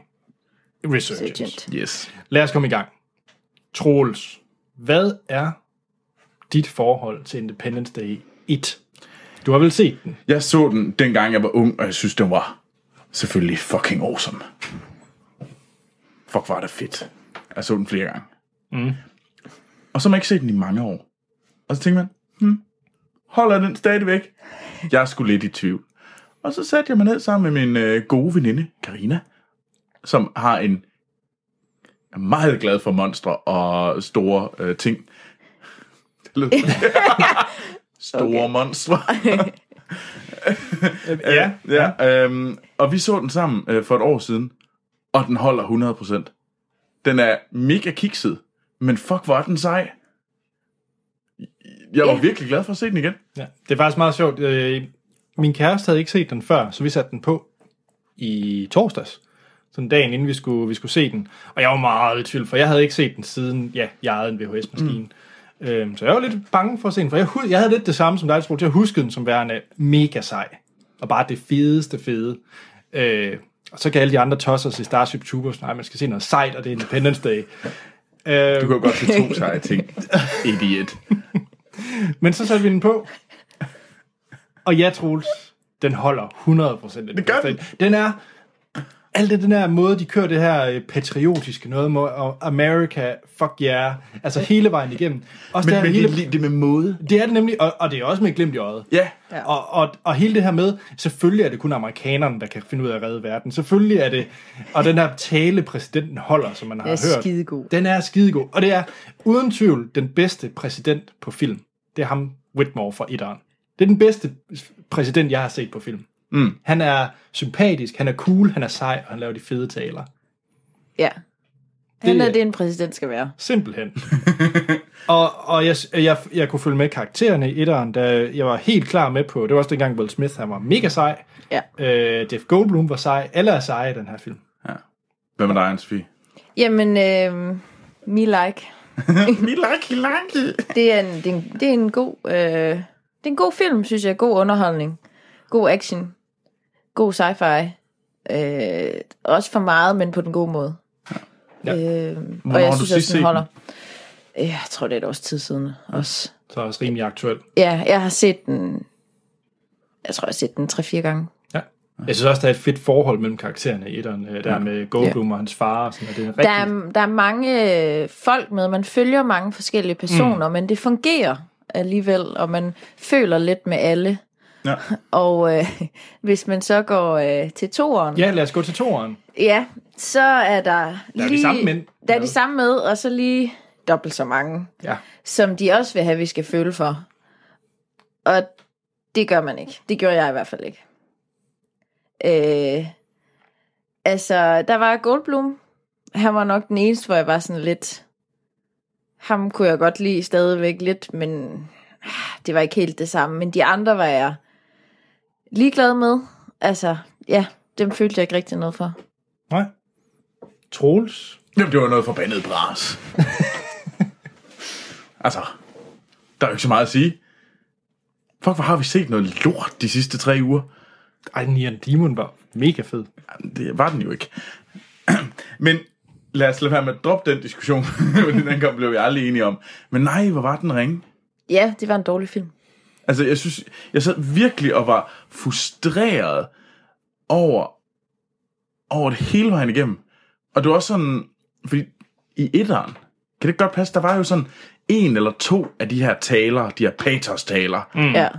[SPEAKER 1] Resurgence.
[SPEAKER 3] Agent.
[SPEAKER 2] Yes.
[SPEAKER 1] Lad os komme i gang. Troels, hvad er dit forhold til Independence Day 1? Du har vel set den?
[SPEAKER 2] Jeg så den, dengang jeg var ung, og jeg synes, den var selvfølgelig fucking awesome. Fuck, var det fedt. Jeg så den flere gange. Mm. Og så har man ikke set den i mange år. Og så tænkte man, hmm, holder den stadigvæk? Jeg er sgu lidt i tvivl. Og så satte jeg mig ned sammen med min øh, gode veninde, Karina, som har en er meget glad for monstre og store øh, ting. Det lyder- store okay. monstre.
[SPEAKER 1] Ja.
[SPEAKER 2] Ja, øhm, og vi så den sammen øh, for et år siden, og den holder 100%. Den er mega kikset, men fuck, hvor er den sej. Jeg var
[SPEAKER 3] Ja.
[SPEAKER 2] virkelig glad for at se den igen.
[SPEAKER 1] ja. Det er faktisk meget sjovt. Øh, Min kæreste havde ikke set den før, så vi satte den på i torsdags. Sådan dagen inden vi skulle, vi skulle se den. Og jeg var meget i tvivl, for jeg havde ikke set den siden, ja, jeg ejede en VHS-maskine. Mm. Øhm, så jeg var lidt bange for at se den, for jeg, hu- jeg havde lidt det samme som dig, Troels. Jeg huskede den som værende mega sej. Og bare det fedeste fede. Øh, og så kan alle de andre tosser se Starship Troopers. Nej, man skal se noget sejt, og det er Independence Day. Øh,
[SPEAKER 2] Du kan jo godt se to seje ting. Idiot.
[SPEAKER 1] Men så satte vi den på. Og ja, Troels, den holder 100% af
[SPEAKER 2] Det gør den.
[SPEAKER 1] Den er... Alt det den her måde, de kører det her øh, patriotiske noget med og America, fuck yeah, altså hele vejen igennem. Også
[SPEAKER 2] Men,
[SPEAKER 1] det, her
[SPEAKER 2] men det,
[SPEAKER 1] hele,
[SPEAKER 2] er lige- det er med måde.
[SPEAKER 1] det er det nemlig, og, og det er også med et glimt i øjet.
[SPEAKER 2] Ja.
[SPEAKER 3] Ja.
[SPEAKER 1] Og, og, og hele det her med, selvfølgelig er det kun amerikanerne, der kan finde ud af at redde verden. Selvfølgelig er det, og den her tale, præsidenten holder, som man har
[SPEAKER 3] Den er
[SPEAKER 1] hørt.
[SPEAKER 3] skidegod.
[SPEAKER 1] Den er skidegod. Og det er uden tvivl den bedste præsident på film. Det er ham, Whitmore fra Iran. Det er den bedste præsident, jeg har set på film. Mm. Han er sympatisk, han er cool, han er sej, og han laver de fede taler.
[SPEAKER 3] Ja. Han
[SPEAKER 1] Det-
[SPEAKER 3] er det, en præsident skal være.
[SPEAKER 1] Simpelthen. og og jeg, jeg, jeg kunne følge med karaktererne i etteren, da jeg var helt klar med på, det var også dengang Will Smith, han var mega sej.
[SPEAKER 3] Ja.
[SPEAKER 1] Øh, Jeff Goldblum var sej. Alle er seje i den her film.
[SPEAKER 2] Hvad med dig, Anne-Sophie?
[SPEAKER 3] Jamen, øh, me like.
[SPEAKER 2] Me lucky, lucky.
[SPEAKER 3] Det er en, det er en, det er en god... Øh, det er en god film, synes jeg. God underholdning. God action. God sci-fi. Øh, også for meget, men på den gode måde.
[SPEAKER 1] Ja.
[SPEAKER 3] Øh,
[SPEAKER 2] Hvornår
[SPEAKER 3] og
[SPEAKER 2] har
[SPEAKER 3] jeg
[SPEAKER 2] du
[SPEAKER 3] synes også,
[SPEAKER 2] sidst
[SPEAKER 3] den
[SPEAKER 2] set
[SPEAKER 3] holder. Øh, Jeg tror, det er et års tid siden også.
[SPEAKER 1] Så er også rimelig aktuel.
[SPEAKER 3] Ja, jeg har set den... Jeg tror, jeg har set den 3-4 gange.
[SPEAKER 1] Ja. Jeg synes også, der er et fedt forhold mellem karaktererne i etteren. øh, Der med Goldblum og hans far. Og sådan, og det er en
[SPEAKER 3] Der
[SPEAKER 1] rigtig...
[SPEAKER 3] er, der er mange øh, folk med, man følger mange forskellige personer, mm. men det fungerer alligevel, og man føler lidt med alle.
[SPEAKER 2] Ja.
[SPEAKER 3] Og øh, hvis man så går øh, til toeren,
[SPEAKER 1] Ja, lad os gå til toeren.
[SPEAKER 3] ja, så er der
[SPEAKER 1] er de
[SPEAKER 3] lige,
[SPEAKER 1] samme mænd
[SPEAKER 3] Der er
[SPEAKER 1] med.
[SPEAKER 3] de samme med, og så lige dobbelt så mange,
[SPEAKER 1] Ja.
[SPEAKER 3] som de også vil have, vi skal føle for. Og det gør man ikke. Det gjorde jeg i hvert fald ikke. Øh, altså, der var Goldblum. Han var nok den eneste, hvor jeg var sådan lidt... Ham kunne jeg godt lide stadigvæk lidt, men ah, det var ikke helt det samme. Men de andre var jeg ligeglad med. Altså, ja, dem følte jeg ikke rigtig noget for.
[SPEAKER 1] Nej. Troels.
[SPEAKER 2] Jamen, det var noget forbandet bras. altså, der er jo ikke så meget at sige. Fuck, hvor har vi set noget lort de sidste tre uger?
[SPEAKER 1] Ej, Nian Demon var mega fed.
[SPEAKER 2] Jamen, det var den jo ikke. Men lad os lade være med at droppe den diskussion, fordi den kom, blev vi aldrig enige om. Men nej, hvor var den ringe?
[SPEAKER 3] Ja, det var en dårlig film.
[SPEAKER 2] Altså, jeg synes, jeg sad virkelig og var frustreret over, over det hele vejen igennem. Og det var også sådan, fordi i etteren, kan det ikke godt passe, der var jo sådan en eller to af de her taler, de her patos-taler, mm.
[SPEAKER 3] Mm. Ja,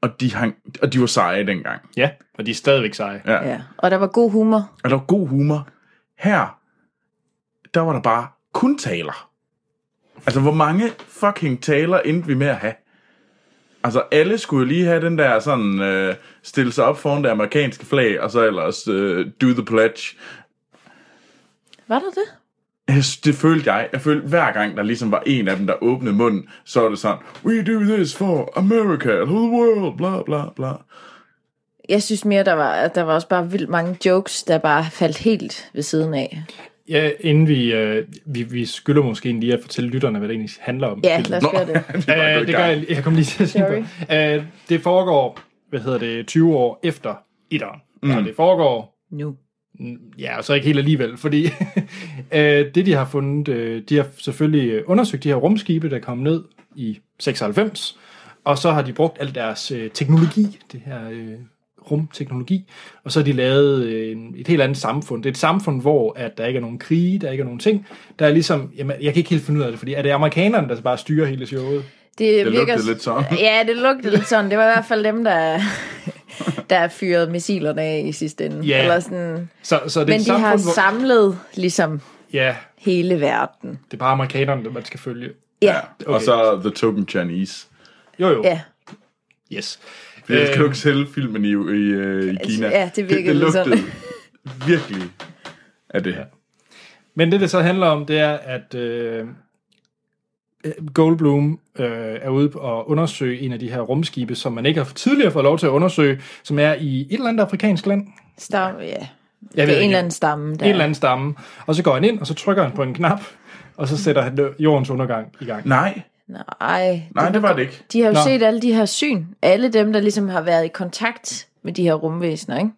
[SPEAKER 2] og, de hang, og de var seje dengang.
[SPEAKER 1] Ja, og de er stadigvæk seje.
[SPEAKER 2] Ja.
[SPEAKER 3] ja. Og der var god humor.
[SPEAKER 2] Og der var god humor. Her, der var der bare kun taler. Altså, hvor mange fucking taler endte vi med at have? Altså, alle skulle jo lige have den der sådan, øh, stille sig op foran det amerikanske flag, og så ellers øh, do the pledge.
[SPEAKER 3] Var der det?
[SPEAKER 2] Jeg sy- Det følte jeg. Jeg følte, hver gang der ligesom var en af dem, der åbnede munden, så var det sådan, we do this for America, the world, bla bla bla.
[SPEAKER 3] Jeg synes mere, der var, at der var også bare vildt mange jokes, der bare faldt helt ved siden af.
[SPEAKER 1] Ja, inden vi, øh, vi, vi skylder måske lige at fortælle lytterne, hvad det egentlig handler om.
[SPEAKER 3] Ja, lad os gøre det.
[SPEAKER 2] Vi var gået i
[SPEAKER 1] Øh, det gør
[SPEAKER 2] gang.
[SPEAKER 1] jeg, lige- jeg kom lige til at sige på. Øh, det foregår, hvad hedder det, 20 år efter etteren. Mm. Så det foregår
[SPEAKER 3] Nu.
[SPEAKER 1] Ja, og så ikke helt alligevel, fordi øh, det, de har fundet, øh, de har selvfølgelig øh, undersøgt de her rumskibe, der kom ned i 96, og så har de brugt al deres øh, teknologi, det her øh, rumteknologi, og så har de lavet øh, en- et helt andet samfund. Det er et samfund, hvor at der ikke er nogen krige, der ikke er nogen ting. Der er ligesom, jamen, jeg kan ikke helt finde ud af det, fordi er det amerikanerne, der bare styrer hele showet?
[SPEAKER 3] Det,
[SPEAKER 2] Det lugtede lidt sådan.
[SPEAKER 3] Ja, det lugtede lidt sådan. Det var i hvert fald dem, der, der fyrede missilerne af i sidste ende.
[SPEAKER 1] Ja.
[SPEAKER 3] Eller sådan.
[SPEAKER 1] Så, så det er
[SPEAKER 3] Men
[SPEAKER 1] et
[SPEAKER 3] de har
[SPEAKER 1] samfund, hvor...
[SPEAKER 3] samlet ligesom
[SPEAKER 1] Ja,
[SPEAKER 3] hele verden.
[SPEAKER 1] det er bare amerikanerne, der man skal følge.
[SPEAKER 3] Ja,
[SPEAKER 2] Ja, og så The Token Chinese.
[SPEAKER 1] Jo, jo.
[SPEAKER 3] ja.
[SPEAKER 1] Yes.
[SPEAKER 2] Fordi ellers kan
[SPEAKER 1] Øh,
[SPEAKER 2] du ikke sælge filmen i, i, øh, i Kina.
[SPEAKER 3] Øhm. Altså, ja, det virkede lidt sådan.
[SPEAKER 2] virkelig af det her.
[SPEAKER 1] Men det, det så handler om, det er, at øh, Goldblum øh, er ude og undersøge en af de her rumskibe, som man ikke har tidligere fået lov til at undersøge, som er i et eller andet afrikansk land.
[SPEAKER 3] Stamme, ja.
[SPEAKER 1] Jeg
[SPEAKER 3] Det er en
[SPEAKER 1] ikke.
[SPEAKER 3] eller anden stamme. Der.
[SPEAKER 1] En eller anden stamme. Og så går han ind, og så trykker han på en knap, og så sætter han jordens undergang i gang.
[SPEAKER 2] Nej,
[SPEAKER 3] Nej,
[SPEAKER 2] nej, det var det ikke.
[SPEAKER 3] de har jo
[SPEAKER 1] Nå.
[SPEAKER 3] set alle de her syn. Alle dem, der ligesom har været i kontakt med de her rumvæsener, ikke?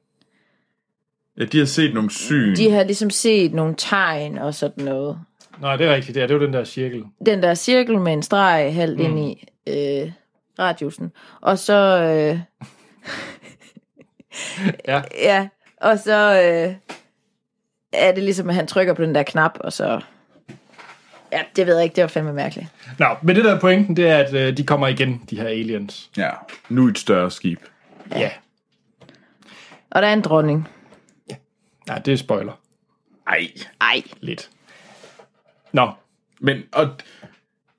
[SPEAKER 2] Ja, de har set nogle syn.
[SPEAKER 3] De har ligesom set nogle tegn og sådan noget.
[SPEAKER 1] Nej, det er rigtigt. Det er, det er jo den der cirkel.
[SPEAKER 3] den der cirkel med en streg halvt mm. ind i øh, radiusen. Og så... Øh,
[SPEAKER 1] Ja.
[SPEAKER 3] ja, og så øh, er det ligesom, at han trykker på den der knap, og så... Ja, det ved jeg ikke. Det var fandme mærkeligt.
[SPEAKER 1] Nå, men det der er pointen, det er, at øh, de kommer igen, de her aliens.
[SPEAKER 2] Ja, nu et større skib.
[SPEAKER 1] Ja. ja.
[SPEAKER 3] Og der er en dronning.
[SPEAKER 1] Nej, det er spoiler.
[SPEAKER 2] Ej.
[SPEAKER 3] Ej.
[SPEAKER 1] Lidt. Nå,
[SPEAKER 2] Men, og,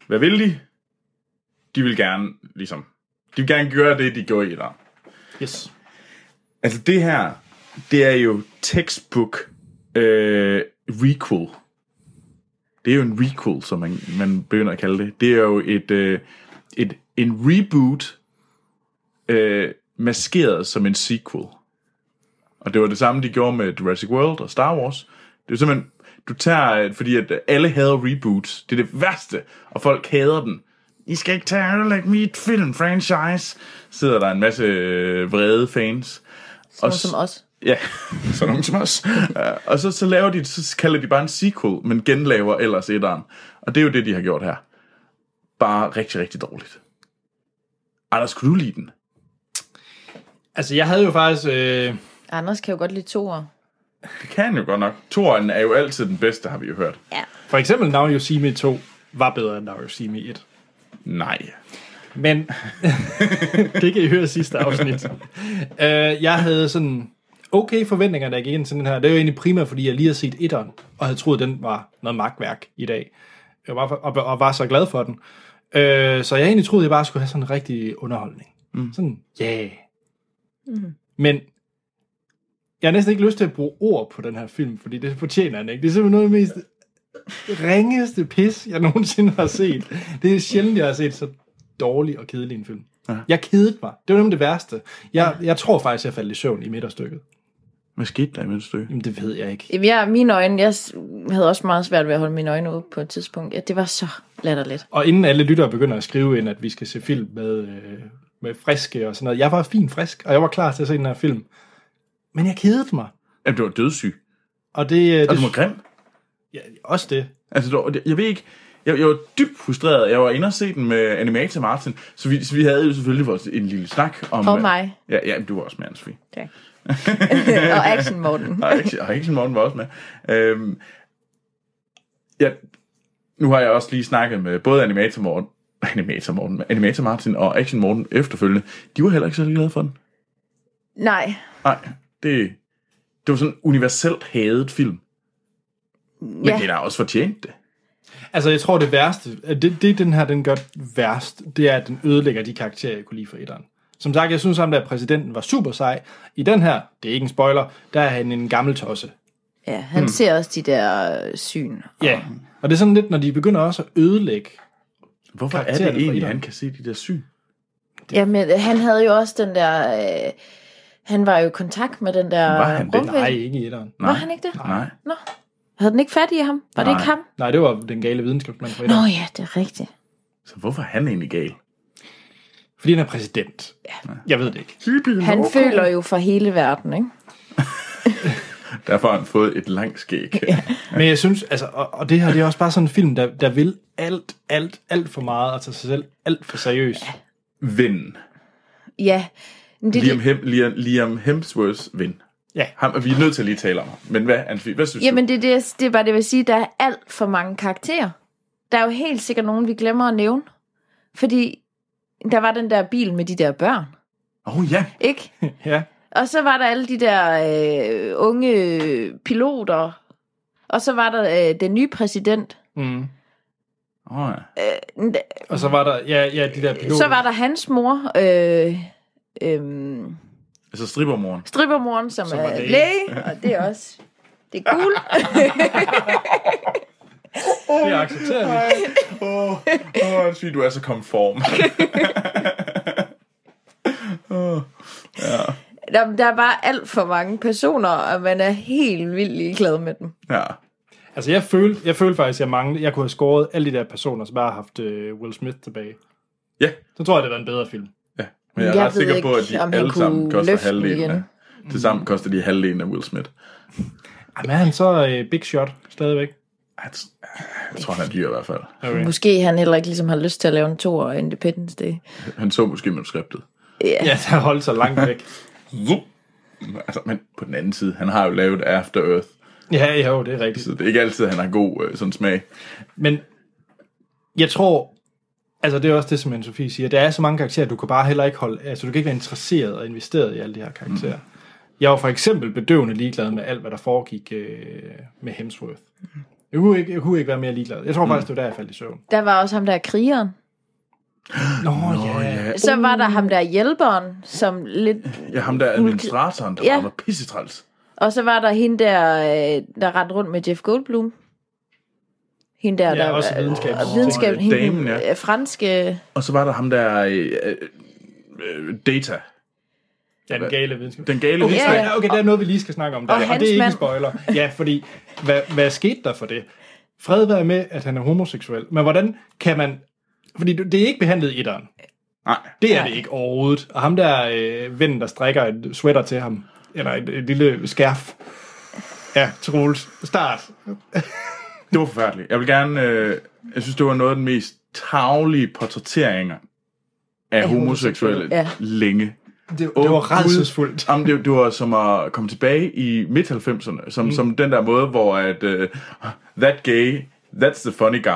[SPEAKER 2] hvad vil de? De vil gerne, ligesom, de vil gerne gøre det, de gjorde i der.
[SPEAKER 1] yes.
[SPEAKER 2] Altså, det her, det er jo textbook øh, requel. Det er jo en requel, som man, man begynder at kalde det. Det er jo et, øh, et en reboot, øh, maskeret som en sequel. Og det var det samme, de gjorde med Jurassic World og Star Wars. Det er jo simpelthen, du tager, øh, fordi at alle hader reboots. Det er det værste, og folk hader den. I skal ikke tage og ødelægge mit filmfranchise. Sidder der en masse øh, vrede fans.
[SPEAKER 3] Sådan
[SPEAKER 2] s-
[SPEAKER 3] som os.
[SPEAKER 2] Ja, sådan nogen som os. Øh, og så, så laver de, så kalder de bare en sequel, men genlaver ellers etteren. Og det er jo det, de har gjort her. Bare rigtig, rigtig dårligt. Anders, kunne du lide den?
[SPEAKER 1] Altså, jeg havde jo faktisk... Øh,
[SPEAKER 3] Anders kan jo godt lide to år.
[SPEAKER 2] Det kan jo godt nok. Toren er jo altid den bedste, har vi jo hørt.
[SPEAKER 1] for eksempel Now You See Me 2 var bedre end Now You See Me 1.
[SPEAKER 2] Nej.
[SPEAKER 1] Men det kan I høre i sidste afsnit. øh, jeg havde sådan okay forventninger, da jeg gik ind til den her. Det er jo egentlig primært, fordi jeg lige har set etteren, og havde troet, den var noget magtværk i dag. Jeg var, og, og var så glad for den. Øh, så jeg egentlig troede, jeg bare skulle have sådan en rigtig underholdning. Mm. Sådan, ja. Yeah. Mm. Men jeg har næsten ikke lyst til at bruge ord på den her film, fordi det fortjener den ikke. Det er simpelthen noget af det mest ringeste pis, jeg nogensinde har set. Det er sjældent, jeg har set så dårlig og kedelig en film. Ja. Jeg kedede mig. Det var nemlig det værste. Jeg, jeg tror faktisk, jeg faldt i søvn i midterstykket.
[SPEAKER 2] Hvad skete der i mit stykke?
[SPEAKER 1] Jamen, det ved jeg ikke.
[SPEAKER 3] Jamen, jeg, mine øjne, jeg s- havde også meget svært ved at holde mine øjne ude på et tidspunkt. Ja, det var så latterligt.
[SPEAKER 1] Og inden alle lyttere begynder at skrive ind, at vi skal se film med, øh, med friske og sådan noget. Jeg var fint frisk, og jeg var klar til at se den her film. Men jeg kedede mig.
[SPEAKER 2] Jamen, du var dødssyg.
[SPEAKER 1] Og det, øh,
[SPEAKER 2] Og
[SPEAKER 1] det
[SPEAKER 2] du var grim.
[SPEAKER 1] ja, også det.
[SPEAKER 2] Altså, du, var- jeg ved ikke... Jeg, jeg var dybt frustreret. Jeg var inde og se den med Animator Martin, så vi, så vi havde jo selvfølgelig vores, en lille snak om...
[SPEAKER 3] Og mig.
[SPEAKER 2] Ja, ja, du var også med, Anders Fri.
[SPEAKER 3] Tak. og action Morten.
[SPEAKER 2] Og Action- og Action Morten var også med. Øhm, ja, nu har jeg også lige snakket med både Animator Morten, Animator, Morten, Animator Martin og Action Morten efterfølgende. De var heller ikke så glade for den.
[SPEAKER 3] Nej,
[SPEAKER 2] Nej, det, det var sådan en universelt hadet film. Men
[SPEAKER 3] Ja.
[SPEAKER 2] ja. det er da også fortjent det.
[SPEAKER 1] Altså, jeg tror, det værste, at det, det den her den gør værst, det er, at den ødelægger de karakterer, jeg kunne lide fra etteren. Som sagt, jeg synes ham, at præsidenten var super sej. I den her, det er ikke en spoiler, der er han en gammel tosse.
[SPEAKER 3] Ja, han hmm. ser også de der øh, syn.
[SPEAKER 1] Ja, og det er sådan lidt, når de begynder også at ødelægge.
[SPEAKER 2] Hvorfor er det
[SPEAKER 1] Karaktererne fra
[SPEAKER 2] egentlig,
[SPEAKER 1] etteren.
[SPEAKER 2] han kan se de der syn?
[SPEAKER 3] Jamen, øh, han havde jo også den der... Øh, han var jo i kontakt med den der
[SPEAKER 2] Var han det?
[SPEAKER 3] rumvæsen.
[SPEAKER 1] Nej, ikke i etteren.
[SPEAKER 3] Var han ikke det?
[SPEAKER 2] Nej.
[SPEAKER 3] Nå, havde den ikke fat i ham? Var det
[SPEAKER 2] Nej.
[SPEAKER 3] ikke ham?
[SPEAKER 1] Nej, det var den gale videnskabsmand fra
[SPEAKER 3] Nå
[SPEAKER 1] etteren.
[SPEAKER 3] ja, det er rigtigt.
[SPEAKER 2] Så hvorfor er han egentlig gal?
[SPEAKER 1] Fordi han er præsident. Jeg ved det ikke.
[SPEAKER 3] Han føler jo for hele verden, ikke?
[SPEAKER 2] Derfor har han fået et langt skæg.
[SPEAKER 1] Men jeg synes, altså, og, og det her, det er også bare sådan en film, der, der vil alt, alt, alt for meget, og tager sig selv alt for seriøst.
[SPEAKER 2] Ven.
[SPEAKER 3] Ja, men det, er
[SPEAKER 2] Liam,
[SPEAKER 3] det,
[SPEAKER 2] Hem, Liam, Liam Hemsworths ven.
[SPEAKER 1] Ja,
[SPEAKER 2] Ham, vi er nødt til at lige tale om ham. Men hvad, Anne-Sophie, hvad synes
[SPEAKER 3] jamen, det, er det, jeg- det er bare det, jeg vil sige. Der er alt for mange karakterer. Der er jo helt sikkert nogen, vi glemmer at nævne. Fordi der var den der bil med de der børn,
[SPEAKER 2] du? Åh oh, ja,
[SPEAKER 3] ikke?
[SPEAKER 1] ja.
[SPEAKER 3] Og så var der alle de der øh, unge piloter. Og så var der øh, den nye præsident.
[SPEAKER 1] Mm.
[SPEAKER 2] Åh oh, ja.
[SPEAKER 3] N-
[SPEAKER 1] Og så var der, ja, ja de der piloter.
[SPEAKER 3] Så var der hans mor, øh, øh,
[SPEAKER 2] Altså strippermoren.
[SPEAKER 3] strippermoren, som,
[SPEAKER 1] Som
[SPEAKER 3] som
[SPEAKER 1] var
[SPEAKER 3] er
[SPEAKER 1] læge.
[SPEAKER 3] læge. Og det er også... Det er cool.
[SPEAKER 1] Det accepterer vi.
[SPEAKER 2] Åh, oh, oh, du er så konform.
[SPEAKER 3] der, der er bare alt for mange personer, og man er helt vildt ligeglad med dem.
[SPEAKER 2] ja.
[SPEAKER 1] Altså, jeg følte, jeg følte faktisk, at jeg manglede. Jeg kunne have skåret alle de der personer, som bare har haft øh, Will Smith tilbage.
[SPEAKER 2] Ja,
[SPEAKER 1] Så tror jeg, det var en bedre film.
[SPEAKER 2] ja. Men jeg er
[SPEAKER 3] Jeg
[SPEAKER 2] ret
[SPEAKER 3] ved
[SPEAKER 2] sikker på,
[SPEAKER 3] ikke,
[SPEAKER 2] at de
[SPEAKER 3] om han
[SPEAKER 2] alle sammen
[SPEAKER 3] kunne
[SPEAKER 2] koster
[SPEAKER 3] løfte den
[SPEAKER 2] halvdelen
[SPEAKER 3] igen.
[SPEAKER 2] af. Tilsammen koster de halvdelen af Will Smith.
[SPEAKER 1] Jamen, er han så øh, big shot stadigvæk?
[SPEAKER 2] Jeg, t- jeg tror, han er dyr i hvert fald.
[SPEAKER 1] Okay.
[SPEAKER 3] Måske han heller ikke ligesom har lyst til at lave en to og Independence Day.
[SPEAKER 2] Han så måske manuskriptet.
[SPEAKER 1] Ja, der holdt sig langt væk.
[SPEAKER 2] Zup. Altså, men på den anden side, han har jo lavet After Earth,
[SPEAKER 1] Ja, jo, det er rigtigt.
[SPEAKER 2] så det er ikke altid, han har god øh, sådan smag.
[SPEAKER 1] Men jeg tror, altså det er også det, som Anne-Sophie siger, der er så mange karakterer, du kan bare heller ikke holde, altså du kan ikke være interesseret og investeret i alle de her karakterer. Mm. Jeg var for eksempel bedøvende ligeglad med alt, hvad der foregik øh, med Hemsworth. Jeg kunne, ikke, jeg kunne ikke være mere ligeglad. Jeg tror faktisk, det var der, jeg faldt i søvn.
[SPEAKER 3] Der var også ham der krigeren.
[SPEAKER 1] Nå, Nå ja.
[SPEAKER 2] ja.
[SPEAKER 3] Så var der ham der hjælperen, som lidt...
[SPEAKER 2] ja, ham der administratoren, der
[SPEAKER 3] Ja.
[SPEAKER 2] ja. var pissetræls.
[SPEAKER 3] Og så var der hende der, øh, der rendte rundt med Jeff Goldblum. Hende der,
[SPEAKER 1] Ja,
[SPEAKER 3] der
[SPEAKER 1] også videnskabs-
[SPEAKER 3] og videnskab,
[SPEAKER 2] Åh,
[SPEAKER 3] hende,
[SPEAKER 2] damen, ja.
[SPEAKER 3] øh, franske...
[SPEAKER 2] Og så var der ham der øh, øh, øh, Data,
[SPEAKER 1] Ja, den gale videnskab.
[SPEAKER 2] den gale
[SPEAKER 3] Ja,
[SPEAKER 2] videnskab.
[SPEAKER 1] Ja, ja, okay, der er noget, vi lige skal snakke om der,
[SPEAKER 3] Og
[SPEAKER 1] og, og
[SPEAKER 3] hans
[SPEAKER 1] det er ikke en
[SPEAKER 3] mand.
[SPEAKER 1] spoiler. Ja, fordi, hvad, hvad skete der for det? Fred være med, at han er homoseksuel, men hvordan kan man... Fordi det det er ikke behandlet i etteren.
[SPEAKER 2] Nej,
[SPEAKER 1] Det er det ikke overhovedet. Og ham der øh, ven, der strikker et sweater til ham, eller et, et lille skærf. Ja, Troels. Start.
[SPEAKER 2] det var forfærdeligt. Jeg vil gerne, øh, jeg synes, det var noget af den mest tavlige portrætteringer af homoseksuelle
[SPEAKER 3] Ja.
[SPEAKER 2] længe.
[SPEAKER 1] Det, det var rædselsfuldt.
[SPEAKER 2] Jamen, det, det var som at komme tilbage i midt-90'erne, som, mm. som den der måde, hvor at, uh, that gay, that's the funny guy.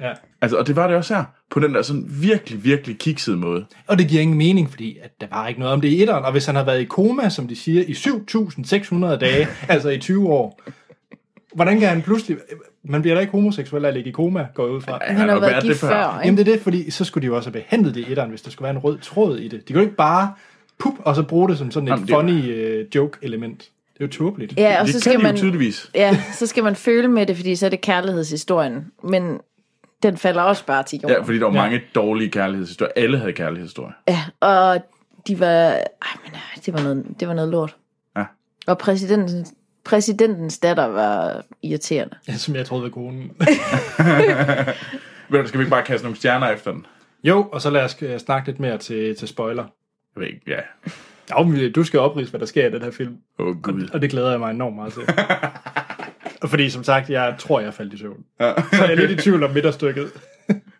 [SPEAKER 1] Ja.
[SPEAKER 2] Altså, og det var det også her, på den der sådan virkelig, virkelig kiksede måde.
[SPEAKER 1] Og det giver ingen mening, fordi at der var ikke noget om det i etteren. Og hvis han har været i koma, som de siger, i 7.600 dage, altså i 20 år, hvordan kan han pludselig... Man bliver da ikke homoseksuel af at ligge i koma, går jeg ud fra.
[SPEAKER 3] Han, han har jo været
[SPEAKER 2] det
[SPEAKER 3] gift
[SPEAKER 2] før.
[SPEAKER 3] før, før
[SPEAKER 1] Jamen det er det, fordi så skulle de jo også have behandlet det i etteren, hvis der skulle være en rød tråd i det. De kunne ikke bare pup, og så bruge det som sådan et
[SPEAKER 2] Jamen,
[SPEAKER 1] Jamen,
[SPEAKER 2] det-
[SPEAKER 1] funny øh, joke-element. Det er jo tåbeligt.
[SPEAKER 3] Ja, og
[SPEAKER 2] det
[SPEAKER 3] så
[SPEAKER 2] kan
[SPEAKER 3] skal
[SPEAKER 2] de jo
[SPEAKER 3] man,
[SPEAKER 2] tydeligvis.
[SPEAKER 3] ja, så skal man føle med det, fordi så er det kærlighedshistorien. Men den falder også bare til jorden.
[SPEAKER 2] Ja, fordi der var ja. mange dårlige kærlighedshistorier. Alle havde kærlighedshistorier.
[SPEAKER 3] Ja, og de var... Ej, men øh, det var noget, det var noget lort.
[SPEAKER 2] Ja.
[SPEAKER 3] Og præsidentens, præsidentens datter var irriterende.
[SPEAKER 1] Som jeg troede var konen.
[SPEAKER 2] Ved du, skal vi ikke bare kaste nogle stjerner efter den?
[SPEAKER 1] jo, og så lad os øh, snakke lidt mere til, til spoiler.
[SPEAKER 2] Jeg ved ikke, ja.
[SPEAKER 1] Jo, men øh, du skal oprise, hvad der sker i den her film,
[SPEAKER 2] Åh, oh, gud.
[SPEAKER 1] og det glæder jeg mig enormt meget til. Og fordi som sagt, jeg tror, jeg faldt i søvn. Ja. så jeg er lidt i tvivl om midterstykket.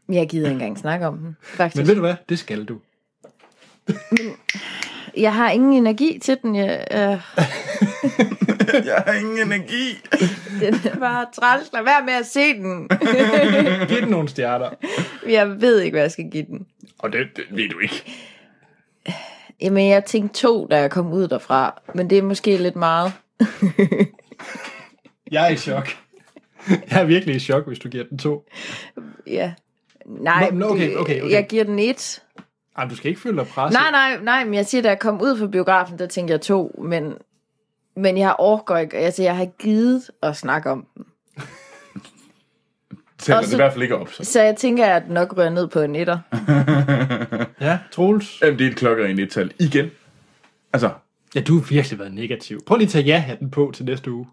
[SPEAKER 3] Men Jeg gider ikke engang snakke om den, faktisk.
[SPEAKER 1] Men ved du hvad? Det skal du.
[SPEAKER 3] Jeg har ingen energi til den. Jeg, øh,
[SPEAKER 2] Jeg har ingen energi.
[SPEAKER 3] den er bare træls. Lad være med at se den.
[SPEAKER 1] Giv den nogle stjerner.
[SPEAKER 3] Jeg ved ikke, hvad jeg skal give den.
[SPEAKER 2] Og det, det ved du ikke.
[SPEAKER 3] Jamen, jeg tænkte to, da jeg kom ud derfra. Men det er måske lidt meget.
[SPEAKER 1] Jeg er i chok. Jeg er virkelig i chok, hvis du giver den to.
[SPEAKER 3] Ja. Nej,
[SPEAKER 1] Nå, nå, okay,
[SPEAKER 3] det-
[SPEAKER 1] okay, okay.
[SPEAKER 3] jeg giver den et.
[SPEAKER 1] Ej, men du skal ikke føle dig presset.
[SPEAKER 3] Nej, nej, nej, men jeg siger, da jeg kom ud fra biografen, der tænkte jeg to, men, men jeg orker ikke, altså jeg har ikke givet at snakke om den.
[SPEAKER 2] Tæller
[SPEAKER 3] Og
[SPEAKER 2] det
[SPEAKER 3] så-
[SPEAKER 2] i hvert fald ikke op, så.
[SPEAKER 3] Så jeg tænker, at den nok rører ned på en etter.
[SPEAKER 1] Ja, Troels.
[SPEAKER 2] Jamen, det er et klokkeren et tal. Igen. Altså,
[SPEAKER 1] Ja, du har virkelig været negativ. Prøv lige at tage ja-hatten på til næste uge.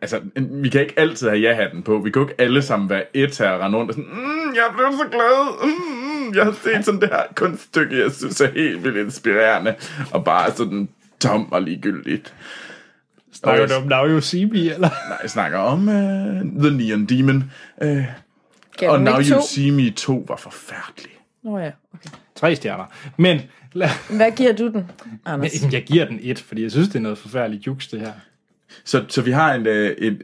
[SPEAKER 2] altså, vi kan ikke altid have ja-hatten på. Vi kan jo ikke alle sammen være et her og rende rundt og sådan, mm, jeg blev så glad. Mm, mm, jeg har set sådan det her kunststykke, jeg synes er helt vildt inspirerende. Og bare sådan tom og ligegyldigt.
[SPEAKER 1] Snakker du om Now You See Me, eller?
[SPEAKER 2] Nej, jeg snakker om uh, The Neon Demon. Uh,
[SPEAKER 3] Gav
[SPEAKER 2] og
[SPEAKER 3] den
[SPEAKER 2] Now
[SPEAKER 3] ikke
[SPEAKER 2] You
[SPEAKER 3] to?
[SPEAKER 2] See Me 2 var forfærdelig.
[SPEAKER 3] Nå ja, okay.
[SPEAKER 1] Tre stjerner. Men, lad,
[SPEAKER 3] Hvad giver du den, Anders?
[SPEAKER 1] men jeg giver den et, fordi jeg synes, det er noget forfærdeligt juks, det her.
[SPEAKER 2] Så, så vi har en, øh, en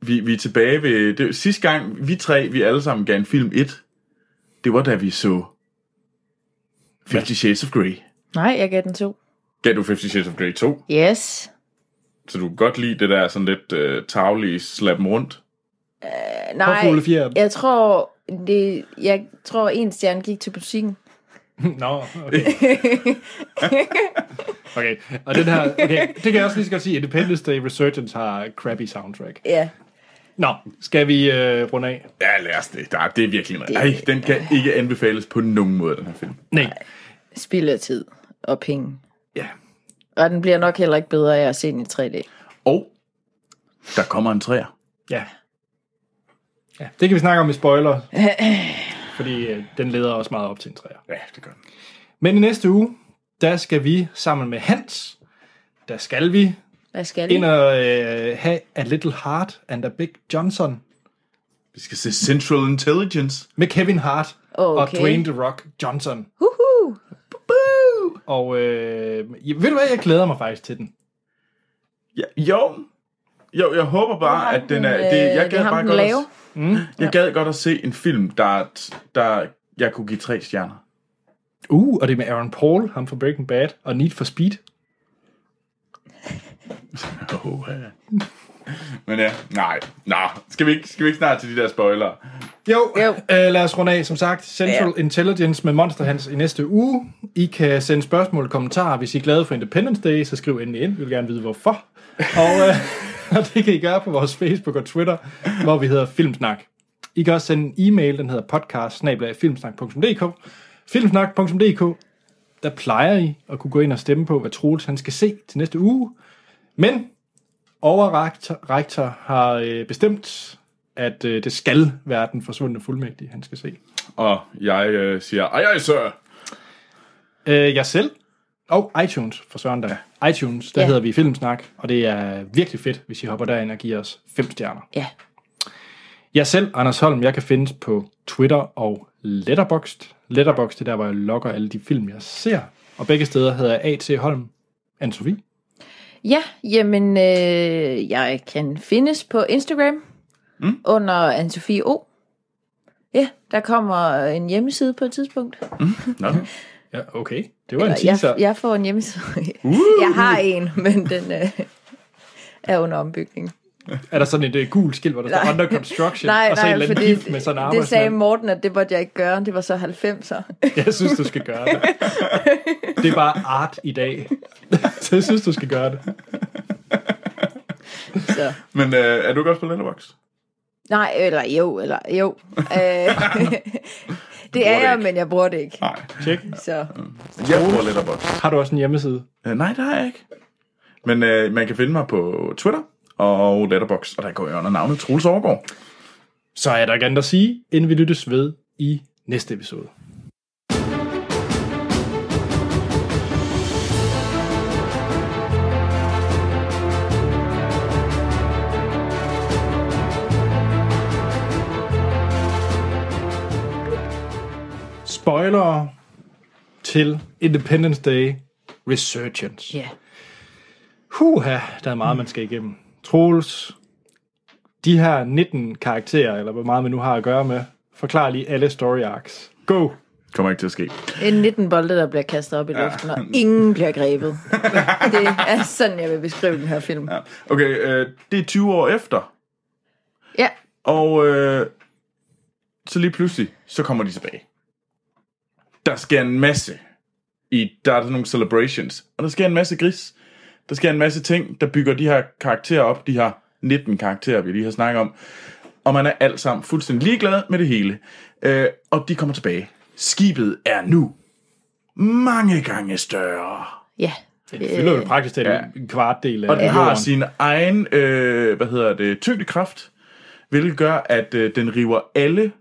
[SPEAKER 2] vi, vi er tilbage ved, det, sidste gang vi tre, vi alle sammen gav en film 1, det var da vi så 50 Shades of Grey.
[SPEAKER 3] Nej, jeg gav den to.
[SPEAKER 2] Gav du 50 Shades of Grey 2?
[SPEAKER 3] Yes.
[SPEAKER 2] Så du kan godt lide det der sådan lidt øh, tavlige slappen rundt?
[SPEAKER 3] Øh,
[SPEAKER 1] Prøv
[SPEAKER 3] Nej,
[SPEAKER 1] fugle fjerde.
[SPEAKER 3] jeg tror, det, jeg tror, en stjerne gik til musikken.
[SPEAKER 1] Nå, okay. okay, og den her, okay, det kan jeg også lige så godt sige, Independence Day Resurgence har crappy soundtrack.
[SPEAKER 3] Ja,
[SPEAKER 1] Nå, skal vi øh, runde af?
[SPEAKER 2] Ja, lad os det. Der, det er virkelig noget. Ej, den kan ikke anbefales på nogen måde, den her film.
[SPEAKER 1] Nej.
[SPEAKER 3] spild af tid og penge.
[SPEAKER 2] Ja.
[SPEAKER 3] Og den bliver nok heller ikke bedre af at se den i 3D.
[SPEAKER 2] Og der kommer en træer.
[SPEAKER 1] Ja. ja. Det kan vi snakke om i spoiler, fordi øh, den leder også meget op til en træer.
[SPEAKER 2] Ja, det gør den.
[SPEAKER 1] Men i næste uge, der skal vi sammen med Hans, der skal vi
[SPEAKER 3] Hvad skal
[SPEAKER 1] ind
[SPEAKER 3] det?
[SPEAKER 1] og øh, have A Little Heart and a Big Johnson.
[SPEAKER 2] Vi skal se Central Intelligence.
[SPEAKER 1] Med Kevin Hart okay. og
[SPEAKER 3] Okay.
[SPEAKER 1] Dwayne The Rock Johnson.
[SPEAKER 3] Uhu.
[SPEAKER 1] Og øh, ja, ved du hvad, jeg glæder mig faktisk til den.
[SPEAKER 2] Ja, jo. Jo, jeg håber bare, at den er... Det, jeg
[SPEAKER 3] det er
[SPEAKER 2] gad
[SPEAKER 3] ham,
[SPEAKER 2] bare
[SPEAKER 3] den
[SPEAKER 2] godt
[SPEAKER 3] lave.
[SPEAKER 2] at, Hmm? jeg gad godt at se en film, der, der jeg kunne give tre stjerner.
[SPEAKER 1] Uh, og det er med Aaron Paul, ham fra Breaking Bad, og Need for Speed.
[SPEAKER 2] Oh, ja. Men ja, nej. Nå, skal vi, ikke, skal vi ikke snart til de der spoilere?
[SPEAKER 1] Jo,
[SPEAKER 3] Jo.
[SPEAKER 1] jo. Øh, lad os runde af. Som sagt, Central ja. Intelligence med Monster Hans i næste uge. I kan sende spørgsmål og kommentarer. Hvis I er glade for Independence Day, så skriv endelig ind. Vi vil gerne vide, hvorfor. Og, øh, og det kan I gøre på vores Facebook og Twitter, hvor vi hedder Filmsnak. I kan også sende en e-mail, den hedder podcast filmsnak.dk filmsnak.dk Der plejer I at kunne gå ind og stemme på, hvad Troels han skal se til næste uge. Men overrektor rektor har øh, bestemt, at øh, det skal være den forsvundne fuldmægtige, han skal se.
[SPEAKER 2] Og jeg øh, siger, ej, ej, sir.
[SPEAKER 1] Øh, jeg selv og iTunes for Søren der. iTunes, der
[SPEAKER 3] Ja.
[SPEAKER 1] ja. hedder vi Filmsnak, og det er virkelig fedt, hvis I hopper derind og giver os fem stjerner.
[SPEAKER 3] Ja.
[SPEAKER 1] Jeg selv, Anders Holm, jeg kan findes på Twitter og Letterboxd. Letterboxd, det er der, hvor jeg logger alle de film, jeg ser. Og begge steder hedder jeg A.T. Holm. Anne-Sophie?
[SPEAKER 3] Ja, jamen, øh, jeg kan findes på Instagram mm. under Anne-Sophie O. Ja, der kommer en hjemmeside på et tidspunkt.
[SPEAKER 2] Nå.
[SPEAKER 1] Ja, okay. Det var en
[SPEAKER 3] Jeg,
[SPEAKER 1] teaser.
[SPEAKER 3] jeg får en hjemmeside. Uh. Jeg har en, men den øh, er under ombygning.
[SPEAKER 1] Er der sådan et uh, gult skilt, hvor der står
[SPEAKER 3] Nej.
[SPEAKER 1] under construction?
[SPEAKER 3] Nej,
[SPEAKER 1] og så en
[SPEAKER 3] nej,
[SPEAKER 1] eller anden
[SPEAKER 3] fordi
[SPEAKER 1] gift med sådan en
[SPEAKER 3] det sagde
[SPEAKER 1] arbejdsmand?
[SPEAKER 3] Morten, at det måtte jeg ikke gøre. Det var så 90'er.
[SPEAKER 1] Jeg synes, du skal gøre det. Det er bare art i dag. Så jeg synes, du skal gøre det.
[SPEAKER 3] Så.
[SPEAKER 2] Men øh, er du ikke også på Letterboxd?
[SPEAKER 3] Nej, eller jo, eller jo. Øh, det er
[SPEAKER 2] det
[SPEAKER 3] jeg,
[SPEAKER 2] ikke.
[SPEAKER 3] men jeg bruger det ikke.
[SPEAKER 2] Nej.
[SPEAKER 1] Tjek.
[SPEAKER 3] Så.
[SPEAKER 2] Jeg bruger Letterboxd.
[SPEAKER 1] Har du også en hjemmeside?
[SPEAKER 2] Øh, nej, det har jeg ikke. Men øh, man kan finde mig på Twitter og Letterboxd, og der går jeg under navnet Troels Overgaard.
[SPEAKER 1] Så er der ikke andet at sige, inden vi lyttes ved i næste episode. Spoiler til Independence Day Resurgence.
[SPEAKER 3] Ja.
[SPEAKER 1] Huha, der er meget, man skal igennem. Troels, de her 19 karakterer, eller hvor meget man nu har at gøre med, forklar lige alle story arcs. Go!
[SPEAKER 2] Kommer ikke til at ske.
[SPEAKER 3] En 19 bolde, der bliver kastet op i luften, og ingen bliver grebet. Det er sådan, jeg vil beskrive den her film.
[SPEAKER 2] Ja. Okay, øh, det er 20 år efter,
[SPEAKER 3] Ja,
[SPEAKER 2] og øh, så lige pludselig, så kommer de tilbage. Der sker en masse. I, der er sådan nogle celebrations, og der sker en masse gris. Der sker en masse ting, der bygger de her karakterer op, de her 19 karakterer, vi lige har snakket om. Og man er alt sammen fuldstændig ligeglad med det hele. Øh, og de kommer tilbage. Skibet er nu mange gange større.
[SPEAKER 3] ja.
[SPEAKER 1] Det fylder jo praktisk talt
[SPEAKER 2] Ja.
[SPEAKER 1] en kvart del af
[SPEAKER 2] Og den
[SPEAKER 1] jorden.
[SPEAKER 2] har sin egen, øh, hvad hedder det, tyngdekraft, hvilket gør, at øh, den river alle,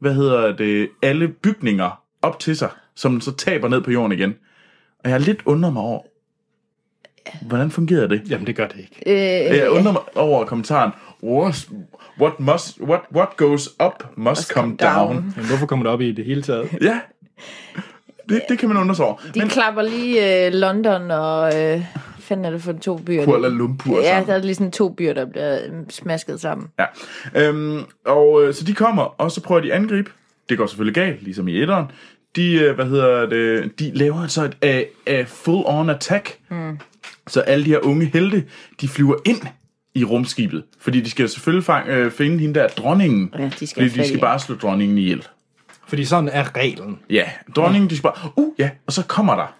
[SPEAKER 2] hvad hedder det, alle bygninger op til sig, som den så taber ned på jorden igen. Og jeg har lidt undret mig over, hvordan fungerer det?
[SPEAKER 1] Jamen, det gør det ikke.
[SPEAKER 3] Øh,
[SPEAKER 2] Jeg undrer mig over kommentaren, what, what, must, what, what goes up must, come down. down.
[SPEAKER 1] Jamen, hvorfor kommer det op i det hele taget?
[SPEAKER 2] Ja, det, det kan man undre sig over.
[SPEAKER 3] de
[SPEAKER 2] Men
[SPEAKER 3] klapper lige øh, London og... Øh, hvad fanden er det for to byer?
[SPEAKER 2] Kuala Lumpur
[SPEAKER 3] Ja,
[SPEAKER 2] sammen.
[SPEAKER 3] der er lige sådan to byer, der bliver øh, smasket sammen.
[SPEAKER 2] Ja. Øhm, og øh, så de kommer, og så prøver de at angribe. Det går selvfølgelig galt, ligesom i etteren. De, øh, hvad hedder det, de laver så et uh, uh, full-on attack. Mm. Så alle de her unge helte, de flyver ind i rumskibet. Fordi de skal selvfølgelig fang, øh, finde hende der dronningen.
[SPEAKER 3] Ja, de skal
[SPEAKER 2] fordi
[SPEAKER 3] have fat
[SPEAKER 2] de
[SPEAKER 3] i
[SPEAKER 2] skal
[SPEAKER 3] hende.
[SPEAKER 2] bare slå dronningen ihjel.
[SPEAKER 1] Fordi sådan er reglen.
[SPEAKER 2] Ja, dronningen, de skal bare, uh, ja, og så kommer der,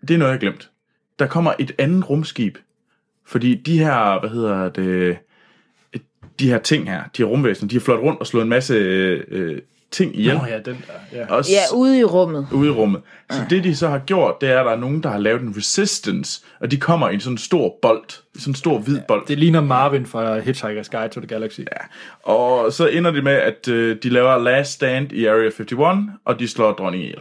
[SPEAKER 2] det er noget, jeg har glemt, der kommer et andet rumskib, fordi de her, hvad hedder det, øh, de her ting her, de her rumvæsener, de har flot rundt og slået en masse øh, øh, ting ihjel.
[SPEAKER 1] Nå ja, den der. Ja.
[SPEAKER 2] Og s-
[SPEAKER 3] Ja, ude i rummet.
[SPEAKER 2] ude i rummet. Så det, de så har gjort, det er, at der er nogen, der har lavet en resistance, og de kommer i en sådan stor bold, i sådan en stor hvid bold.
[SPEAKER 1] Det ligner Marvin fra Hitchhiker's Guide to the Galaxy. Ja.
[SPEAKER 2] Og så ender det med, at øh, de laver last stand i Area 51, og de slår dronningen ihjel.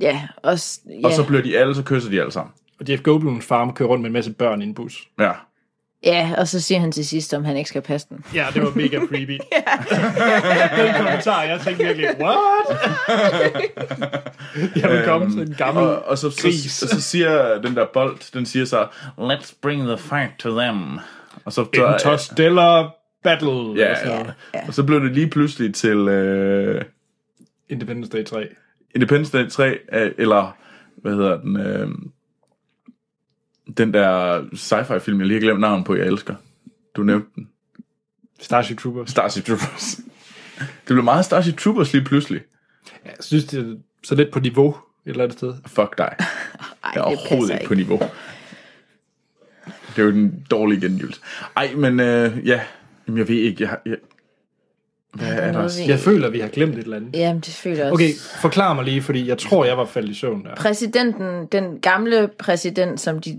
[SPEAKER 3] Ja, og, s- ja.
[SPEAKER 2] Og så bliver de alle, så kysser de alle sammen.
[SPEAKER 1] Og Jeff Goldblums farm kører rundt med en masse børn i en bus.
[SPEAKER 2] Ja.
[SPEAKER 3] Ja, og så siger han til sidst, om han ikke skal passe den.
[SPEAKER 1] Ja, det var mega creepy. Den kommentar, jeg tænkte virkelig, what? jeg vil komme til en gammel...
[SPEAKER 2] Og, og så, så,
[SPEAKER 1] Gris.
[SPEAKER 2] så, så siger den der bold, den siger så, let's bring the fight to them. Og så, så,
[SPEAKER 1] Interstellar Battle.
[SPEAKER 2] ja,
[SPEAKER 1] Altså,
[SPEAKER 2] ja, ja. og så blev det lige pludselig til øh,
[SPEAKER 1] Independence Day 3.
[SPEAKER 2] Independence Day 3, øh, eller hvad hedder den, øh, den der sci-fi film, jeg lige har glemt navnet på, jeg elsker. Du nævnte den.
[SPEAKER 1] Starship Troopers.
[SPEAKER 2] Starship Troopers. Det blev meget Starship Troopers lige pludselig.
[SPEAKER 1] Jeg synes, det er så lidt på niveau et eller andet sted.
[SPEAKER 2] Fuck dig.
[SPEAKER 3] Ej,
[SPEAKER 2] Jeg er
[SPEAKER 3] det passer
[SPEAKER 2] overhovedet ikke på niveau. Det er jo den dårlige gengivelse. Ej, men øh, ja, Jamen, jeg ved ikke. Jeg, har- jeg, hvad er der?
[SPEAKER 3] noget,
[SPEAKER 2] også?
[SPEAKER 3] vi-
[SPEAKER 1] Jeg føler, vi har glemt et eller andet.
[SPEAKER 3] Jamen, det føler jeg også.
[SPEAKER 1] Okay, forklar mig lige, fordi jeg tror, jeg var faldet i søvn der.
[SPEAKER 3] Præsidenten, den gamle præsident, som de,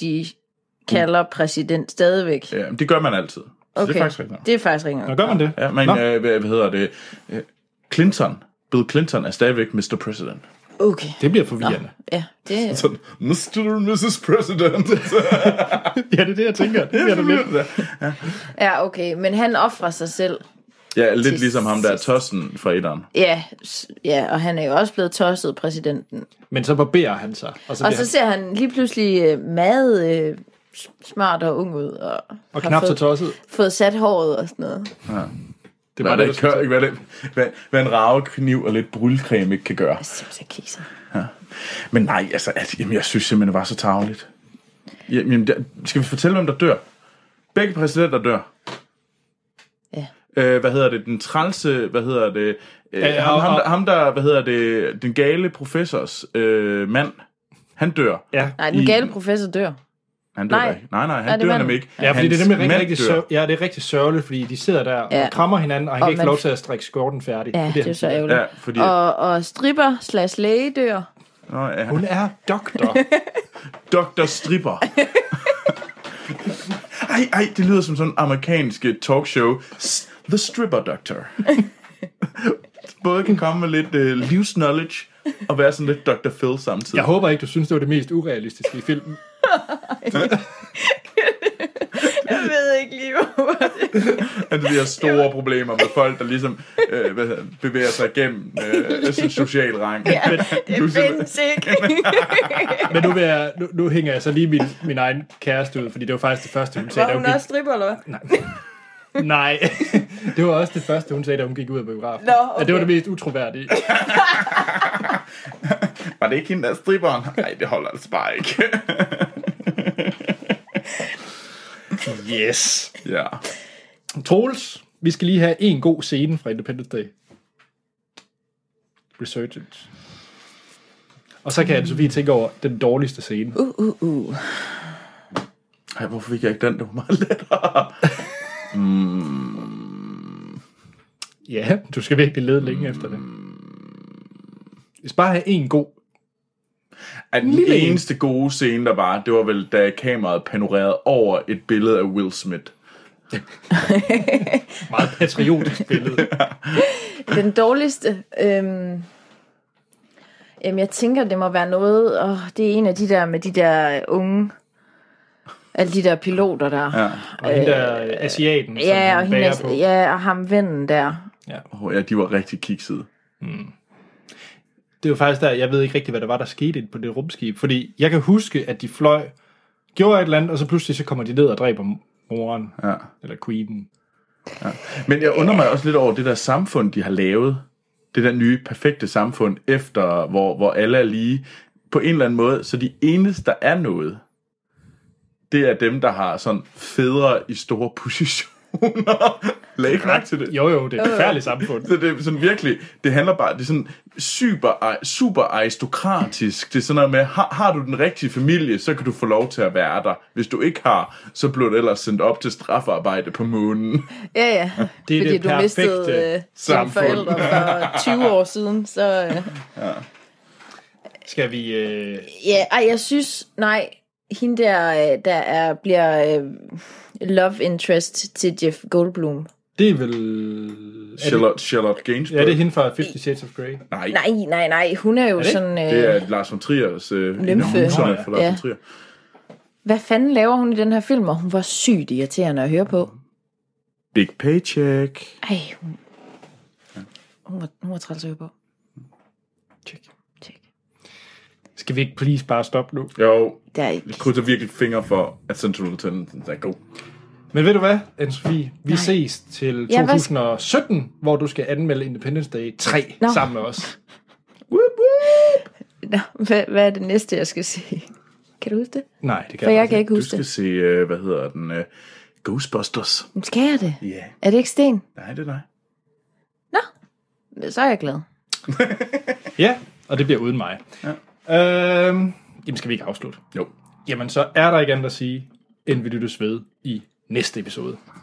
[SPEAKER 3] de kalder præsident stadigvæk.
[SPEAKER 2] Ja, men det gør man altid. Okay. Det
[SPEAKER 3] Okay.
[SPEAKER 2] er faktisk rigtigt. nok.
[SPEAKER 3] Det er faktisk ringet.
[SPEAKER 1] Nå, gør man det?
[SPEAKER 2] Ja, men
[SPEAKER 1] Nå.
[SPEAKER 2] øh, hvad, hvad hedder det? Øh, Clinton. Bill Clinton er stadigvæk Mr. President.
[SPEAKER 3] Okay.
[SPEAKER 1] Det bliver forvirrende.
[SPEAKER 3] Ja, det,
[SPEAKER 2] Sådan, Mr. and Mrs. President.
[SPEAKER 1] Ja, det er det, jeg tænker. Det bliver det lidt.
[SPEAKER 3] ja, okay. Men han offrer sig selv.
[SPEAKER 2] ja, lidt ligesom ham, der er tossen fra etteren.
[SPEAKER 3] Ja, s- ja, og han er jo også blevet tosset, præsidenten.
[SPEAKER 1] Men så barberer han sig. Og så,
[SPEAKER 3] Og
[SPEAKER 1] bliver
[SPEAKER 3] så
[SPEAKER 1] han,
[SPEAKER 3] ser han lige pludselig øh, meget øh, s- smart og ung ud. Og,
[SPEAKER 1] og
[SPEAKER 3] har
[SPEAKER 1] knap så
[SPEAKER 3] fået,
[SPEAKER 1] tosset.
[SPEAKER 3] fået sat håret og sådan noget.
[SPEAKER 1] Det
[SPEAKER 2] Hvad,
[SPEAKER 1] var
[SPEAKER 2] der
[SPEAKER 1] det,
[SPEAKER 2] ikke, gør- hvad, det, hvad, hvad en ravekniv og lidt bryllecreme ikke kan gøre.
[SPEAKER 3] Simpelthen kiser.
[SPEAKER 2] Men nej, altså, at, jamen, jeg synes simpelthen, det var så tageligt. Jamen, der, skal vi fortælle, hvem der dør? Begge præsidenter dør.
[SPEAKER 3] Ja.
[SPEAKER 2] Øh, hvad hedder det? Den trælse, hvad hedder det? Øh,
[SPEAKER 1] Ja,
[SPEAKER 2] ham,
[SPEAKER 1] og-
[SPEAKER 2] ham,
[SPEAKER 1] og-
[SPEAKER 2] der, ham der, hvad hedder det? Den gale professors øh, mand, han dør.
[SPEAKER 1] Ja.
[SPEAKER 3] Nej, den
[SPEAKER 2] I-
[SPEAKER 3] gale professor dør.
[SPEAKER 2] Han dør
[SPEAKER 3] Nej.
[SPEAKER 2] da ikke. Nej, nej,
[SPEAKER 3] Er
[SPEAKER 2] han
[SPEAKER 3] det
[SPEAKER 2] dør
[SPEAKER 3] manden?
[SPEAKER 2] nemlig ikke.
[SPEAKER 1] Ja, fordi det er
[SPEAKER 2] Hans
[SPEAKER 1] nemlig rigtig,
[SPEAKER 2] mand
[SPEAKER 1] rigtig,
[SPEAKER 2] dør.
[SPEAKER 1] sør- ja, det er rigtig sørgeligt, fordi de sidder der og
[SPEAKER 3] Ja.
[SPEAKER 1] krammer hinanden, og han
[SPEAKER 3] Og
[SPEAKER 1] kan ikke få
[SPEAKER 3] man-
[SPEAKER 1] lov til at strikke skjorten færdig.
[SPEAKER 3] Ja,
[SPEAKER 1] er
[SPEAKER 3] det, det er jo så
[SPEAKER 1] han siger.
[SPEAKER 3] ærgerligt.
[SPEAKER 2] Ja, fordi...
[SPEAKER 3] Og, og stripper slash læge dør.
[SPEAKER 2] Nå, ja.
[SPEAKER 1] Hun er doktor.
[SPEAKER 2] Dr. Stripper. ej, ej, det lyder som sådan en amerikansk øh, talkshow. S- The Stripper Doctor. Både kan komme med lidt uh, loose knowledge og være sådan lidt Dr. Phil samtidig.
[SPEAKER 1] Jeg håber ikke, du synes, det var det mest urealistiske i filmen.
[SPEAKER 3] Jeg ved ikke lige, hvor
[SPEAKER 2] At vi har Altså, store problemer med folk, der ligesom øh, hvad hedder- bevæger sig igennem øh, sådan social rang. Ja,
[SPEAKER 3] det findes ikke.
[SPEAKER 1] Men nu, vil jeg, nu, nu hænger jeg så lige min, min egen kæreste ud, fordi det var faktisk det første, hun sagde, da
[SPEAKER 3] Var
[SPEAKER 1] hun
[SPEAKER 3] hun
[SPEAKER 1] gik...
[SPEAKER 3] også stripper, eller hvad?
[SPEAKER 1] Nej, det var også det første, hun sagde, da hun gik ud af biografen.
[SPEAKER 3] Nå, okay.
[SPEAKER 1] At det var det mest utroværdige.
[SPEAKER 2] Var det ikke hende der stripperen? Nej, det holder altså bare ikke.
[SPEAKER 1] Yes.
[SPEAKER 2] ja.
[SPEAKER 1] Troels, vi skal lige have en god scene fra Independence Day. Resurgence. Og så kan jeg, Sofie tænke over den dårligste scene.
[SPEAKER 3] Uh, uh, uh.
[SPEAKER 2] Ej, hvorfor fik jeg ikke den? Det var meget lettere.
[SPEAKER 1] Ja, du skal virkelig lede længe efter det. Hvis bare have en god.
[SPEAKER 2] At den
[SPEAKER 1] Lille en.
[SPEAKER 2] eneste gode scene, der var, det var vel, da kameraet panorerede over et billede af Will Smith.
[SPEAKER 1] Meget patriotisk billede.
[SPEAKER 3] Den dårligste... Øhm, jamen, jeg tænker, det må være noget... Og det er en af de der med de der unge... Alle de der piloter der. Ja,
[SPEAKER 1] Og hende der øh, asiaten, som
[SPEAKER 3] ja og,
[SPEAKER 1] han bærer på.
[SPEAKER 3] hende, ja, og ham vennen der.
[SPEAKER 2] Oh, ja, de var rigtig kiksede.
[SPEAKER 1] Det var faktisk der, jeg ved ikke rigtig, hvad der var, der skete inde på det rumskib. Fordi jeg kan huske, at de fløj, gjorde et eller andet, og så pludselig så kommer de ned og dræber moren.
[SPEAKER 2] Ja.
[SPEAKER 1] Eller queenen.
[SPEAKER 2] Men jeg undrer mig også lidt over det der samfund, de har lavet. Det der nye, perfekte samfund, efter hvor, hvor alle er lige. På en eller anden måde, så de eneste, der er noget, det er dem, der har sådan fædre i store positioner. Læg ikke mærke til det.
[SPEAKER 1] Jo jo, det
[SPEAKER 3] Øh.
[SPEAKER 1] er et forfærdeligt samfund.
[SPEAKER 2] Så det er sådan virkelig, det handler bare, det er sådan super, super aristokratisk. Det er sådan noget med, har, har du den rigtige familie, så kan du få lov til at være der. Hvis du ikke har, så bliver du ellers sendt op til straffearbejde på månen.
[SPEAKER 3] Ja, ja.
[SPEAKER 1] Det er
[SPEAKER 3] Fordi
[SPEAKER 1] det
[SPEAKER 3] du mistede
[SPEAKER 1] perfekte
[SPEAKER 3] øh, dine
[SPEAKER 2] samfund.
[SPEAKER 3] forældre for 20 år siden, så... Øh,
[SPEAKER 1] Skal vi... Øh...
[SPEAKER 3] Ja, ej, jeg synes, nej, hende der, øh, der er, bliver øh, love interest til Jeff Goldblum.
[SPEAKER 1] Det er vel... Er det,
[SPEAKER 2] Charlotte, Charlotte Gainsbourg.
[SPEAKER 1] ja, det er hende fra Fifty Shades of Grey.
[SPEAKER 2] Nej,
[SPEAKER 3] Nej, nej, nej, hun er jo
[SPEAKER 1] det ikke?
[SPEAKER 3] sådan... Øh,
[SPEAKER 2] det er Lars von Triers øh, en af
[SPEAKER 3] Lymfe.
[SPEAKER 2] huserne
[SPEAKER 1] Nå,
[SPEAKER 2] for Lars
[SPEAKER 3] ja.
[SPEAKER 2] von Trier.
[SPEAKER 3] Hvad fanden laver hun i den her film? Og hun var sygt irriterende at høre på.
[SPEAKER 2] Big paycheck.
[SPEAKER 3] Ej, hun... Hun var, hun var træls at høre på. Tjek. Tjek.
[SPEAKER 1] Skal vi ikke please bare stoppe nu?
[SPEAKER 2] Jo,
[SPEAKER 3] Der er
[SPEAKER 2] jeg
[SPEAKER 3] ikke...
[SPEAKER 2] krydser virkelig fingre for, at Central Tendency er god.
[SPEAKER 1] Men ved du hvad, Anne-Sophie? Vi Nej. ses til
[SPEAKER 3] Ja, hvad sk-
[SPEAKER 1] 2017, hvor du skal anmelde Independence Day 3
[SPEAKER 3] Nå.
[SPEAKER 1] no. sammen med os.
[SPEAKER 3] Nå, hvad, hvad er det næste, jeg skal se? Kan du huske det?
[SPEAKER 1] Nej, det kan
[SPEAKER 3] For jeg kan
[SPEAKER 1] ikke.
[SPEAKER 3] ikke
[SPEAKER 2] Du
[SPEAKER 3] huske
[SPEAKER 2] skal
[SPEAKER 3] det.
[SPEAKER 2] se, øh, hvad hedder den, øh, Ghostbusters.
[SPEAKER 3] Men Skal jeg det?
[SPEAKER 2] Ja, yeah.
[SPEAKER 3] Er det ikke Sten?
[SPEAKER 2] nej, det er dig.
[SPEAKER 3] Så er jeg glad.
[SPEAKER 1] Ja, og det bliver uden mig. Ja. Øhm, jamen, skal vi ikke afslutte?
[SPEAKER 2] Jo.
[SPEAKER 1] Jamen, så er der ikke andet at sige, end vi lyttes ved i næste episode.